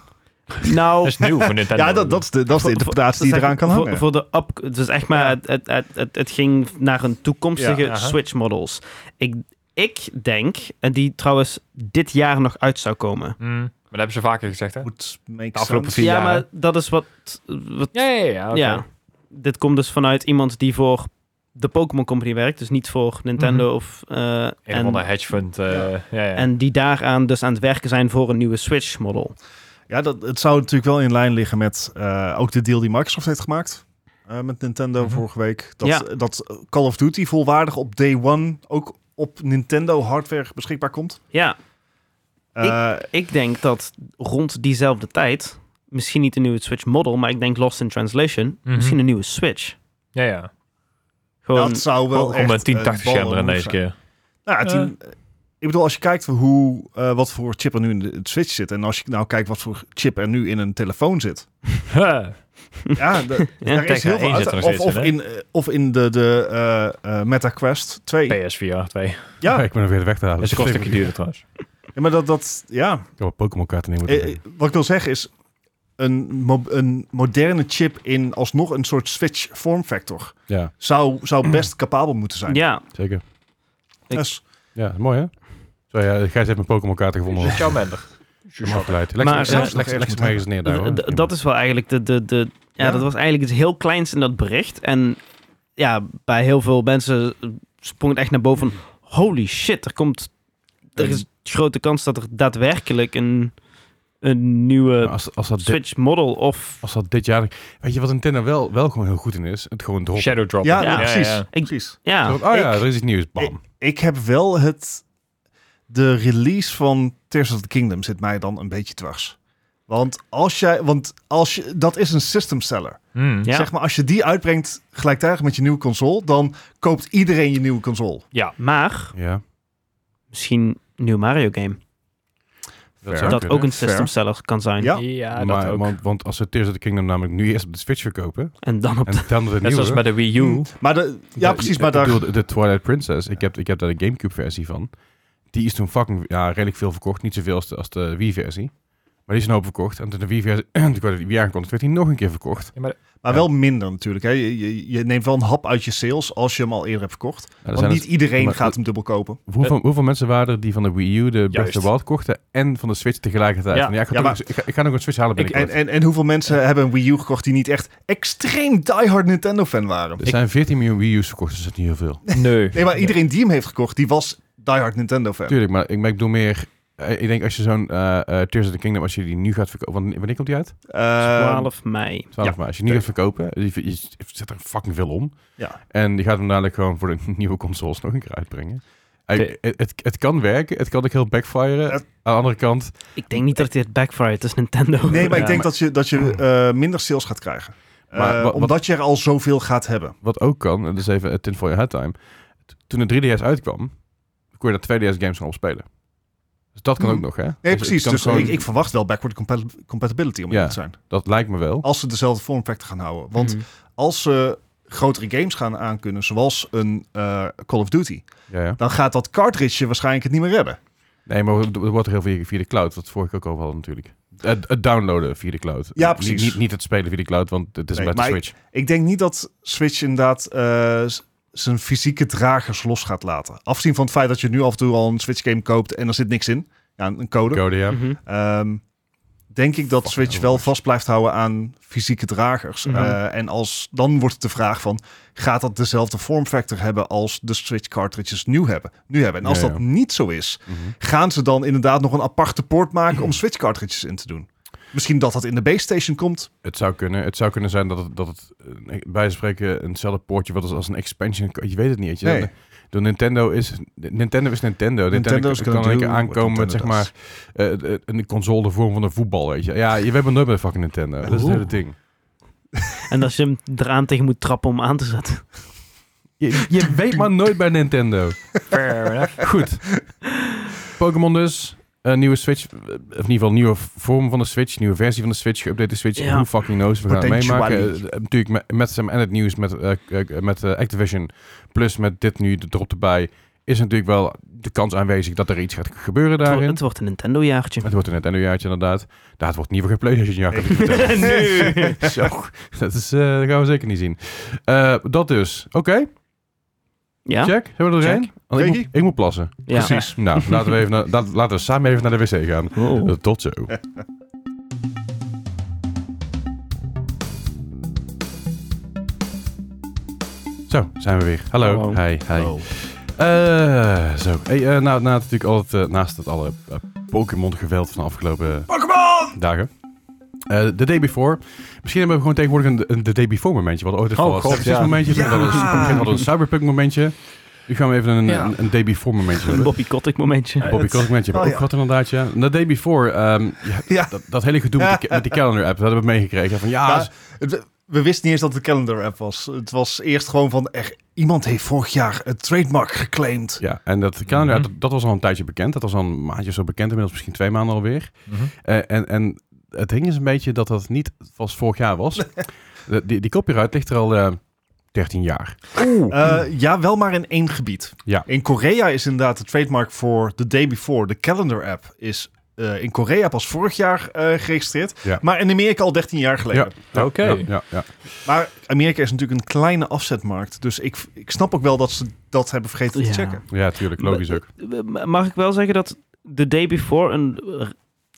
S4: Dat
S1: Nou,
S4: is nieuw voor Nintendo.
S3: Ja, dat, dat, is de, dat is de
S1: Voor-
S3: interpretatie
S1: dat
S3: die
S1: zeg
S3: eraan
S1: ik,
S3: kan
S1: voor,
S3: hangen.
S1: Voor de up, het, is echt maar, het, het, het, het, het ging naar een toekomstige
S4: Ja, aha.
S1: Switch models. Ik, ik denk, en die trouwens dit jaar nog uit zou komen.
S4: Mhm. Maar dat hebben ze vaker gezegd, hè?
S3: Would make
S4: De afgelopen
S3: sense.
S4: vier
S1: ja,
S4: jaar,
S1: maar dat is wat, wat
S4: Ja, ja, ja. oké.
S1: Ja. Dit komt dus vanuit iemand die voor de Pokémon Company werkt, dus niet voor Nintendo of... eh,
S4: Een of ander
S1: en,
S4: hedge fund. eh,
S3: Ja.
S4: ja. Ja,
S1: en die daaraan dus aan het werken zijn voor een nieuwe Switch-model.
S3: Ja, dat, het zou natuurlijk wel in lijn liggen met eh, ook de deal die Microsoft heeft gemaakt. eh, met Nintendo
S4: Mhm.
S3: vorige week. Dat, eh,
S1: Ja.
S3: dat Call of Duty volwaardig op day one ook op Nintendo hardware beschikbaar komt.
S1: Ja,
S3: Eh,
S1: ik denk dat rond diezelfde tijd, misschien niet een nieuwe Switch-model, maar ik denk Lost in Translation,
S4: Mhm.
S1: misschien een nieuwe Switch.
S4: ja, ja.
S1: Gewoon,
S3: dat zou wel
S4: Om een
S3: echt
S4: 1080
S3: een
S4: scherm
S3: ballen
S4: in
S3: move
S4: deze
S3: zijn.
S4: keer.
S3: Nou, ja, tien- Ik bedoel, als je kijkt hoe, eh, wat voor chip er nu in de het Switch zit... en als je nou kijkt wat voor chip er nu in een telefoon zit...
S4: Ha.
S3: Ja, de,
S1: Ja,
S3: daar is
S4: Tekken
S3: heel
S4: 1
S3: veel
S4: zit
S3: uit.
S4: er nog
S3: Of,
S4: steeds
S3: of,
S4: in, hè?
S3: in, eh, of in de, de eh, eh, Meta Quest 2.
S4: PSVR 2. Dat
S3: Ja,
S2: ik ben er weer weg te halen.
S4: is een stukje duurder trouwens.
S3: ja, maar dat, dat ja.
S2: Ik heb een Pokémon kaart in
S3: Eh, eh, wat ik wil zeggen is, een, mo- een moderne chip in alsnog een soort Switch form factor
S2: Ja,
S3: zou,
S4: Mm.
S3: zou best capabel moeten zijn.
S1: ja,
S2: zeker.
S1: ik-
S3: Dus,
S2: Ja, mooi hè? Zo ja, Gijs heeft mijn Pokémon kaart gevonden.
S4: Is het
S2: Ik
S4: jouw minder?
S2: ben afgeleid.
S1: Maar,
S2: Lex,
S1: eh,
S2: Lex, Lex, Lex, mij eens neer daar hoor.
S1: D- d- dat is wel eigenlijk de... de, de ja,
S3: Ja.
S1: dat was eigenlijk iets heel kleins in dat bericht. En ja, bij heel veel mensen sprong het echt naar boven van... Holy shit, er komt... Er is grote kans dat er daadwerkelijk een, een
S2: Maar
S1: nieuwe
S2: als, als, dat dit,
S1: Switch model of...
S2: als dat dit jaar... Weet je wat Nintendo wel, wel gewoon heel goed in is? Het gewoon droppen.
S4: Shadow Drop.
S3: ja,
S1: Ja,
S3: precies.
S4: ja.
S1: Ik-
S3: precies.
S1: Ja,
S2: Zo van, oh ja,
S3: Ik-
S2: er is iets nieuws. Bam.
S3: Ik heb wel het... De release van Tears of the Kingdom zit mij dan een beetje dwars. Want als jij... Want als je, dat is een system seller.
S4: Hmm.
S1: ja.
S3: Zeg maar, als je die uitbrengt gelijktijdig met je nieuwe console, dan koopt iedereen je nieuwe console.
S1: maar
S2: Ja.
S1: misschien een nieuw Mario game.
S2: Dat,
S3: Fair.
S2: zou
S1: dat
S2: kunnen.
S1: ook een
S3: Fair.
S1: system seller kan zijn.
S3: Ja.
S4: Ja, dat
S2: maar,
S4: ook.
S2: want, want als ze Tears of the Kingdom namelijk nu eerst op de Switch verkopen...
S1: En dan op...
S2: en dan de
S4: Net
S2: nieuwe...
S4: zoals met de Wii U.
S3: Mm, Maar de, ja, precies. Maar
S2: ik
S3: daar,
S2: bedoel, de, de Twilight Princess, ik heb, ik heb daar de Gamecube-versie van. Die is toen fucking ja, redelijk veel verkocht. Niet zoveel als de, als de Wii-versie. Maar die is een hoop verkocht. En toen de Wii-versie toen kwam de Wii aangekondigd, werd die nog een keer verkocht.
S3: maar wel minder natuurlijk. Hè. Je, je, je neemt wel een hap uit je sales als je hem al eerder hebt verkocht.
S2: Nou, er
S3: Want
S2: zijn
S3: niet iedereen
S2: maar-
S3: gaat hem dubbel kopen.
S2: dus- hoeveel, hoeveel mensen waren er die van de Wii U, de Breath of
S4: Juist.
S2: the Wild kochten en van de Switch tegelijkertijd?
S4: Ja.
S2: Van, ik, ga
S3: Ja,
S2: toch
S3: maar-
S2: eens- ik, ga, ik ga nog een Switch halen
S4: Ik-
S2: binnenkort.
S3: En, en, en hoeveel mensen hebben een Wii U gekocht die niet echt extreem diehard Nintendo-fan waren?
S2: er zijn 14 miljoen Wii U's verkocht, dus dat is niet heel veel.
S4: Nee.
S3: Nee, maar iedereen die hem heeft gekocht, die was diehard Nintendo-fan.
S2: Tuurlijk, maar ik, maar ik bedoel meer... eh, Ik denk als je zo'n eh, eh, Tears of the Kingdom, als je die nu gaat verkopen... want Wanneer komt die uit?
S3: Eh,
S1: 12 mei.
S2: 12
S3: Ja,
S2: maar als je nu gaat verkopen, je, je zet er fucking veel om.
S3: Ja.
S2: En die gaat hem dadelijk gewoon voor de nieuwe consoles nog een keer uitbrengen. Ik-
S4: Oké.
S2: het, het, kan werken, het kan ook heel backfiren.
S3: Ja.
S2: Aan de andere kant,
S1: Ik denk niet dat dit backfired. Het is Nintendo.
S3: nee, maar ik
S4: Ja,
S3: denk
S4: maar-
S3: dat je, dat je eh, minder sales gaat krijgen.
S2: Maar
S3: Eh,
S2: wat- wat-
S3: omdat je er al zoveel gaat hebben.
S2: wat ook kan, en dat is even het tin for your head time. T- Toen de 3DS uitkwam, kon je daar 2DS games van opspelen. Dus dat kan
S3: Hmm.
S2: ook nog, hè?
S3: Nee,
S2: het
S3: precies.
S2: kan
S3: Dus
S2: gewoon-
S3: ik, ik verwacht wel backward compatibil- compatibility om
S2: Ja.
S3: eerlijk te zijn.
S2: Dat lijkt me wel.
S3: Als ze dezelfde form factor gaan houden. Want
S4: Mhm.
S3: als ze grotere games gaan aankunnen, zoals een eh, Call of Duty,
S2: Ja, ja.
S3: dan gaat dat cartridge je waarschijnlijk het niet meer redden.
S2: Nee, maar het wordt er heel veel via de cloud. Wat vorige keer ook over hadden natuurlijk. Het, het downloaden via de cloud.
S3: Ja,
S2: Niet-
S3: precies.
S2: Niet, niet het spelen via de cloud, want het is
S3: Nee,
S2: met de
S3: maar
S2: Switch.
S3: Ik denk niet dat Switch inderdaad eh, z- zijn fysieke dragers los gaat laten. Afzien van het feit dat je nu af en toe al een Switch game koopt en er zit niks in. Ja, een een code.
S2: Code, ja.
S1: Mhm.
S3: Ehm, denk ik dat
S2: Fuck,
S3: Switch
S2: heel
S3: wel
S2: mooi.
S3: vast blijft houden aan fysieke dragers.
S1: Ja.
S3: Eh, en als, dan wordt het de vraag van, gaat dat dezelfde form factor hebben als de Switch cartridges nu hebben? Nu hebben. En als
S2: Ja,
S3: dat
S2: ja.
S3: niet zo is,
S2: Mhm.
S3: gaan ze dan inderdaad nog een aparte poort maken om Switch cartridges in te doen? Misschien dat dat in de base station komt.
S2: Het zou kunnen. Het zou kunnen zijn dat het, dat het eh, bij wijze van spreken eenzelfde poortje wat als, als een expansion. Je weet het niet. weet Je.
S3: Nee.
S2: Dan- dan Nintendo is Nintendo is Nintendo.
S3: Nintendo
S2: Nintendo,
S3: is
S2: kan-
S3: gonna
S2: kan in één keer
S3: do what
S2: aankomen met zeg
S3: Nintendo
S2: maar eh, eh, een console de vorm van een voetbal, weet je. Ja, je bent maar nooit bij de fucking Nintendo. Dat is het
S1: Oeh.
S2: hele ding.
S1: En als je hem eraan tegen moet trappen om aan te zetten.
S2: Je, je weet maar nooit bij Nintendo.
S4: Fair enough.
S2: Goed. Pokémon dus. Een nieuwe Switch, eh, of in ieder geval een nieuwe vorm van de Switch, nieuwe versie van de Switch, geüpdate Switch.
S1: Ja.
S2: Who fucking knows, we gaan het meemaken.
S3: Potentially.
S2: Eh, eh, natuurlijk met, met Sam en het nieuws met, eh, eh, met eh, Activision, plus met dit nu de drop erbij, is natuurlijk wel de kans aanwezig dat er iets gaat gebeuren
S1: Het wordt-
S2: daarin.
S1: Het wordt een Nintendo-jaartje.
S2: Het wordt een Nintendo-jaartje inderdaad. Daar het wordt niet voor geen PlayStation jaar. kan ik je vertellen.
S1: nee.
S2: Zo, dat, is, eh, dat gaan we zeker niet zien. Eh, dat dus. Oké,
S1: Ja?
S2: check. Hebben we er
S1: Check.
S2: een? Want Ik
S3: Regie?
S2: moet, ik moet plassen.
S1: ja.
S2: Precies. Nou, laten we, even naar- laat- laten we samen even naar de wc gaan.
S1: Oh.
S2: Eh, Tot zo. Zo, zijn we weer. Hallo.
S1: Hallo.
S2: Hi, hi.
S3: Oh.
S2: Eh, zo. Hey, eh, nou, na natuurlijk al het, eh, naast het alle eh, Pokémon-geweld van de afgelopen dagen. Eh, The Day Before. Misschien hebben we gewoon tegenwoordig een, een The Day Before momentje. Wat ooit het
S4: Oh,
S2: geval was.
S4: god,
S2: Texas
S4: ja.
S2: momentje. Toen
S3: Ja.
S2: hadden we een- op een gegeven moment hadden we een Cyberpunk momentje. Nu gaan we even een,
S4: Ja.
S2: een, een Day Before momentje
S1: Een
S2: hebben.
S1: Bobby Kotick momentje.
S2: Bobby Kotick met je hebt
S3: Oh,
S2: ook
S3: ja.
S2: gehad inderdaad, ja. En The day before, ehm, ja,
S3: Ja.
S2: Dat, dat hele gedoe met die, met die calendar app, dat hebben we meegekregen. Van ja,
S3: Maar
S2: is-
S3: het- we wisten niet eens dat het een calendar app was. Het was eerst gewoon van, er, iemand heeft vorig jaar het trademark geclaimd.
S2: ja, en dat calendar app,
S4: Mhm.
S2: dat, dat was al een tijdje bekend. Dat was al een maandje zo bekend, inmiddels misschien twee maanden alweer. Eh, en, en het ding is een beetje dat dat niet was vorig jaar was. De- die, die copyright ligt er al eh 13 jaar.
S3: Eh, ja, wel maar in één gebied.
S2: Ja.
S3: In Korea is inderdaad de trademark voor The Day Before, de calendar app, is eh, in Korea pas vorig jaar eh, geregistreerd.
S2: Ja.
S3: Maar in Amerika al 13 jaar geleden.
S2: Ja,
S4: Oké.
S2: Ja, ja, ja.
S3: Maar Amerika is natuurlijk een kleine afzetmarkt. Dus ik, ik snap ook wel dat ze dat hebben vergeten
S1: Ja.
S3: te checken.
S2: ja, tuurlijk, logisch ook.
S1: M- Mag ik wel zeggen dat The Day Before een eh,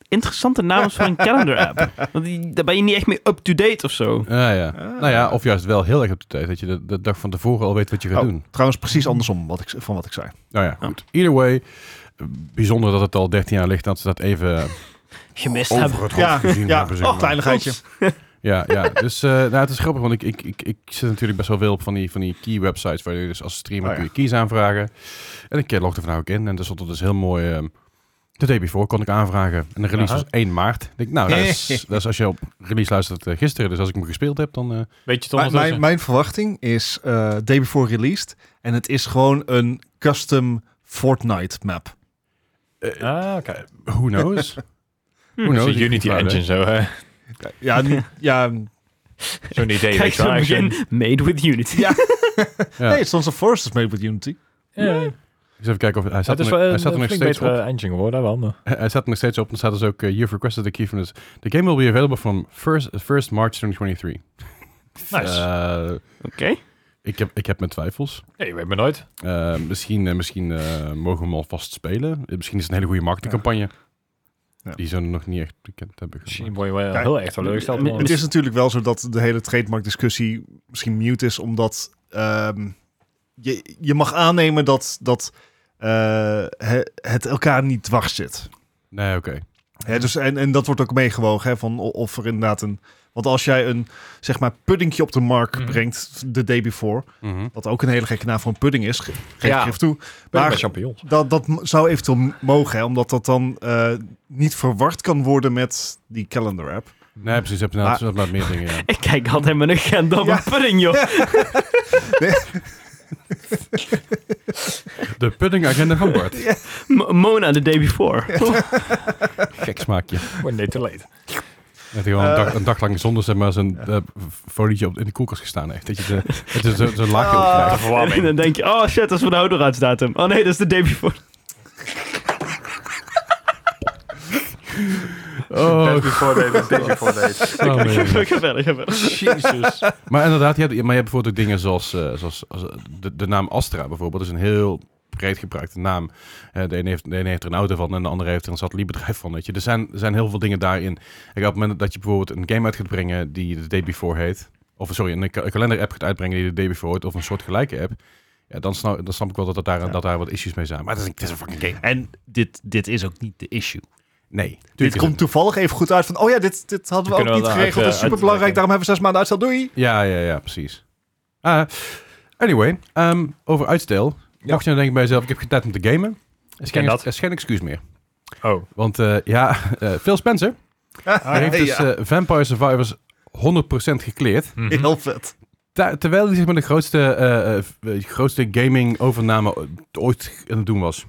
S1: interessante naam is voor een calendar-app? Want die- daar ben je niet echt mee up-to-date of zo.
S2: Ja, ja.
S3: Ah.
S2: Nou ja, of juist wel heel erg op de tijd, dat je de, de dag van tevoren al weet wat je gaat
S3: Oh.
S2: doen.
S3: Trouwens, precies andersom wat ik, van wat ik zei.
S2: Nou ja,
S1: Ja.
S2: goed. Either way, bijzonder dat het al 13 jaar ligt, dat ze dat even... eh,
S1: Gemist
S2: over
S1: hebben.
S2: het hoofd gezien
S3: ja.
S2: hebben, zeg
S3: Oh,
S2: maar.
S3: kleinigheidje.
S2: Ja, ja. dus eh, nou, het is grappig, want ik, ik, ik, ik zit natuurlijk best wel veel op van die, van die key websites, waar je dus als streamer
S3: Oh, ja.
S2: kun je keys aanvragen. En ik eh, logde er van ook in en er stond er dus heel mooi, ehm, de day before kon ik aanvragen. En de release
S4: Aha.
S2: was 1 maart. Ik denk, nou, dat is, dat is als je op release luistert eh, gisteren, dus als ik hem gespeeld heb, dan... eh,
S4: Weet je het
S3: Mijn,
S4: ondertussen?
S3: mijn, mijn verwachting is eh, Day Before Released. En het is gewoon een custom Fortnite map.
S2: eh,
S4: Ah, oké.
S2: who knows? who
S4: Dus
S2: knows?
S4: de
S2: Ik-
S4: Unity
S2: ik-
S4: Engine zo, hè?
S3: Ja, nu- ja,
S4: Zo'n idee,
S1: Kijk,
S4: weet je
S1: zo'n
S4: wel.
S1: begin. Made with Unity.
S3: Ja.
S2: Ja.
S3: Nee, het stond een Forest is made with Unity.
S4: Ja.
S2: Eens even kijken of hij
S4: Het
S2: staat,
S4: is
S2: er,
S4: wel
S2: nog- hij
S4: een,
S2: staat er nog
S4: flink
S2: steeds op.
S4: betere engine geworden, wel. maar-
S2: Hij staat er nog steeds op. Dan staat dus ook, eh, you've requested a key from this. The game will be available from 1st, 1st March 2023.
S4: Nice.
S2: Eh,
S1: Oké.
S2: ik, heb, ik heb mijn twijfels.
S4: Ja, je weet maar nooit.
S2: Eh, misschien eh, misschien eh, mogen we hem alvast spelen. Eh, misschien is het een hele goede marketingcampagne.
S3: Ja.
S2: Die ze nog niet echt bekend hebben
S4: Misschien
S2: gemaakt.
S4: word je wel
S3: Ja,
S4: heel erg teleurgesteld.
S1: m-
S4: man.
S3: Het is natuurlijk wel zo dat de hele trademark-discussie misschien mute is, omdat ehm, je, je mag aannemen dat, dat eh, he- het elkaar niet dwars zit.
S2: Nee, oké.
S3: Hè, dus, en, en dat wordt ook meegewogen, hè, van o- of er inderdaad een... Want als jij een, zeg maar, puddingje op de markt
S4: Mhm.
S3: brengt, de day before,
S2: Mhm.
S3: wat ook een hele gekke naam voor een pudding is, ge- geef
S4: Ja.
S3: ik even toe.
S4: Maar
S3: Maar
S4: met champignons.
S3: dat, dat m- zou eventueel m- mogen, hè, omdat dat dan eh, niet verward kan worden met die calendar app.
S2: Nee, precies. Je hebt inderdaad wat maar meer dingen. Ja.
S1: Ik kijk altijd mijn agenda op
S3: Ja.
S1: een pudding, joh.
S2: De pudding agenda van Bart.
S1: M- Mona the day before.
S2: Oh, Gek smaakje.
S4: We're nee, te late.
S2: Dat hij gewoon een, dag, een dag lang zonder zeg maar, zijn eh, f- folietje op, in de koelkast gestaan heeft. Dat je de, het is zo- zo'n laagje op
S4: De
S2: krijgt.
S1: En
S4: verwarming.
S1: dan denk je, oh shit, dat is van de houdbaarheidsdatum. Oh nee, dat is de day before.
S2: Oh,
S4: Best before date en Days before date.
S2: oh, man.
S1: ga verder, ga verder.
S4: Jesus.
S2: Maar inderdaad, je hebt, maar je hebt bijvoorbeeld ook dingen zoals, eh, zoals als, eh, de, de naam Astra bijvoorbeeld. is een heel breed gebruikte naam. Eh, de, ene heeft, de ene heeft er een auto van en de andere heeft er een satellietbedrijf van. Weet je. Er, zijn, er zijn heel veel dingen daarin. Ik op het moment dat je bijvoorbeeld een game uit gaat brengen die de Day Before heet. Of sorry, een, ka- een kalender-app gaat uitbrengen die de Day Before heet. Of een soortgelijke app. Ja, dan, snap, dan snap ik wel dat, dat, daar, dat daar wat issues mee zijn. Maar het is, een- het is een fucking game.
S5: En dit, dit is ook niet de issue.
S2: Nee. tuurlijk is
S3: Dit
S2: het-
S3: komt toevallig even goed uit van, oh ja, dit, dit hadden we
S4: Kunnen
S3: ook
S4: we
S3: niet
S4: wel
S3: geregeld.
S4: uit,
S3: dat is
S4: eh,
S3: superbelangrijk,
S4: uit-
S3: daarom hebben we zes maanden uitstel. Doei!
S2: Ja, ja, ja, precies. Ah, anyway, ehm, over uitstel. Mocht je nou denken bij jezelf, ik heb geen tijd om te gamen. Er is
S4: ken
S2: geen,
S4: dat.
S2: er is geen excuus meer.
S4: Oh.
S2: Want eh, ja, eh, Phil Spencer die heeft dus
S3: Ah, ja.
S2: eh, Vampire Survivors 100% gekleerd.
S4: Mhm.
S3: Heel vet.
S2: Ter- terwijl hij zeg maar de grootste, eh, eh, v- eh, grootste gaming overname ooit aan het doen was.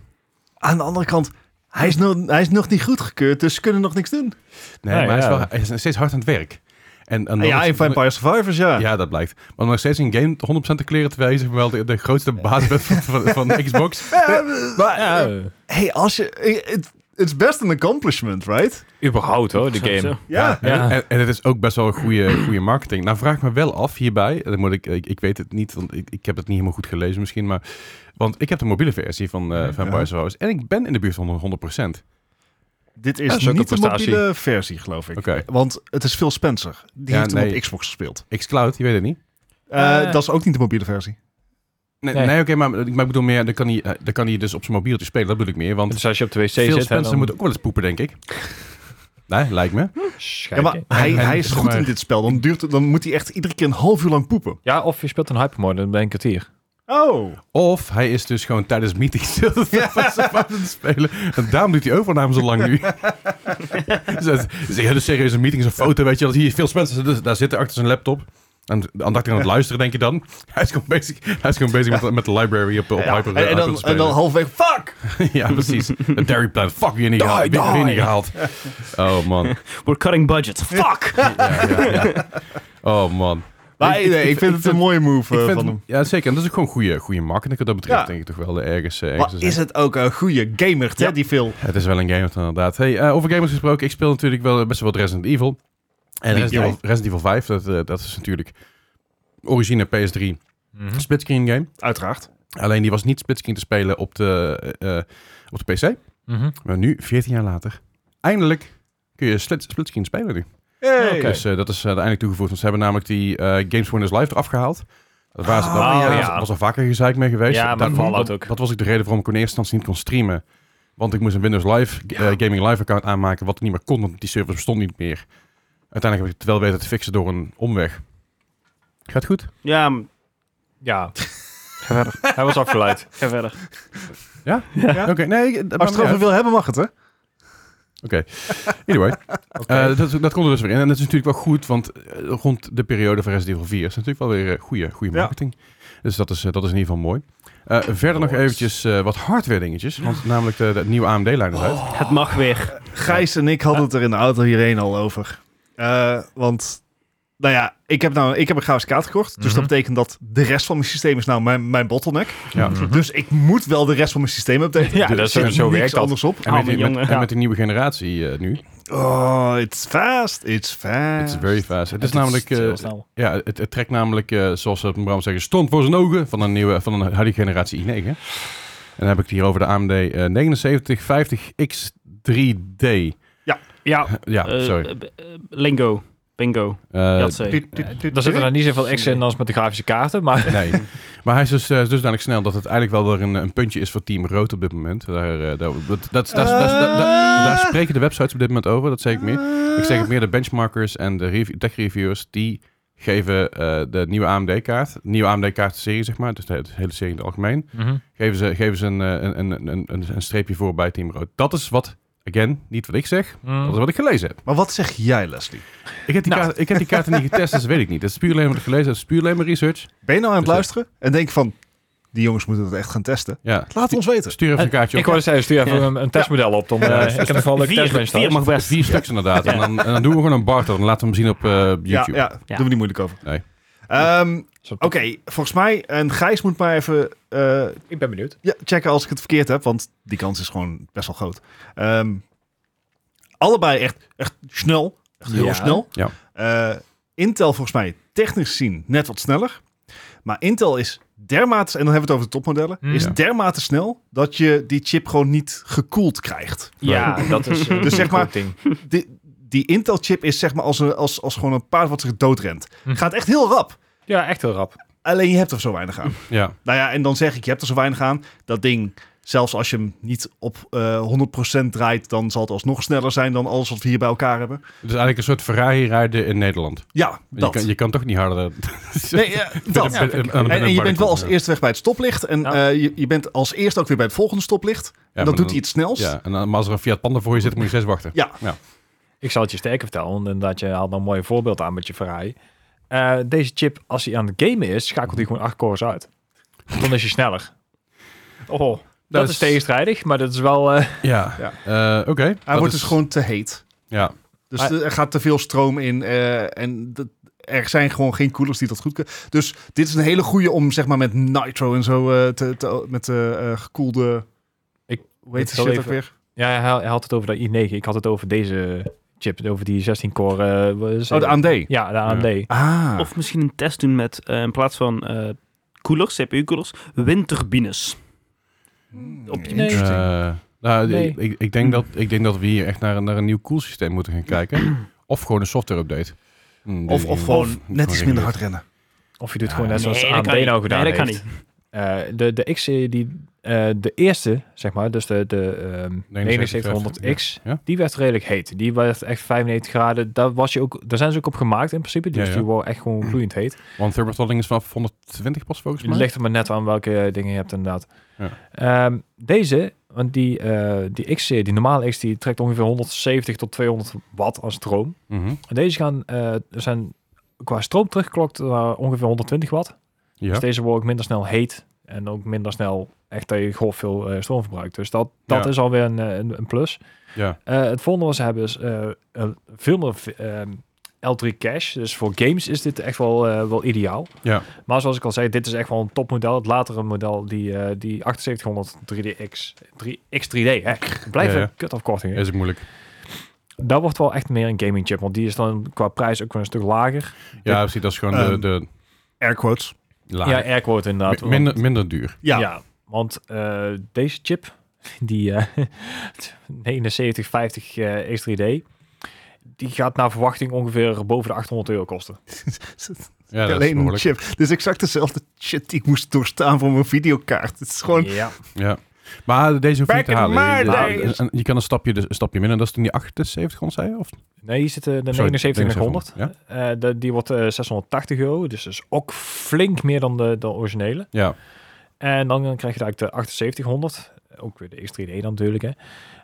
S3: Aan de andere kant, hij is, nog, hij is nog niet goedgekeurd, dus ze kunnen nog niks doen.
S2: Nee,
S4: Nee,
S2: maar hij is,
S4: ja.
S2: wel, hij is nog steeds hard aan het werk. En, en
S3: Ah, ja, in Vampire Survivors, ja.
S2: Ja, dat blijkt. Maar nog steeds een game 100% te kleren, terwijl je zeg maar, wel de, de grootste baas bent van, van, van Xbox.
S3: Maar,
S4: Ja, eh,
S3: hey, als je... eh, Het het is best een accomplishment, right?
S4: überhaupt hoor, de
S1: Zo,
S4: game.
S1: zo.
S3: Ja.
S4: Ja.
S2: En, en het is ook best wel een goede, goede marketing. Nou vraag ik me wel af hierbij, en dan moet ik, ik, ik weet het niet, want ik, ik heb het niet helemaal goed gelezen misschien, maar, want ik heb de mobiele versie van eh Vampire Survivors en ik ben in de buurt van 100%.
S3: Dit
S4: Ja,
S3: is,
S4: dat is ook
S3: niet de
S4: een prestatie.
S3: mobiele versie, geloof ik.
S2: Oké.
S3: Want het is Phil Spencer. Die
S2: Ja,
S3: heeft hem
S2: nee.
S3: op Xbox gespeeld.
S2: Xcloud, je weet het niet.
S3: Eh,
S4: Eh.
S3: Dat is ook niet de mobiele versie.
S2: Nee, nee.
S4: Nee.
S2: oké, maar, maar ik bedoel meer, dan kan, hij, eh, dan kan hij dus op zijn mobieltje spelen, dat bedoel ik meer, want
S4: Dus als je op de wc
S2: Phil
S4: zit, hè,
S2: Spencer
S4: dan
S2: moet ook wel eens poepen, denk ik. nee, lijkt me.
S3: Ja, maar
S4: Schijken.
S3: hij,
S2: en-
S3: hij is
S2: zeg
S3: goed
S2: maar-
S3: in dit spel. Dan, duurt het, dan moet hij echt iedere keer een half uur lang poepen.
S4: Ja, of je speelt een hypermode, dan ben ik het hier.
S3: Oh.
S2: Of hij is dus gewoon tijdens meetings heel de tijd van zijn vader te spelen. En daarom doet die overname zo lang nu. dus dat is een hele serieuze meeting, een foto, weet je. wel. hier veel Spencer dus daar zitten achter zijn laptop. En aandachtig aan het luisteren, denk je dan. Hij is gewoon bezig, hij is gewoon bezig met, met de library op, op
S3: Ja,
S2: Hyper.
S3: en, en
S2: Hyper
S3: dan,
S2: te
S3: en dan
S2: spelen.
S3: halfweg, fuck!
S2: ja, precies. De Dairy Plan, fuck, weer niet
S3: Die,
S2: gehaald. Weer,
S3: die.
S2: weer niet gehaald. Oh man.
S1: We're cutting budget. Fuck!
S2: Ja, ja, ja. Oh man.
S3: Maar nee, ik vind het een mooie move
S2: ik
S3: eh,
S2: vind
S3: van
S2: het-
S3: hem.
S2: Ja, zeker. En dat is ook gewoon goede, goede marketing. Wat dat betreft
S3: Ja.
S2: denk ik toch wel eh, ergens... eh, ergens
S3: Maar
S2: te zijn.
S3: is het ook een goede gamer, hè, die Phil?
S2: Het is wel een gamer inderdaad. Hey, eh, over gamers gesproken, ik speel natuurlijk wel best wel wat Resident Evil. En
S3: Die
S2: Resident Evil, Resident Evil 5, dat, eh, dat is natuurlijk origine PS3
S4: Hm? Mhm.
S2: splitscreen game.
S3: Uiteraard.
S2: Alleen die was niet splitscreen te spelen op de, eh, eh, op de PC.
S4: Mhm.
S2: Maar nu, 14 jaar later, eindelijk kun je split, splitscreen spelen nu.
S3: Hey.
S4: Oké.
S2: Dus eh, dat is eh, uiteindelijk toegevoegd, want ze hebben namelijk die eh, Games Winners Live eraf gehaald. Dat was,
S3: Ah,
S2: daar
S4: ja.
S2: was, was al vaker gezeik mee geweest.
S4: Ja, maar
S2: Daarom-
S4: Fallout
S2: dat-
S4: ook.
S2: Dat was ook de reden waarom ik in eerste instantie niet kon streamen. Want ik moest een Windows Live eh, Gaming Live account aanmaken, wat ik niet meer kon, want die servers bestonden niet meer. Uiteindelijk heb ik het wel weten te fixen door een omweg. Gaat goed?
S1: Ja, m,
S4: Ja. Hij was afgeleid.
S1: ga verder.
S3: Ja.
S2: Oké, nee. ik- dat maakt niet
S3: Als je het erover
S2: uit.
S3: wil hebben, mag het, hè?
S2: Oké. Anyway. Eh, dat, dat komt er dus weer in. En dat is natuurlijk wel goed, want eh, rond de periode van Resident Evil 4 is natuurlijk wel weer eh, goede, goede
S3: Ja.
S2: marketing. Dus dat is, eh, dat is in ieder geval mooi. Eh, verder nog eventjes eh, wat hardware dingetjes. Want namelijk de, de nieuwe AMD-lijn is uit.
S1: Het mag weer.
S3: Gijs en ik hadden het er in de auto hierheen al over. Eh, want, nou ja, ik heb, nou, ik heb een grafisch kaart gekocht. Dus
S4: Mhm.
S3: dat betekent dat de rest van mijn systeem is nou mijn, mijn bottleneck.
S2: Ja.
S4: Mhm.
S3: Dus ik moet wel de rest van mijn systeem updaten.
S4: Ja,
S3: Er
S4: dat is-
S3: zit
S4: zo
S3: niks
S4: werkt dat.
S3: anders op.
S2: En met,
S1: Arme
S2: die- met-
S1: jongen.
S2: en met die nieuwe generatie eh, nu.
S3: Oh, it's fast, it's fast.
S2: It's very fast. Het is
S4: Het
S2: namelijk... eh,
S4: heel snel.
S2: ja, het, het trekt namelijk, eh, zoals ze op Bram zeggen, stond voor zijn ogen van een nieuwe, van een huidige generatie i9. En dan heb ik het hier over de AMD eh 7950X3D.
S1: Ja,
S2: Ja,
S1: eh,
S2: sorry.
S1: eh, eh, lingo. Bingo.
S2: Eh,
S1: Dat zei.
S3: Du- du- du-
S4: Daar zitten er niet zoveel extra in als met de grafische kaarten, maar...
S2: Nee. Maar hij is dus, eh, dusdanig snel dat het eigenlijk wel weer een, een puntje is voor Team Rood op dit moment. Daar, eh, daar, dat, dat, dat, dat- dat- dat- daar spreken de websites op dit moment over, dat zeg ik meer. Ik zeg het meer, de benchmarkers en de rev- tech-reviewers, die geven eh, de nieuwe AMD-kaart, nieuwe AMD-kaartserie zeg maar, dus de, de hele serie in het algemeen,
S4: Mhm.
S2: geven ze, geven ze een, eh, een, een, een, een, een streepje voor bij Team Rood. Dat is wat, again, niet wat ik zeg,
S4: Mhm.
S2: dat is wat ik gelezen heb.
S3: Maar wat zeg jij, Leslie?
S2: Ik heb die, kaart, ik heb die kaarten niet getest, dus dat weet ik niet. Dat is puur alleen wat ik gelezen heb, dat is puur alleen maar research.
S3: Ben je nou aan het
S2: Dus, eh,
S3: luisteren en denk van, die jongens moeten dat echt gaan testen?
S2: Ja.
S3: Laat het ons weten.
S2: Stuur even een kaartje op.
S4: Ik wou eens zeggen, stuur even een, een testmodel op. Dan, eh, ik heb nog wel een leuke testbench
S1: Vier, vier
S4: thuis.
S1: mag best.
S2: Vier stuks inderdaad. En, dan, en dan doen we gewoon een barter. Dan laten we hem zien op eh,
S3: Ja,
S2: YouTube.
S3: ja, doen we niet moeilijk over.
S2: Nee.
S3: Ehm,
S4: Zo- oh,
S3: Oké, volgens mij, en Gijs moet maar even eh,
S4: Ik ben benieuwd.
S3: ja, checken als ik het verkeerd heb, want die kans is gewoon best wel groot. Ehm, allebei echt, echt snel. Echt heel
S4: Ja.
S3: snel.
S2: Ja.
S3: Eh, Intel volgens mij technisch gezien net wat sneller. Maar Intel is dermate, en dan hebben we het over de topmodellen,
S4: Hmm.
S3: is
S2: Ja.
S3: dermate snel dat je die chip gewoon niet gekoeld krijgt.
S4: Ja, dat is eh,
S3: Dus zeg
S4: een
S3: maar-
S4: goed ding.
S3: Die, die Intel chip is zeg maar als, een, als, als gewoon een paard wat zich doodrent.
S4: Hm.
S3: Gaat echt heel rap.
S4: Ja, echt heel rap.
S3: Alleen je hebt er zo weinig aan.
S2: Ja,
S3: Nou ja, en dan zeg ik, je hebt er zo weinig aan. Dat ding, zelfs als je hem niet op eh 100% draait, dan zal het alsnog sneller zijn dan alles wat we hier bij elkaar hebben.
S2: het is eigenlijk een soort Ferrari rijden in Nederland.
S3: Ja,
S2: Je
S3: dat.
S2: kan, je kan toch niet harder... eh,
S3: Nee, ja, dat.
S2: Ben- ben- ben-
S3: En, en je bent wel als
S2: ja.
S3: eerste weg bij het stoplicht. En
S4: Ja.
S3: eh, je, je bent als eerste ook weer bij het volgende stoplicht.
S2: Ja,
S3: en
S2: maar
S3: dan doet hij het snelst. Ja.
S2: Ja, en dan, maar als er een Fiat Panda voor je zit, moet je zes wachten.
S4: Ik zal het je sterker vertellen, want inderdaad, je haalt nou een mooi voorbeeld aan met je Ferrari. Eh, deze chip, als hij aan het gamen is, schakelt hij gewoon acht cores uit. Dan is hij sneller. Oh, dat,
S2: Dat
S4: is...
S2: is-
S4: tegenstrijdig, maar dat is wel... eh,
S2: Ja,
S3: Ja.
S2: Eh, oké.
S3: Hij
S2: Dat
S3: wordt
S2: is-
S3: dus gewoon te heet.
S2: Ja,
S3: Dus
S4: Hij-
S3: er gaat te veel stroom in. eh, en dat- er zijn gewoon geen koelers die dat goed kunnen. Dus dit is een hele goede om zeg maar met nitro en zo eh, te, te- met eh, eh, gekoelde...
S4: Ik-
S3: hoe heet
S4: ik
S3: die
S4: zal
S3: shit ook
S4: even-
S3: weer?
S4: ja, hij, hij had het over de i9. Ik had het over deze chip, over die 16-core... eh, was-
S3: Oh, de AMD.
S4: Ja, de AMD.
S3: Ah.
S1: Of misschien een test doen met, eh, in plaats van eh, koelers, CPU-koelers, windturbines.
S3: op
S1: Nee.
S3: Interesting.
S2: Eh, nou,
S4: Nee.
S2: ik- ik, ik, denk dat, ik denk dat we hier echt naar, een- naar een nieuw koelsysteem moeten gaan kijken. Of gewoon een software-update. Hmm,
S3: of
S2: die-
S3: of gewoon
S2: gewoon
S3: net iets minder
S2: regulier.
S3: hard rennen.
S4: Of je doet
S2: Ja,
S4: gewoon net zoals
S1: Nee, dat
S4: AMD
S1: kan niet.
S4: nou gedaan
S1: Nee, dat kan
S4: heeft.
S1: niet.
S4: Eh, de, de X-serie, die, eh, de eerste, zeg maar, dus de, de ehm,
S2: 7900X,
S4: 7900X,
S2: ja.
S4: die werd redelijk heet. Die werd echt 95 graden. Daar, was je ook, daar zijn ze ook op gemaakt in principe. Dus
S2: Ja, ja.
S4: die wordt echt gewoon gloeiend heet.
S2: Want thermostatting is vanaf 120 pas volgens
S4: Het
S2: mij.
S4: ligt er maar net aan welke eh, dingen je hebt inderdaad.
S2: Ja.
S4: Ehm, deze, want die, eh, die X-serie, die normale X, die trekt ongeveer 170 tot 200 watt aan stroom.
S2: Mhm.
S4: En Deze gaan, eh, zijn qua stroom teruggeklokt naar ongeveer 120 watt.
S2: Ja.
S4: Dus deze wordt ook minder snel heet en ook minder snel echt dat je grof veel eh, stroom verbruikt. Dus dat, dat
S2: Ja.
S4: is alweer een, eh, een, een plus.
S2: ja.
S4: Eh, het volgende wat ze hebben is eh, eh, veel meer ehm, L3 cache. Dus voor games is dit echt wel, eh, wel ideaal.
S2: Ja.
S4: Maar zoals ik al zei, dit is echt wel een topmodel. Het latere model, die, eh, die 7800 3DX, 3X3D. Hè. Blijf
S2: Ja,
S4: een
S2: ja.
S4: kut afkorting.
S2: Ja, is het moeilijk.
S4: Dat wordt wel echt meer een gaming chip, want die is dan qua prijs ook weer een stuk lager.
S2: Ja, precies. Dat is gewoon de,
S3: Ehm,
S2: de
S3: Air quotes.
S2: laag.
S4: Ja, airquote inderdaad.
S2: Mi-
S4: want-
S2: minder, minder duur.
S3: Ja.
S4: Ja. want eh, deze chip, die eh 7950 eh, X3D, die gaat naar verwachting ongeveer boven de 800 euro kosten.
S2: Ja, dat is
S3: Alleen een
S2: behoorlijk.
S3: chip. Dit is exact dezelfde shit die ik moest doorstaan voor mijn videokaart. Het is gewoon...
S4: Ja,
S2: Ja. Maar deze hoef je
S3: Back
S2: niet te
S3: in
S2: halen. Je,
S3: my
S2: je-
S3: days.
S2: en- en je kan een stapje, dus een stapje minder. Dat is toen die 7800, zei je? Of?
S4: nee, hier zitten de
S2: Sorry,
S4: 7900.
S2: 7900, Ja.
S4: Eh, de- die wordt eh, 680 euro, dus is ook flink meer dan de, de originele.
S2: ja.
S4: En dan krijg je eigenlijk de 7800, ook weer de X3D dan natuurlijk. Hè.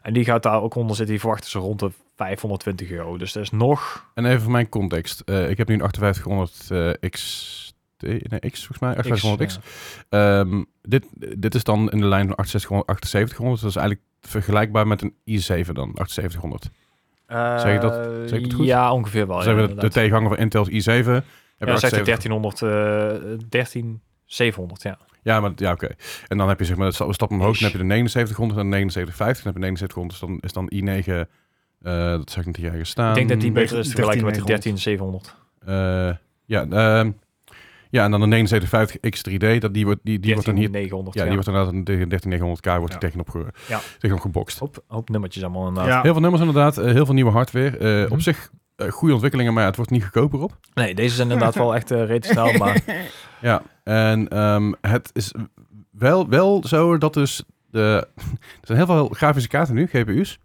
S4: En die gaat daar ook onder zitten, die verwachten ze rond de 520 euro. Dus dat is nog...
S2: En even voor mijn context. Eh, ik heb nu een 5800 eh, X... Nee, X volgens mij. 5800X.
S4: X, eh,
S2: Ehm, dit, dit is dan in de lijn van 6800, 7800. Dat is eigenlijk vergelijkbaar met een i7 dan, 7800. Zeg ik dat-
S4: eh,
S2: zeg ik het goed?
S4: Ja, ongeveer wel.
S2: Dus
S4: Oh, ja,
S2: hebben we de, de
S4: inderdaad.
S2: tegenhanger van Intel's i7. hebben we
S4: Ja, dan zegt
S2: 7800.
S4: hij 1300, eh 13700, ja.
S2: Ja, maar ja, oké. En dan heb je zeg maar, een stap omhoog,
S4: Ish.
S2: dan heb je de 7900 en de 7950. Dan heb je 7900, dus dan is dan i9, eh, dat zag ik niet hier ergens staan.
S4: ik denk dat die beter is
S3: 13
S4: te vergelijken met de 13700.
S2: Eh, ja, ehm, ja, en dan de 7950 X3D, dat, die, wordt, die, die wordt dan hier...
S4: 900,
S2: Ja, die wordt inderdaad een- tegen 13900K wordt die
S3: Ja.
S2: tegenop, ge,
S4: Ja.
S2: tegenop gebokst.
S4: hoop, hoop nummertjes allemaal
S3: Ja.
S4: inderdaad.
S2: Heel veel nummers inderdaad, eh, heel veel nieuwe hardware. Eh,
S4: Mhm.
S2: Op zich eh, goede ontwikkelingen, maar ja, het wordt niet goedkoper op.
S4: Nee, deze zijn inderdaad wel echt eh redelijk snel, maar
S2: Ja, en ehm, het is wel, wel zo dat dus de... Er zijn heel veel grafische kaarten nu, GPU's,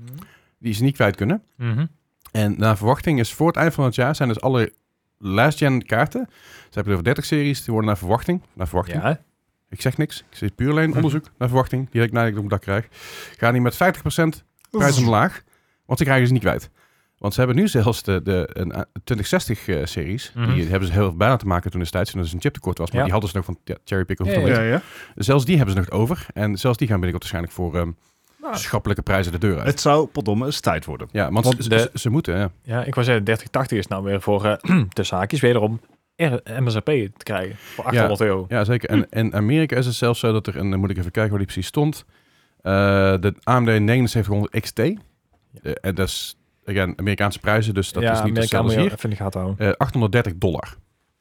S2: die ze niet kwijt kunnen.
S4: Mhm.
S2: En naar verwachting is voor het eind van het jaar zijn dus alle last-gen kaarten. Ze hebben het over 30 series, die worden naar verwachting. Naar verwachting.
S4: ja.
S2: Ik zeg niks. Ik zeg puur alleen onderzoek naar verwachting. Die ik nadenk op dat krijg. Gaan die met 50% prijs omlaag. Want ze krijgen ze niet kwijt. Want ze hebben nu zelfs de, de een, eh, 2060 eh, series.
S4: Mhm.
S2: Die hebben ze heel veel bijna te maken toen destijds. Toen er dus een chiptekort was. Maar
S4: Ja.
S2: die hadden ze nog van ja, Cherry Pick of
S4: Ja,
S2: Toledo.
S3: Ja, ja.
S2: Zelfs die hebben ze nog over. En zelfs die gaan binnenkort waarschijnlijk voor ehm,
S4: Nou.
S2: schappelijke prijzen de deur uit.
S3: Het zou potdomme eens tijd worden.
S2: ja, want,
S4: Want
S2: ze,
S4: de-
S2: ze- ze moeten. Ja.
S4: ja, ik wou zeggen, 3080 is nou weer voor eh tussen haakjes wederom R MSRP te krijgen voor 800 euro.
S2: Ja, zeker. En
S4: Hm.
S2: in Amerika is het zelfs zo dat er, en dan moet ik even kijken waar die precies stond, Eh, de AMD 7900 XT, Eh, en dat is again, Amerikaanse prijzen, dus dat
S4: ja,
S2: is niet
S4: Amerika
S2: hetzelfde
S4: moet
S2: als
S4: je
S2: hier.
S4: even in de gaten houden.
S2: Eh, 830 dollar.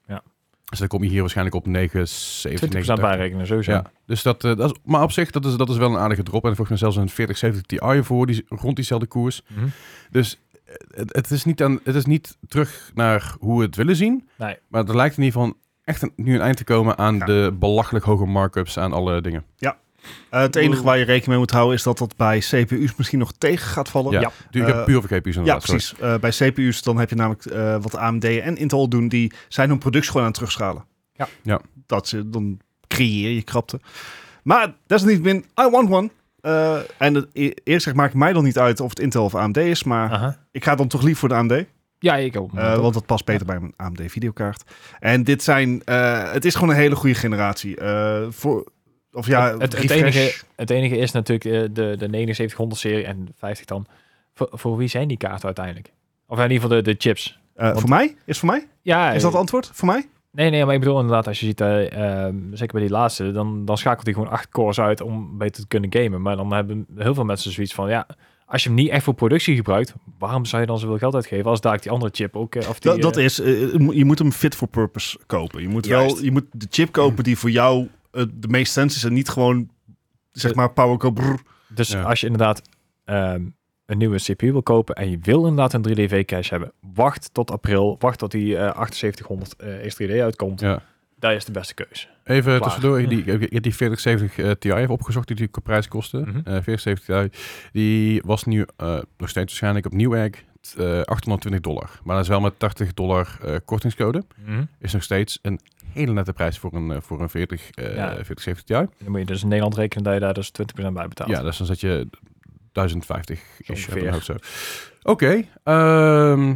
S4: Ja.
S2: Dus dan kom je hier waarschijnlijk op
S4: 20%
S2: 9,70.
S4: bijrekenen, sowieso.
S2: Ja, dus dat, eh, dat is, maar op zich, dat is, dat is wel een aardige drop. En volgens mij zelfs een 4070 Ti voor, die, rond diezelfde koers.
S4: Mhm.
S2: Dus eh, het, het, is niet aan, het is niet terug naar hoe we het willen zien.
S4: Nee.
S2: Maar er lijkt in ieder geval echt een, nu een eind te komen aan
S3: Ja.
S2: de belachelijk hoge markups aan alle dingen.
S3: Eh, het enige waar je rekening mee moet houden is dat dat bij CPU's misschien nog tegen gaat vallen.
S2: Ja,
S4: Ja.
S2: Du-
S3: Eh,
S2: puur voor GPU's
S3: Ja,
S2: inderdaad. Oh, sorry.
S3: precies. Eh, bij CPU's dan heb je namelijk eh, wat AMD en Intel doen. Die zijn hun productie gewoon aan het terugschalen.
S4: Ja.
S2: Ja.
S3: Dat ze, dan creëer je krapte. Maar desalniettemin, I want one. Eh, en het, e- eerlijk gezegd maakt mij dan niet uit of het Intel of AMD is. Maar
S4: Aha.
S3: ik ga dan toch lief voor de AMD.
S4: Ja, ik ook.
S3: eh, want dat past beter bij mijn AMD videokaart. En dit zijn... eh, het is gewoon een hele goede generatie. Eh, voor, of ja,
S4: het, het, het
S3: refresh.
S4: enige, het enige is natuurlijk eh, de, de 7900 serie en de 50 dan. Voor, voor wie zijn die kaarten uiteindelijk? Of in ieder geval de, de chips.
S3: Eh, voor mij? Is voor mij?
S4: Ja, eh,
S3: Is dat het antwoord? Voor mij?
S4: Nee, nee, maar ik bedoel inderdaad, als je ziet, eh, ehm, zeker bij die laatste, dan, dan schakelt hij gewoon acht cores uit om beter te kunnen gamen. Maar dan hebben heel veel mensen zoiets van, ja, als je hem niet echt voor productie gebruikt, waarom zou je dan zoveel geld uitgeven als daar die andere chip ook... eh, of die,
S3: Dat, dat
S4: eh,
S3: is, eh, mo- je moet hem fit for purpose kopen. Je moet, wel,
S4: Juist.
S3: je moet de chip kopen die voor jou eh, de meest sens is en niet gewoon, zeg maar, powerco. brrr.
S4: Dus
S2: Ja.
S4: als je inderdaad ehm, een nieuwe CPU wil kopen en je wil inderdaad een 3D-V-cache hebben, wacht tot april, wacht tot die eh, 7800 eh X3D uitkomt.
S2: Ja.
S4: Dat is de beste keuze.
S2: Even
S4: Klaar.
S2: tussendoor, die, ik heb die 4070 eh, Ti even opgezocht die die qua prijs kostte.
S4: Mhm.
S2: Eh, 4070 Ti, die was nu eh, nog steeds waarschijnlijk op Newegg eh 820 dollar. Maar dat is wel met 80 dollar eh, kortingscode. Is nog steeds een hele nette prijs voor een, eh, voor een 40, eh
S4: Ja.
S2: 4070 Ti.
S4: Dan moet je dus in Nederland rekenen dat je daar dus 20% bij betaalt.
S2: Ja, dus dan zet je 1050
S4: Zo
S2: ish uit
S4: ongeveer.
S2: mijn hoofd zo. Oké, ehm,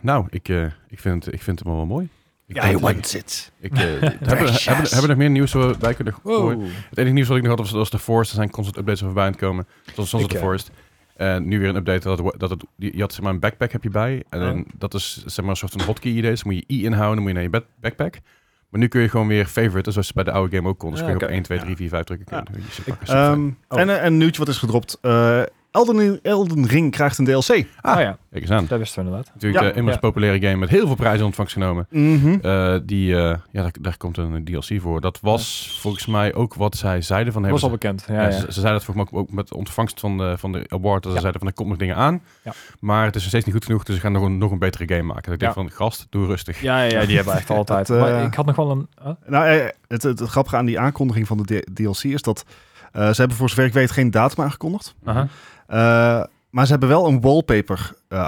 S2: nou, ik, eh, ik, vind, ik vind hem wel mooi. Ik
S3: I
S2: denk-
S3: want it.
S2: ik, eh, hebben, hebben, hebben er nog meer nieuws waar we bij kunnen gooien?
S4: Wow.
S2: Het enige nieuws wat ik nog had was, was de Forest. Er zijn constant updates over voorbij aan het komen. Zoals soms
S4: Ik,
S2: de
S4: eh,
S2: Forest. En nu weer een update dat, het- dat het, je had zeg maar een backpack heb je bij. En dan-
S4: Oh.
S2: dat is zeg maar een soort van hotkey idee. Dus moet je I inhouden, dan moet je naar je bed- backpack. Maar nu kun je gewoon weer favorite, zoals ze bij de oude game ook kon. Dus
S4: Ja,
S2: kun je
S4: Ah, oké.
S2: op 1, 2,
S4: Ja.
S2: 3, 4, 5 drukken. Kun je-
S3: Ja.
S2: kun je ze pakken. Super fijn.
S3: Ehm, En eh, een nieuwtje wat is gedropt. Eh, Elden, Elden Ring krijgt een DLC.
S2: Ah.
S4: Ah ja,
S2: Kijk eens aan.
S4: dat wisten we inderdaad.
S2: Natuurlijk
S3: Ja.
S2: de immers
S4: Ja.
S2: populaire game met heel veel prijzen in ontvangst genomen.
S3: Mhm.
S2: Eh, die, eh, ja, daar, daar komt een DLC voor. Dat was volgens mij ook wat zij zeiden van... hey,
S4: was
S2: we-
S4: al bekend. Ja,
S2: Ja,
S4: ja,
S2: Ze, ze zeiden dat volgens mij ook, ook met de ontvangst van de, van de award. Dat ze
S4: Ja.
S2: zeiden van, er komt nog dingen aan.
S4: Ja.
S2: Maar het is nog steeds niet goed genoeg. Dus we gaan nog een, nog een betere game maken. Dat ik denk van, gast, doe rustig.
S4: Ja, ja, die hebben we echt altijd.
S3: Dat, eh,
S4: maar ik had nog wel een... huh?
S3: Nou, eh, het, het, het grappige aan die aankondiging van de D- DLC is dat eh, ze hebben voor zover ik weet geen datum aangekondigd.
S2: Mhm.
S4: Aha.
S3: Eh, maar ze hebben wel een wallpaper eh,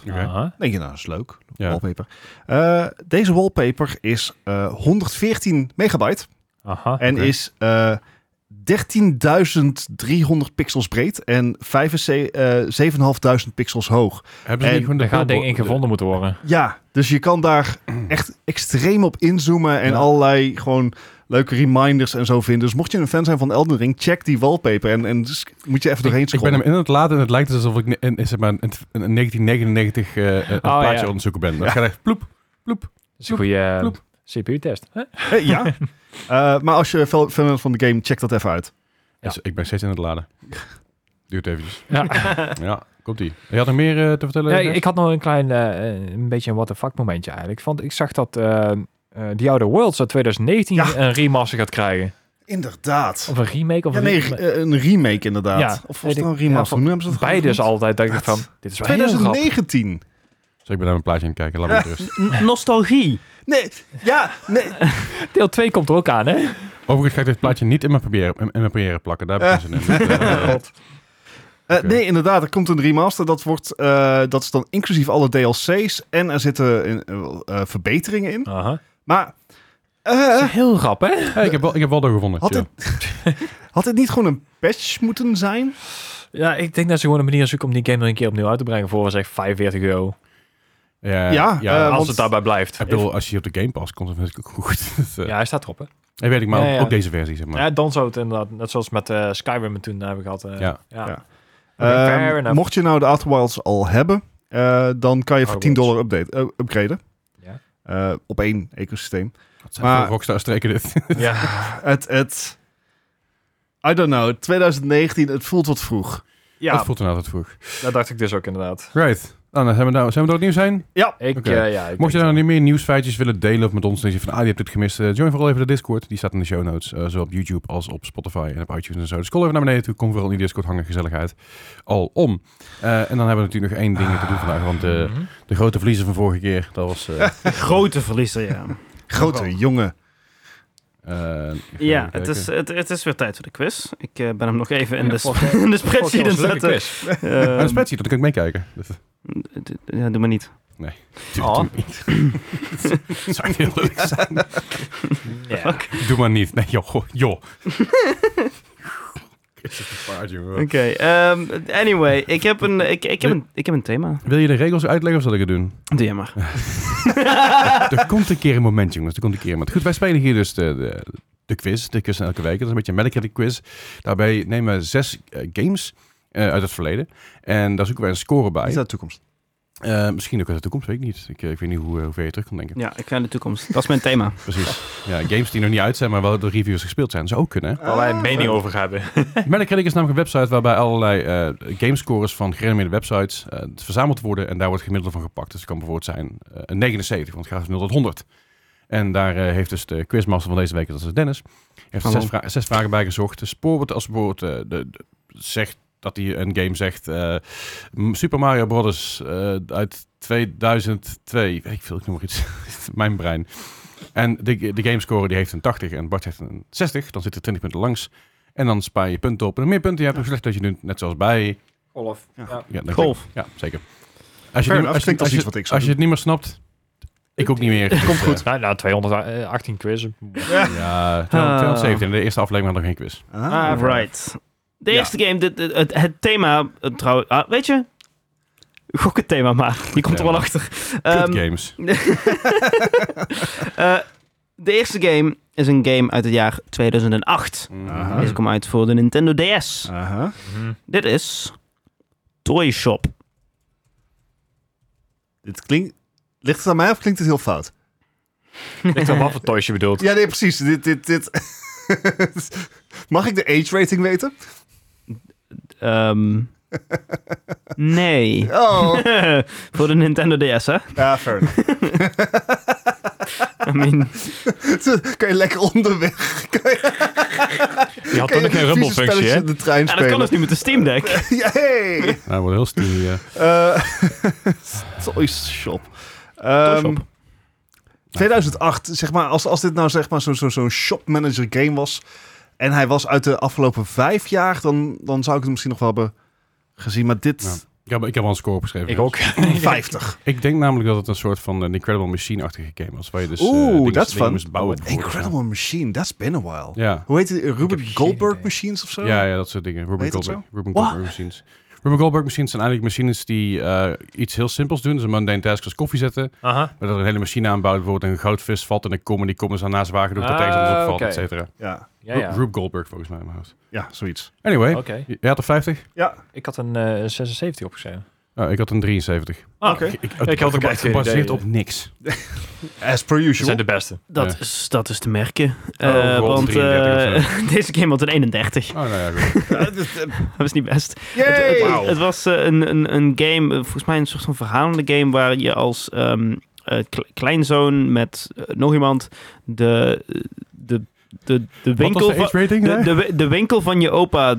S2: Oké.
S4: Aha.
S3: Denk je, nou, dat is leuk.
S2: Ja.
S3: Wallpaper. Eh, deze wallpaper is eh, 114 megabyte.
S4: Aha.
S3: En
S2: Ah, Oké.
S3: is eh 13.300 pixels breed en 7500, eh 7.500 pixels hoog.
S2: Hebben ze
S3: En
S2: niet gewoon de
S4: Daar gaat ding in
S2: billboard-
S4: gevonden moeten worden.
S3: Ja, dus je kan daar echt extreem op inzoomen en
S4: Ja.
S3: allerlei gewoon leuke reminders en zo vinden. Dus mocht je een fan zijn van Elden Ring, check die wallpaper en, en s- moet je even doorheen
S2: Ik ben
S3: scrollen.
S2: hem in het laten en het lijkt alsof ik ne- in, in, zeg maar, in, in 1999 eh, een een
S4: Oh, ja.
S2: plaatje aan het zoeken ben. Dan ga je echt ploep, ploep.
S4: Dat is een goede
S2: ploep.
S4: CPU-test. Huh?
S3: Eh, ja. Eh, maar als je fel- fan bent van de game, check dat even uit.
S4: Ja.
S2: Dus ik ben steeds in het laden. Duurt eventjes.
S4: Ja.
S2: Ja, komt-ie. Je had nog meer eh, te vertellen?
S4: Ja,
S2: Jess?
S4: ik had nog een klein, eh, een beetje een what the fuck momentje eigenlijk. Want ik zag dat eh eh, The Outer Worlds uit 2019
S3: Ja.
S4: een remaster gaat krijgen.
S3: Inderdaad.
S4: Of een remake of
S3: Ja,
S4: een
S3: nee,
S4: remake.
S3: eh, een remake inderdaad.
S4: Ja,
S3: of was
S4: weet
S3: het nou een
S4: ik. Ja,
S3: remaster?
S4: van
S3: Hoe hebben ze dat
S4: eh, Beide is
S3: genoemd?
S4: altijd dat ik dacht van, dit is wel heel grappig.
S3: 2019.
S2: Dus ik ben naar mijn plaatje aan het kijken. Laat me met rust.
S1: N- nostalgie.
S3: Nee, ja, nee, eh,
S4: Deel 2 komt er ook aan, hè?
S2: Overigens ga ik dit plaatje niet in mijn première, in, in mijn première plakken. Daar heb ik geen zin in. Dus, eh,
S3: Eh,
S2: Oké.
S3: Nee, inderdaad. Er komt een remaster. Dat, wordt, eh, dat is dan inclusief alle DLC's. En er zitten in- eh, eh, verbeteringen in.
S4: Aha.
S3: Maar
S4: Dat
S3: eh,
S4: is heel grappig, hè?
S2: Hey, ik, heb wel, ik heb Waldo gevonden.
S3: had,
S2: chill.
S3: het, had het niet gewoon een patch moeten zijn?
S4: Ja, ik denk dat ze gewoon een manier zoeken om die game nog een keer opnieuw uit te brengen voor, zeg, 45 euro.
S2: Ja,
S3: Ja, eh,
S4: als
S3: want-
S4: het daarbij blijft.
S2: ik bedoel, als je op de Game Pass komt, dan vind ik het ook goed. Dus, eh,
S4: Ja, hij staat erop, hè?
S2: dat weet ik, maar
S4: Ja, ja.
S2: ook deze versie, zeg maar.
S4: Ja, dan zou het inderdaad, net zoals met eh, Skyrim en toen hebben we gehad. eh,
S2: Ja.
S4: ja.
S3: Ja.
S4: Oké, fair
S3: Ehm,
S4: enough.
S3: mocht je nou de Outer Wilds al hebben, eh, dan kan je voor
S4: Outer
S3: 10 dollar update, eh, upgraden.
S4: Ja.
S3: Eh, op één ecosysteem.
S2: Wat zijn
S3: maar-
S2: veel Rockstar streken dit.
S4: ja.
S3: Het, het, I don't know, 2019, het voelt wat vroeg.
S2: Dat
S4: Ja,
S2: voelt inderdaad het vroeg.
S4: dat dacht ik dus ook inderdaad.
S2: Right. Nou, dan zijn we, nou, zijn we door het nieuws heen?
S4: Ik,
S2: Oké.
S4: eh, ja, ik
S2: Mocht je
S4: denk
S2: nou
S4: het
S2: niet meer nieuwsfeitjes willen delen of met ons, dan zeg je van, ah, je hebt dit gemist. eh, join vooral even de Discord. Die staat in de show notes, eh, zowel op YouTube als op Spotify en op iTunes en zo. Dus scroll even naar beneden toe, kom vooral in die Discord hangen, gezelligheid. Al om. Eh, en dan hebben we natuurlijk nog één ding te doen vandaag, want
S4: wel.
S2: eh,
S1: Ah.
S4: Mhm.
S2: de grote verliezer van vorige keer, dat was... eh,
S1: Grote verliezer, ja.
S3: Grote jongen.
S2: eh, even
S1: ja,
S2: kijken.
S1: het is, het, het is weer tijd voor de quiz. Ik eh, ben hem nog even in
S4: Ja,
S1: de,
S4: fuck,
S1: sp- in de spreadsheet
S4: Fuck,
S1: aan
S4: dat was
S1: het
S4: een leuke
S1: zetten.
S4: quiz.
S2: Ah, een spreadsheet, dat kan ik meekijken. Dat
S1: Ehm, d- d- ja, doe maar niet.
S4: Oh.
S2: doe niet. Dat zou heel leuk zijn.
S4: Ja.
S2: Doe maar niet. Nee, joh. goh, joh. Is het een paard, jongen.
S1: Oké, ehm, anyway. Ik heb, een, ik, ik, heb een, ik heb een thema.
S2: Wil je de regels uitleggen of zal ik het doen?
S1: Doe jij maar.
S2: er komt een keer een moment, jongens. Er komt een keer een moment. Goed, wij spelen hier dus de, de, de quiz. De quiz van elke week. Dat is een beetje een Metacritic quiz. Daarbij nemen we zes eh, games eh, uit het verleden. En daar zoeken wij een score bij.
S3: Is dat de toekomst?
S2: Eh, misschien ook uit de toekomst, weet ik niet. Ik, eh, ik weet niet hoe, eh, hoe ver je terug kan denken.
S1: Ja, ik ga in de toekomst. Dat is mijn thema.
S2: Precies. Ja, games die nog niet uit zijn, maar wel door reviews gespeeld zijn. Zou ook kunnen, hè?
S4: Waar wij een mening over hebben.
S2: Metacritic is namelijk een website waarbij allerlei eh, gamescores van gerenommeerde websites eh, verzameld worden. En daar wordt het gemiddelde van gepakt. Dus het kan bijvoorbeeld zijn eh, een 79, want het gaat van 0 tot 100. En daar eh, heeft dus de quizmaster van deze week, dat is Dennis, heeft er
S1: Hallo.
S2: zes, vra- zes vragen bij gezocht. Dus bijvoorbeeld als bijvoorbeeld eh, de, de- zegt dat hij een game zegt, eh, M- Super Mario Brothers eh, uit 2002, weet ik veel, ik noem maar iets, mijn brein. En de, de gamescore die heeft een 80 en Bart heeft een 60, dan zit er 20 punten langs. En dan spaar je punten op. En hoe meer punten je hebt, hoe slecht dat je doet. Net zoals bij...
S4: Olaf.
S3: Ja.
S4: Ja.
S2: Ja, dat
S1: Golf.
S2: Ja, zeker. Als je,
S3: Fair
S2: het niet-
S3: enough.
S2: als, je,
S3: Klinkt als
S2: als, je,
S3: iets wat ik zou
S2: als je het niet meer snapt... Ik ook niet meer. Dus,
S4: Komt
S2: eh,
S4: goed. Nou, nou 218 quiz.
S2: ja, 217. In de eerste aflevering hadden we geen quiz.
S1: Ah, right. De eerste game, dit- dit- het, het thema, eh, trouwens, ah, weet je? Gok het thema maar, je komt er wel
S2: thema.
S1: achter.
S2: Good
S1: Ehm,
S2: games.
S1: eh, de eerste game is een game uit het jaar 2008.
S2: Mm. Ah.
S3: Aha.
S1: Deze kwam uit voor de Nintendo DS.
S3: Aha.
S4: Mhm.
S1: Dit is Toy Shop.
S3: Dit klinkt... Ligt het aan mij of klinkt het heel fout?
S4: Ik dacht wat voor toys je bedoelt.
S3: Ja, nee, precies. Dit, dit, dit. Mag ik de age rating weten?
S1: Ehm, nee.
S3: Oh,
S1: voor de Nintendo DS, hè?
S3: ja, fair enough.
S1: I mean,
S3: kan je lekker onderweg.
S4: Je had
S3: Kan je
S4: toch nog geen
S3: vieze
S4: rumbelfunctie,
S3: spelletjes
S4: hè?
S3: in de trein
S1: ja, dat kan
S3: spelen.
S1: dus niet met de Steam Deck.
S3: Ja, hey!
S2: Nou, wordt heel steamy. eh.
S3: Eh, Toy Shop. Ehm,
S1: Shop.
S3: 2008, zeg maar, als, als dit nou zeg maar zo'n zo, zo'n shopmanager game was... en hij was uit de afgelopen vijf jaar... dan, dan zou ik het misschien nog wel hebben gezien. Maar dit,
S2: Ja. Ik, heb, ik heb al een score opgeschreven.
S4: Ik ook.
S3: 50.
S2: Ik denk namelijk dat het een soort van eh, een Incredible Machine-achtige game was. Waar je dus eh,
S3: Oeh,
S2: dingen-
S3: dat is
S2: dingen
S3: fun. Oh,
S2: moest bouwen. bijvoorbeeld.
S3: Incredible Machine, that's been a while.
S2: Ja.
S3: Hoe heet het? Ruben
S4: heb geen
S3: Goldberg
S4: idee.
S3: Machines of zo?
S2: Ja, ja, dat soort dingen. Ruben
S3: Heet dat
S2: Goldberg, Ruben Goldberg machines. Ruben Goldberg machines zijn eigenlijk machines die eh, iets heel simpels doen. Dus een mundane task als koffie zetten.
S4: Aha.
S2: Maar dat er een hele machine aanbouwt. Bijvoorbeeld een goudvis valt en een kom. En die kom is daarna zwaar genoeg dat
S4: Ah,
S2: tegenstander opvalt,
S4: oké.
S2: et cetera.
S3: Ja,
S4: Ja, ja.
S2: Ru- Rube Goldberg volgens mij in mijn hoofd.
S3: ja zoiets.
S2: Anyway,
S4: Oké.
S2: je jij had er 50?
S3: Ja,
S4: Ik had een eh, 76 opgeschreven.
S2: Oh, ik had een 73.
S4: Ah,
S3: Oké.
S2: Ik,
S4: Ik had ook echt
S2: echt
S4: geen
S2: gebaseerd
S4: idee.
S2: op niks.
S3: as per
S4: Ze
S3: usual.
S4: zijn de beste.
S1: Dat,
S2: Ja.
S1: is, dat is te merken.
S2: Oh,
S1: Eh,
S2: God,
S1: want
S2: 33 of
S1: eh, deze game had een 31.
S2: Oh, nou ja, goed.
S1: Dat is niet best. Het,
S3: Yay!
S1: het- het was eh, een, een, een game, eh, volgens mij een soort van verhalende game, waar je als ehm, eh, kle- kleinzoon met eh, nog iemand de, de, de, de,
S2: Wat was
S1: winkel
S2: de
S1: van,
S2: age rating
S1: de,
S2: daar?
S1: de, wi- de winkel van je opa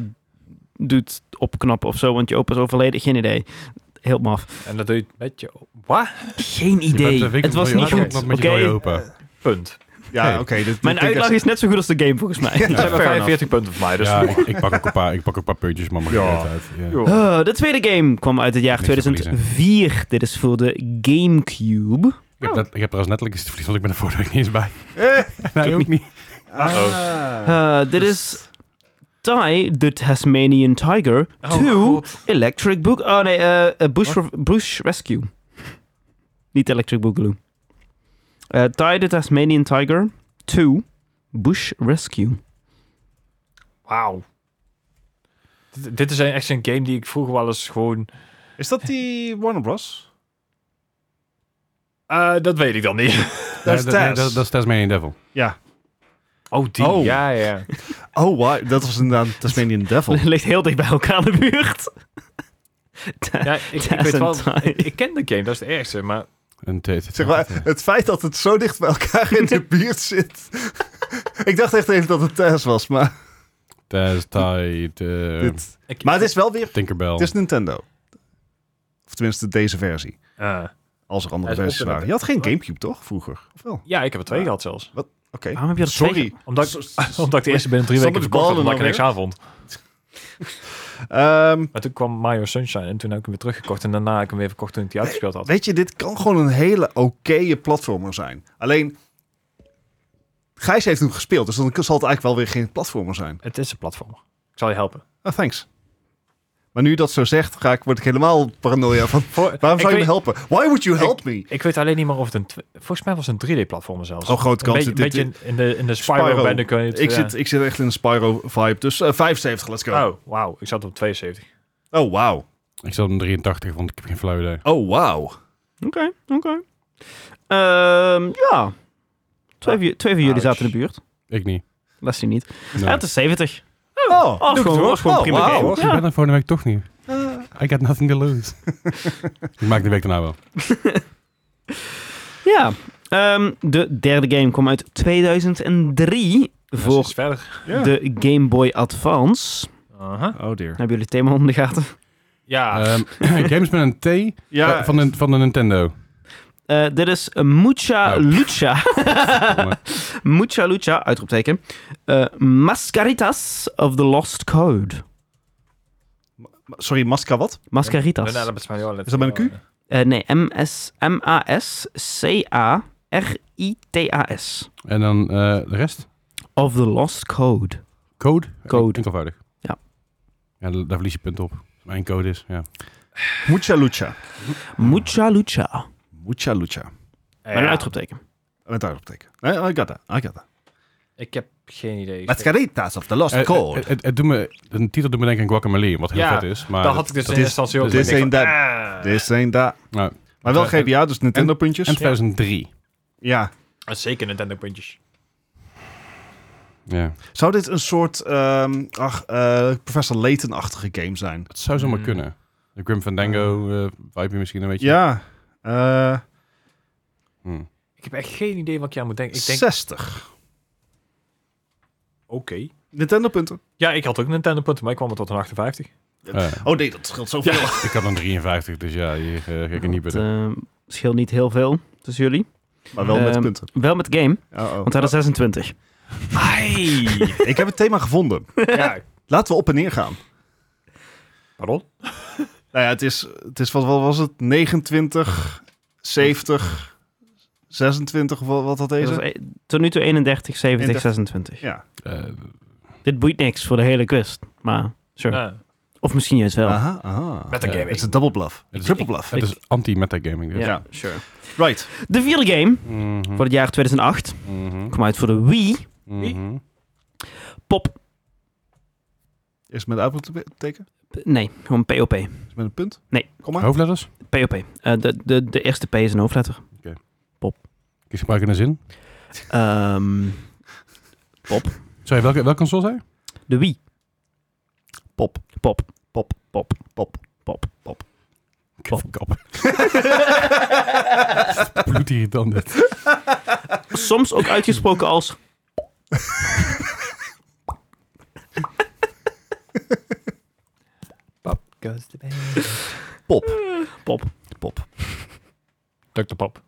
S1: doet opknappen of zo, want je opa is overleden, geen idee. Heel maf.
S4: En dat doe je met je... Wat?
S1: Geen
S2: Je bent
S1: idee.
S2: de winkel
S1: Het was
S2: van je
S1: niet
S2: opa,
S1: goed.
S2: dat
S1: Oké,
S2: Met je dode opa.
S4: Punt.
S3: Ja, oké. dit- dit
S1: Mijn
S3: klinkt
S1: uitleg
S3: echt-
S1: is net zo goed als de game volgens mij.
S3: Ja.
S4: Ze hebben
S3: fair
S4: 45 punten voor mij, dus...
S2: Ja, ik, ik pak ook een paar, ik pak ook een paar puntjes, maar mag
S4: Ja.
S2: niet uit. Ja.
S4: Joh.
S1: Eh, de tweede game kwam uit het jaar
S2: Niks te verliezen.
S1: 2004. Dit is voor de GameCube.
S2: Ik, heb dat, ik heb trouwens letterlijk iets te verliezen, want ik ben er vorige week niet eens bij.
S3: Eh,
S2: Nee, ook niet.
S3: ah.
S1: Eh, dit is Ty, the Tasmanian Tiger,
S4: Oh,
S1: to
S4: God.
S1: Electric Book... Oh nee, eh, eh, Bush, Bush Rescue. Niet Electric Boogaloo. Eh Ty, the Tasmanian Tiger, to Bush Rescue.
S4: Wauw. Dit, dit is een- echt een game die ik vroeger wel eens gewoon...
S3: Is dat die Warner Bros?
S4: Eh, dat weet ik dan niet.
S3: Dat is
S2: Nee, dat- nee,
S3: Taz.
S2: Dat dat is Tasmanian Devil.
S3: Ja.
S4: Oh, die.
S3: Oh.
S4: Ja, ja.
S3: Oh, wow. dat was inderdaad Tasmanian Devil.
S1: Ligt heel dicht bij elkaar in de buurt.
S4: ja ik, ik weet wel, ik, ik ken de game, dat is het ergste. Maar
S2: En dit- dit-
S3: Zeg maar, het feit dat het zo dicht bij elkaar in de buurt zit. ik dacht echt even dat het Tess was, maar,
S2: Taz, Tide,
S4: Ehm,
S2: eh,
S3: dit,
S4: ik,
S3: maar het is wel weer...
S2: Tinkerbell.
S3: Het is Nintendo. Of tenminste deze versie.
S4: Eh,
S3: Als er andere
S4: Hij is
S3: versies
S4: op de
S3: waren. Je had geen
S4: Nintendo.
S3: Gamecube, toch? Vroeger? Of wel? Oké.
S4: ja, ik heb er twee gehad zelfs.
S1: Waarom heb je dat
S3: Sorry.
S1: tegen?
S4: Omdat ik, omdat ik de eerste binnen drie
S3: Zonder
S4: weken
S3: de ballen
S4: verkocht had, omdat ik er
S3: dan
S4: niks aan vond.
S3: Ehm,
S4: Maar toen kwam Mario Sunshine en toen heb ik hem weer teruggekocht. En daarna heb ik hem weer verkocht toen ik die uitgespeeld had.
S3: weet je, dit kan gewoon een hele oké platformer zijn. Alleen, Gijs heeft hem gespeeld, dus dan zal het eigenlijk wel weer geen platformer zijn.
S4: Het is een platform. Ik zal je helpen.
S3: Ah, thanks. Maar nu je dat zo zegt, ga ik, word ik helemaal paranoia van...
S4: Voor-
S3: Waarom zou
S4: ik
S3: je me
S4: weet-
S3: helpen? Why would you help me?
S4: Ik weet alleen niet meer of het een... tw- Volgens mij was het een 3D-platformer zelfs.
S3: Oh, grote
S4: een
S3: kans.
S4: beetje,
S3: Dit- dit-
S4: beetje in- in de, in de Spyro,
S3: Spyro.
S4: Bandicoot.
S3: Ik,
S4: eh, ja.
S3: zit, ik zit echt in een Spyro-vibe, dus eh, 75, let's go.
S4: Oh, wauw. Ik zat op 72.
S3: Oh, wauw.
S2: Ik zat om 83, want ik heb geen flauw idee.
S3: Oh, wauw.
S1: Oké, oké. Ehm, ja. Twee, van ju- twee van jullie
S4: Ouch.
S1: zaten in de buurt.
S2: Ik niet.
S1: Leslie niet.
S2: Nee.
S1: En het is 70.
S3: Oh,
S1: Oh, dat is gewoon, dat is gewoon
S3: Oh,
S1: prima
S3: wauw.
S1: game.
S2: Ik
S1: Ja.
S2: ben er volgende week toch niet. I got nothing to lose. ik maak de week daarna wel.
S1: Ja. Ehm, de derde game kwam uit 2003
S4: Dus
S1: voor
S4: iets verder.
S3: Ja.
S1: de Game Boy Advance.
S4: Aha.
S3: Oh Eh, dear.
S1: Hebben jullie het thema in de gaten?
S4: Ja.
S2: Ehm, games met een T eh,
S3: Ja,
S2: van, de, van de Nintendo.
S1: Eh, dit is Mucha
S3: Nou.
S2: Oh.
S1: Lucha. Mucha Lucha, uitroepteken. Eh, Mascaritas of the Lost Code.
S3: sorry, Masca wat?
S1: Mascaritas.
S4: Banana met Spaniel.
S3: Is dat met een Q?
S1: Eh, nee, M-S- M-A-S-C-A-R-I-T-A-S.
S2: En dan eh, de rest?
S1: Of the Lost Code.
S2: Code?
S1: Code.
S2: Enkelvoudig.
S1: Ja.
S2: Ja, daar daar verlies je punten op. Als Mijn code is, ja.
S3: Mucha Lucha.
S1: Mucha Lucha.
S3: Mucha Lucha.
S1: Met een uitroepteken.
S3: Met uitroepteken. Nee, I got that. I got that.
S4: Ik heb geen idee.
S3: Mascaritas of the Lost
S2: Eh, eh,
S3: Code.
S2: Het, het, doet me, een titel doet me denken aan Guacamole, wat heel
S4: Ja,
S2: vet is. Maar
S4: dat had ik dus in
S3: is-
S4: eerste instantie ook.
S3: dit
S4: Ik denk
S3: is
S4: van,
S3: een
S4: ah.
S3: Dit zijn daar.
S2: Nou,
S3: Maar wel
S2: Eh,
S3: GBA, dus Nintendo puntjes.
S2: en 2003.
S3: ja.
S4: Dat is Ah, Zeker Nintendo puntjes.
S2: Ja.
S3: Zou dit een soort ehm, ach, eh, Professor Layton-achtige game zijn?
S2: Het zou zomaar
S4: Hmm.
S2: kunnen. De Grim Fandango eh vibe misschien een beetje.
S3: Ja. Eh,
S2: Hmm.
S4: Ik heb echt geen idee wat ik aan moet
S3: Eh,
S4: denken. Ik denk,
S3: 60.
S4: oké.
S3: Nintendo punten.
S4: Ja, ik had ook Nintendo punten, maar ik kwam er tot een 58.
S2: Eh,
S3: Oh nee, dat scheelt zoveel.
S2: ik had een 53, dus ja, hier eh, ga ik er niet bij.
S1: Het
S2: doen.
S1: scheelt niet heel veel tussen jullie.
S3: Maar wel met
S1: Ehm,
S3: punten.
S1: Wel met game,
S3: Oh,
S1: want hij had 26.
S3: oh. Ik heb het thema gevonden.
S4: ja.
S3: Laten we op en neer gaan.
S4: Pardon?
S3: Nou ja, het is, het is wat, wat was het? 29, 70, 26, of wat, wat had
S1: Dat
S3: deze?
S1: was e- Tot nu toe 31, 70,
S3: 31.
S1: 26.
S3: Ja.
S2: Eh,
S1: Dit boeit niks voor de hele quest, maar sure.
S4: Ja.
S1: Of misschien juist wel.
S3: Aha, aha.
S4: Nou, Met
S2: een gaming.
S3: Het
S4: een
S3: is
S4: gaming.
S3: een double bluff.
S2: Het is-
S3: triple bluff.
S2: het is anti-metagaming. Dus.
S1: Ja,
S3: ja.
S1: sure.
S3: Right.
S1: De vierde game
S2: Mhm,
S1: voor het jaar 2008
S2: mhm,
S1: kwam uit voor de Wii
S2: mhm.
S1: Pop.
S3: Is het met een uitroepteken?
S1: Nee, gewoon POP.
S3: Is het met een punt?
S1: Nee.
S3: Kom maar.
S2: Hoofdletters?
S1: POP. Eh, de, de, de eerste P is een hoofdletter.
S2: Ik gebruik in een zin.
S1: Ehm,
S2: Sorry, welke, welke console zei je?
S1: de Wii.
S3: Pop.
S1: Pop.
S3: Pop.
S1: Pop.
S3: Pop.
S1: Pop. Pop. Pop.
S2: Kappen. Bloedirritant dit.
S1: Soms ook uitgesproken als...
S3: Pop.
S1: Pop.
S3: Pop.
S4: Dr. Pop.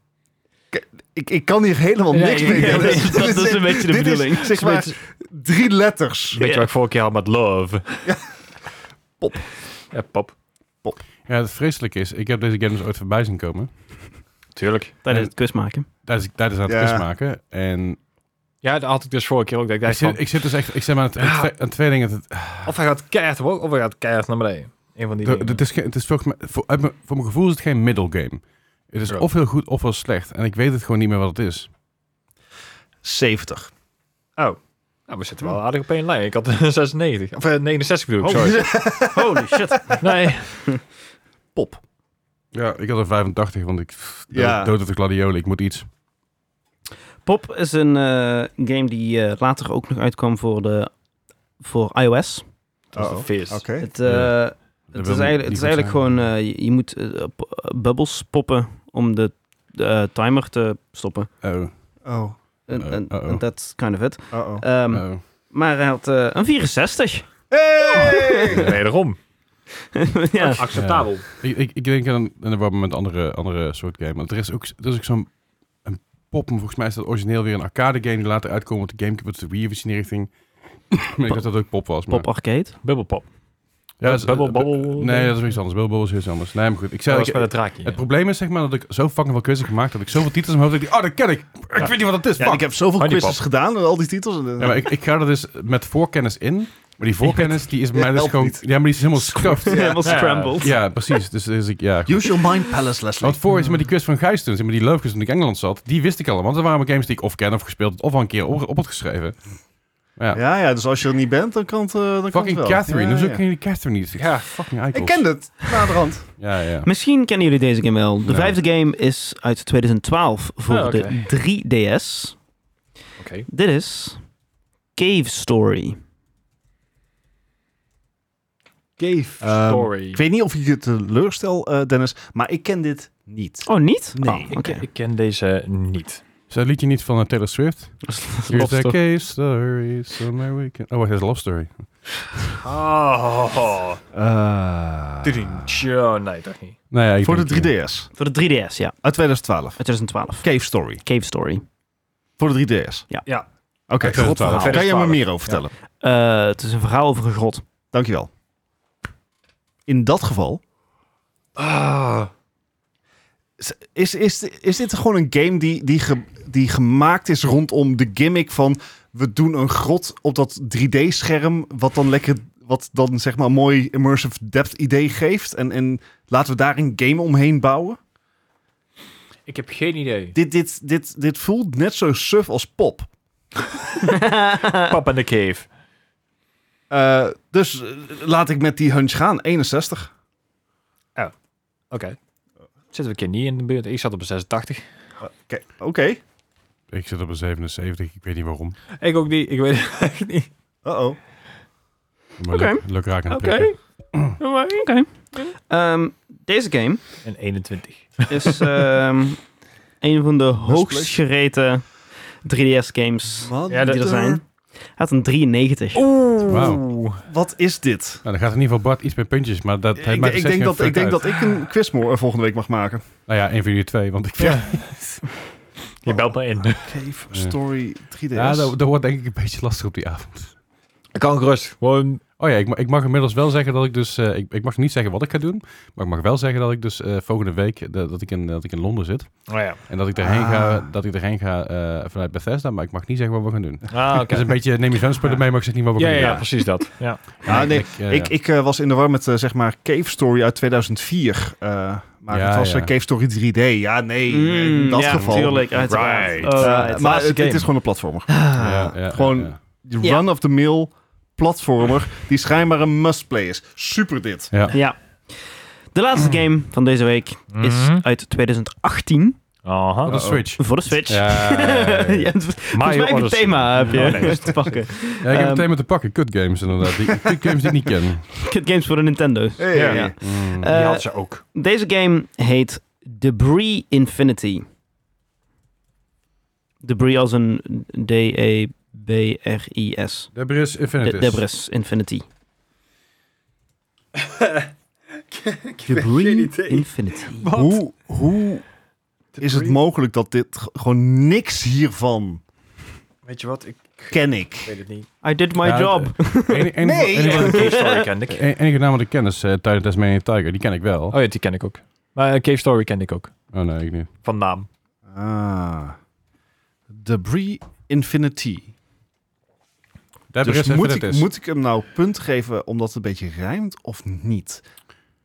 S3: Ik, ik kan hier helemaal
S4: Ja,
S3: niks
S4: ja,
S3: mee.
S4: ja,
S3: doen.
S1: dat is- dat is een beetje de
S3: dit is,
S1: bedoeling.
S3: zeg maar, drie letters.
S4: Weet je
S1: Ja.
S4: wat ik vorige keer had met Love?
S3: Pop.
S4: Ja, pop.
S2: Ja, het vreselijke is, ik heb deze game dus ooit voorbij zien komen.
S4: Tuurlijk.
S1: Tijdens het quiz maken.
S2: Tijdens tijdens aan het
S3: Ja.
S2: quiz maken. En
S4: Ja, dat had ik dus vorige keer ook. Dat ik
S2: ik
S4: dacht van,
S2: zit, ik zit dus echt, ik zit maar aan, het- aan twee- aan twee dingen. te-
S4: Of hij gaat keihard omhoog, of hij gaat keihard naar beneden. Een van die
S2: de- de-
S4: dingen.
S2: Het is, geen- het is volgens mij, voor, uit mijn- voor mijn gevoel is het geen middle game. Het is
S4: Ja.
S2: of heel goed of heel slecht. En ik weet het gewoon niet meer wat het is.
S3: 70.
S4: Nou, we zitten wel aardig op één lijn. Ik had een 96. Of eh, 69 bedoel ik, sorry.
S1: Holy shit.
S4: Nee.
S3: Pop.
S2: Ja, ik had er 85, want ik pff, dood,
S3: Ja.
S2: dood op de gladiolen. Ik moet iets.
S1: Pop is een eh, game die eh, later ook nog uitkwam voor, de, voor iOS.
S4: Dat is de
S3: Oh,
S4: feest.
S3: Oké.
S1: Het,
S2: Ja.
S1: eh,
S2: Dat
S1: het
S2: wil
S1: is eigenlijk, het
S2: niet
S1: is eigenlijk
S2: goed
S1: gewoon, eh, je, je moet eh, p- eh, bubbels poppen om de, de, eh, timer te stoppen.
S2: Oh,
S1: eh,
S3: Oh,
S1: En
S2: Uh-oh.
S1: en- en that's kind of it.
S3: oh, oh.
S1: Ehm,
S2: oh.
S1: Maar hij had eh, een 64.
S3: Hey!
S4: Wederom.
S1: ja.
S4: Acceptabel.
S2: Ik, ik, ik denk aan, aan een met andere, andere soort game. Want er is ook, er is ook zo'n een pop, maar volgens mij is dat origineel weer een arcade game die later uitkomt op de GameCube, op de Wii of iets in die richting. maar ik dacht dat het ook pop was. maar-
S1: Pop Arcade.
S4: Bubbelpop.
S2: Ja, dat is-
S4: Bubble Bobble.
S2: Nee, dat is iets anders. Bubble Bobble is iets anders. Nee, maar goed. Ik
S4: dat
S2: zei,
S4: was
S2: ik-
S4: met het draakje.
S2: het probleem is zeg maar dat ik zo fucking veel quiz heb gemaakt dat ik zoveel titels in mijn hoofd heb. Oh, dat ken ik. Ik weet niet wat het is.
S3: Ja,
S2: fuck.
S3: ik heb zoveel
S4: Honeypot.
S3: quizzes gedaan en al die titels. En,
S2: Ja, maar ik, ik ga er dus met voorkennis in. Maar die voorkennis die is bij mij dus
S3: helpt
S2: gewoon...
S3: niet.
S2: Ja, maar die is helemaal scuffed.
S1: Helemaal scrambled.
S2: Ja, precies. Dus, dus ik, ja,
S3: Use your mind palace, Leslie.
S2: Want voor is met die quiz van Gijs toen, zeg maar die love quiz toen ik in Engeland zat, die wist ik allemaal. Want dat waren games die ik of ken of gespeeld had, of al een keer op, op had geschreven. Maar ja,
S3: Ja, ja, dus als je er niet bent, dan kan het, eh, dan kan het
S2: fucking
S3: wel.
S2: Catherine.
S3: Ja,
S2: Hoezo
S3: ja.
S2: ken je die Catherine niet? Ja, fucking
S3: Ik
S2: eikels.
S3: ken het, naderhand.
S2: Ja, ja.
S1: Misschien kennen jullie deze game wel. De
S2: Nee.
S1: vijfde game is uit 2012 voor
S4: Ah, oké.
S1: de 3DS.
S4: Oké.
S1: Dit is Cave Story.
S3: Cave
S4: Story.
S3: Ehm, Ik weet niet of ik je teleurstel, eh, Dennis, maar ik ken dit niet.
S1: Oh, niet?
S3: Nee.
S1: Oh,
S4: Ik-
S1: oké.
S4: Ik ken deze niet.
S2: Is dat liedje niet van eh, Taylor Swift? Here's
S1: Love
S2: the
S1: Story.
S2: case story, somewhere we can... Oh, wacht, dat is Love Story.
S4: Oh.
S3: Eh,
S4: Nee, toch niet.
S2: Nou ja, ik
S3: voor de
S2: denk, eh,
S3: 3DS
S1: Voor de 3DS, ja.
S3: uit 2012.
S1: Uit 2012.
S3: Cave Story
S1: Cave Story.
S3: voor de 3DS.
S1: Ja.
S4: Ja.
S3: Oké,
S2: Uit 2012.
S3: godverhaal. kan je me meer over vertellen?
S1: Eh, het is een verhaal over een grot.
S3: Dankjewel. In dat geval.
S4: Ah.
S3: Is, is, is, is dit gewoon een game die, die, ge- die gemaakt is rondom de gimmick van. We doen een grot op dat 3D-scherm. Wat dan lekker. Wat dan zeg maar een mooi immersive depth idee geeft. En, en laten we daar een game omheen bouwen.
S4: Ik heb geen idee.
S3: Dit, dit, dit, dit voelt net zo suf als pop.
S4: Pap in de cave.
S3: Eh, dus eh, laat ik met die hunch gaan. 61.
S4: Oké. Zitten we een keer niet in de buurt. Ik zat op een 86.
S3: Oké. Oké.
S2: Ik zit op een 77, ik weet niet waarom.
S4: Ik ook niet. Ik weet het echt niet.
S3: Uh-oh.
S2: Maar
S1: Oké.
S2: leuk, leuk raak aan het
S4: Oké.
S2: prikken.
S1: Oké. Ehm, deze game
S4: Een 21.
S1: is ehm, een van de hoogst
S3: pleasure.
S1: gereten 3DS-games
S4: Ja, dat-
S1: die er zijn. Hij had een 93.
S4: Oeh.
S2: Wauw.
S3: Wat is dit?
S2: Nou, dan gaat in ieder geval Bart iets meer puntjes, maar dat heeft
S3: Ik,
S2: mij
S3: ik
S2: dus echt
S3: denk,
S2: geen
S3: dat, ik
S2: fuck
S3: denk
S2: uit.
S3: dat ik een quizmoor volgende week mag maken.
S2: Nou ja, één van jullie twee, want ik...
S4: Je belt me in.
S3: Cave
S2: Ja.
S3: Story 3DS.
S2: Ja, dat, dat wordt denk ik een beetje lastig op die avond.
S4: Ik kan gerust. Gewoon
S2: Oh ja, ik, ma- ik mag inmiddels wel zeggen dat ik dus... eh, ik, ik mag niet zeggen wat ik ga doen, maar ik mag wel zeggen dat ik dus eh, volgende week eh, dat, ik in, dat ik in Londen zit.
S4: Oh ja.
S2: En dat ik erheen ga,
S3: Ah.
S2: dat ik erheen ga eh, vanuit Bethesda, maar ik mag niet zeggen wat we gaan doen.
S4: Ah, oké.
S2: Het is een beetje neem je fanspullen mee, maar ik zeg niet wat we
S4: Ja,
S2: gaan
S4: ja,
S2: doen.
S4: ja, precies dat. Ja.
S3: Ja, nee,
S2: eh,
S3: ik, ik eh, was in de war met eh, zeg maar Cave Story uit 2004. eh, maar
S2: Ja,
S3: het was
S2: ja.
S3: eh, Cave Story 3D. Ja, nee, eh,
S1: Mm,
S3: in dat
S1: ja,
S3: geval.
S1: Natuurlijk, uiteraard.
S4: Right.
S1: Oh,
S3: Eh,
S1: right.
S3: maar het,
S4: game.
S3: het is gewoon een platformer.
S1: Ah,
S2: ja, ja,
S3: gewoon-
S2: ja,
S3: De
S1: Ja.
S3: Run-of-the-mill platformer die schijnbaar een must-play is. Super dit.
S2: ja. Ja.
S1: Ja. De laatste game van deze week is
S4: Mhm.
S1: uit 2018
S4: Aha.
S2: Op Oh, de Switch.
S1: voor de Switch.
S2: Ja, ja, ja, ja.
S1: Ja, Volgens mij heb je het thema heb je te pakken.
S2: Ja, ik heb
S1: Ehm,
S2: het thema te pakken. Kut games inderdaad. Die, kut games die ik niet ken.
S1: Kid Games voor de Nintendo.
S3: Hey.
S4: Ja.
S1: Ja.
S2: Mm.
S1: Eh,
S4: ze ook.
S1: Deze game heet Debris Infinity. Debris als een E D-E-B-R-I-S.
S2: Debris
S1: De
S2: Infinitis.
S1: Debris Infinity.
S4: geen
S1: Debris
S4: idee.
S1: Infinity.
S3: Hoe, hoe is het mogelijk dat dit g- gewoon niks hiervan
S4: Weet je wat? Ik
S3: ken ik?
S4: weet het niet.
S1: I did my
S2: Ja,
S1: job.
S2: Enige- enige-
S3: Nee.
S2: enige-
S4: Story kende ik.
S2: En- Enige naam wat ik ken is uh, Titan Tasmanian Tiger. Die ken ik wel.
S4: Oh ja, die ken ik ook. Maar eh, Cave Story kende ik ook.
S2: Oh nee, ik niet.
S4: Van naam.
S3: Ah. Debris Infinity.
S2: Debris
S3: Dus moet ik,
S2: Infinitis.
S3: moet ik hem nou punt geven omdat het een beetje rijmt of niet?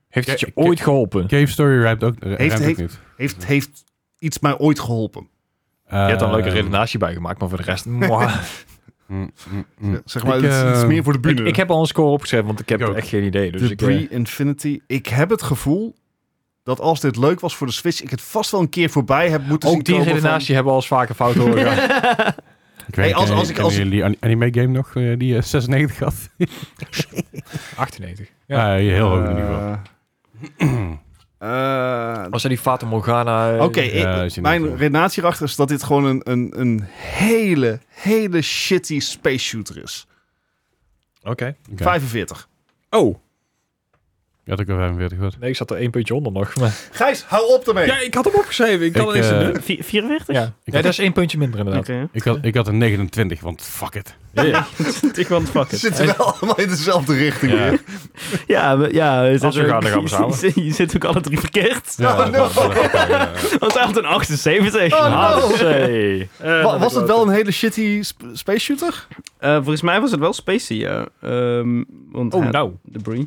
S4: Heeft het
S2: Ke-
S4: je
S2: ke-
S4: ooit geholpen?
S2: Cave Story rijmt ook, rijmt ook
S3: heeft-
S2: niet.
S3: Heeft, heeft iets mij ooit geholpen?
S4: Je hebt er een leuke
S2: Ehm,
S4: redenatie bij gemaakt, maar voor de rest... mwah.
S2: mm, mm, mm.
S3: Zeg maar,
S2: Ik,
S3: het, is- het is
S2: eh,
S3: meer voor de
S4: ik,
S3: bühne.
S4: Dus ik heb al een score opgeschreven, want ik heb
S2: Ik ook.
S4: echt geen idee. Dus
S3: Debris
S4: ik, eh,
S3: Infinity. Ik heb het gevoel dat als dit leuk was voor de Switch, ik het vast wel een keer voorbij heb moeten zien
S4: Ook die
S3: komen van-
S4: redenatie hebben we al eens vaker fout horen. gaan.
S2: Ik
S3: Hey,
S2: weet
S3: als-
S2: als,
S3: als ik- als ik-
S2: jullie an- anime game nog eh, die eh, 96 had?
S4: 98. Ja.
S2: Ja, heel hoog in ieder geval.
S3: Eh, eh,
S4: Als ze die Fata Morgana... eh,
S3: Oké,
S2: Ja,
S3: ik-
S2: is je
S3: mijn
S2: net, ja.
S3: redenatie erachter is dat dit gewoon een, een, een hele, hele shitty space shooter is.
S2: Oké.
S3: 45.
S2: Oh. Ja, dat ik wel 45 was.
S4: Nee, ik zat er één puntje onder nog. Maar...
S3: Gijs, hou op ermee!
S4: ik had hem opgeschreven.
S2: Ik, eh,
S1: Vier- 44?
S4: Ja,
S2: Ik
S4: ja
S2: had-
S4: dat is één puntje minder
S1: Oké.
S4: inderdaad.
S2: ik, had, ik had een 29, want fuck it.
S1: ik want fuck
S3: We
S1: it.
S3: zitten wel allemaal in dezelfde richting
S2: Ja.
S3: weer.
S1: Ja, we- ja we zitten
S4: we gaan,
S1: ook-
S4: dan gaan we samen.
S1: je, zit ook alle drie verkeerd.
S2: Ja,
S3: Oh,
S2: dat-
S3: no.
S2: dat- dat- ja.
S1: Want hij had een 78.
S3: Oh,
S1: Ja,
S3: no.
S1: dus, eh, eh,
S3: Wa-
S1: dat
S3: was
S1: ik
S3: het wel een hele shitty sp- space shooter?
S1: Eh, volgens mij was het wel Spacey, ja. Ehm, want
S4: Oh,
S1: hij-
S4: nou.
S1: Debris.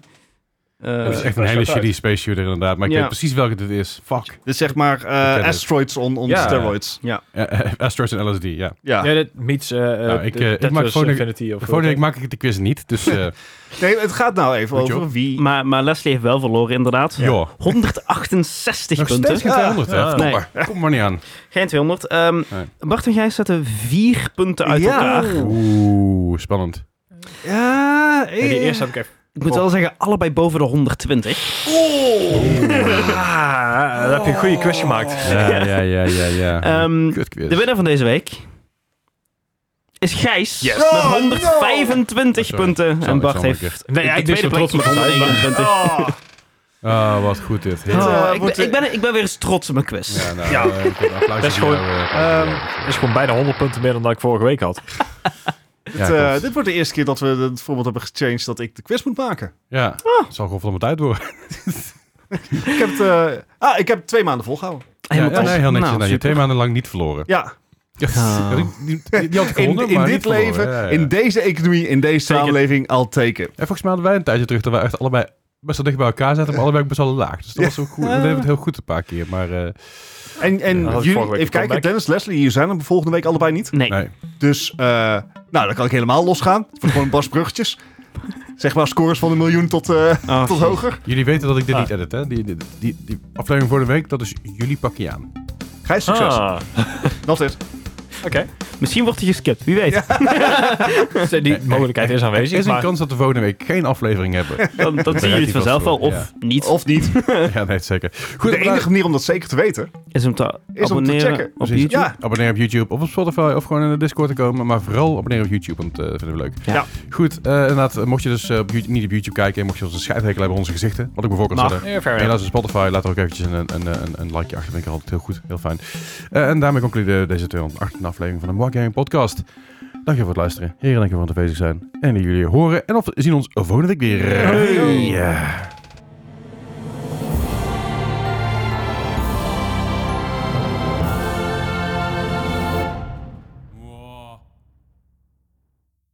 S2: Dat is
S1: Eh
S2: echt een hele shitty space shooter inderdaad, maar ik
S1: Ja.
S2: weet precies welke dit is. Fuck.
S3: Dus zeg maar eh,
S2: ken het.
S3: asteroids on, on
S4: Ja.
S3: steroids.
S2: Eh, eh, Asteroids en LSD, ja.
S3: Ja.
S4: Ja, dat meets eh eh,
S2: Nou, ik, eh, ik maak
S4: Tetris
S2: volgende-
S4: Infinity of...
S2: Volgende week maak ik de quiz niet, dus eh
S3: Nee, het gaat nou even
S2: Goed, joh.
S3: over wie...
S1: maar, maar Leslie heeft wel verloren, inderdaad.
S2: joh.
S1: 168
S2: Nog
S1: punten.
S2: steeds geen 200, hè?
S4: Ja.
S3: Ah,
S2: Kom,
S1: Nee.
S2: maar. Kom maar niet aan.
S1: Geen 200. Ehm,
S2: Nee.
S1: Bart en jij zetten vier punten uit
S3: Ja.
S1: elkaar.
S2: Oeh, spannend.
S3: Ja, eh.
S4: Ja, die eerste heb ik even...
S1: Ik moet wel zeggen, allebei boven de 120.
S4: Ah, dat heb je een goede quiz gemaakt.
S2: Ja, ja, ja, ja, ja.
S1: Ehm,
S2: Kut quiz.
S1: de winnaar van deze week is Gijs.
S4: Yes.
S1: Met 125
S2: Oh, sorry.
S1: punten.
S2: Sorry,
S1: En Bart
S2: sorry,
S1: heeft
S4: Nee, ja,
S1: de
S4: ik ben
S1: tweede
S4: zo
S1: plek
S4: trots
S1: met
S4: op mezelf.
S1: 121.
S2: Ah, wat goed dit.
S3: Oh,
S1: Oh, ik,
S3: wordt-
S1: Oh, ben, ik, ben, ik ben weer eens trots op mijn quiz.
S2: Ja, nou,
S4: Ja.
S2: eh, ik heb een applausje
S4: Dat is
S2: voor
S4: gewoon,
S2: jou, eh,
S4: ehm, Dat is gewoon bijna 100 punten meer dan dat ik vorige week had.
S3: dit,
S2: ja,
S3: eh,
S2: klopt.
S3: dit wordt de eerste keer dat we het voorbeeld hebben gechanged dat ik de quiz moet maken.
S2: ja. het zal gewoon het uit worden.
S3: Ik heb, het, eh, ah, ik heb twee maanden volgehouden.
S2: Ja, ja,
S1: top.
S2: nee, heel netjes.
S1: Nou,
S2: Nou, je
S1: super.
S2: twee maanden lang niet verloren.
S3: Ja,
S2: Ja,
S1: Ah.
S2: die- die, die- die had ik
S3: in,
S2: gewonnen,
S3: in
S2: maar
S3: dit
S2: niet verloren.
S3: leven,
S2: Ja, ja.
S3: in deze economie, in deze
S2: Zeker.
S3: samenleving, al teken.
S2: En volgens mij hadden wij een tijdje terug dat wij echt allebei best wel dicht bij elkaar zaten, maar allebei ook best wel laag. Dus dat
S3: Ja.
S2: was ook goed. We deden het heel goed een paar keer, maar eh,
S3: En, en
S2: Ja, dat
S4: was
S3: jullie,
S4: vorige week
S3: even kijken,
S4: comeback.
S3: Dennis, Leslie, jullie zijn er volgende week allebei niet.
S1: Nee.
S2: nee.
S3: Dus, eh, nou, dan kan ik helemaal losgaan. Het wordt gewoon Bas Bruggetjes. Zeg maar scores van een miljoen tot, eh,
S1: Oh,
S3: tot hoger.
S2: Jullie weten dat ik dit
S4: Ah.
S2: niet edit, hè? Die, die, die, die aflevering voor de week, dat is jullie pakje aan.
S3: Gijs, succes.
S4: Ah,
S3: Dat is.
S4: Oké.
S1: Misschien wordt hij geskipt, wie weet.
S4: Dus, eh, Die mogelijkheid is
S2: Er is
S4: aanwezig,
S2: een
S4: maar...
S2: kans dat we volgende week geen aflevering hebben.
S1: Dan, dan zien jullie het vanzelf wel, of niet.
S3: Of niet.
S2: ja, nee, zeker. Goed,
S3: De enige
S2: abonneer-
S3: manier om dat zeker te weten,
S1: Is hem te
S3: is om te
S1: abonneren
S3: checken.
S1: op
S2: Precies.
S1: YouTube.
S3: Ja,
S2: abonneer op YouTube of op Spotify of gewoon in de Discord te komen. Maar vooral abonneer op YouTube, want eh vinden we leuk.
S1: Ja.
S2: Goed, eh, inderdaad, mocht je dus eh, op YouTube- niet op YouTube kijken en mocht je ons een scheidhekel hebben aan onze gezichten, wat ik bijvoorbeeld al
S1: Mag.
S2: zei.
S4: Ja, fair
S2: En
S4: enough.
S2: laat ons op Spotify, laat er ook eventjes een, een, een, een likeje achter. Vind ik altijd heel goed, heel fijn. Eh, en daarmee concluderen deze 218 aflevering van de Mark Gaming Podcast. Dankjewel voor het luisteren. Heren, dankjewel voor het aanwezig zijn. En jullie horen en of zien ons volgende week weer. Ja.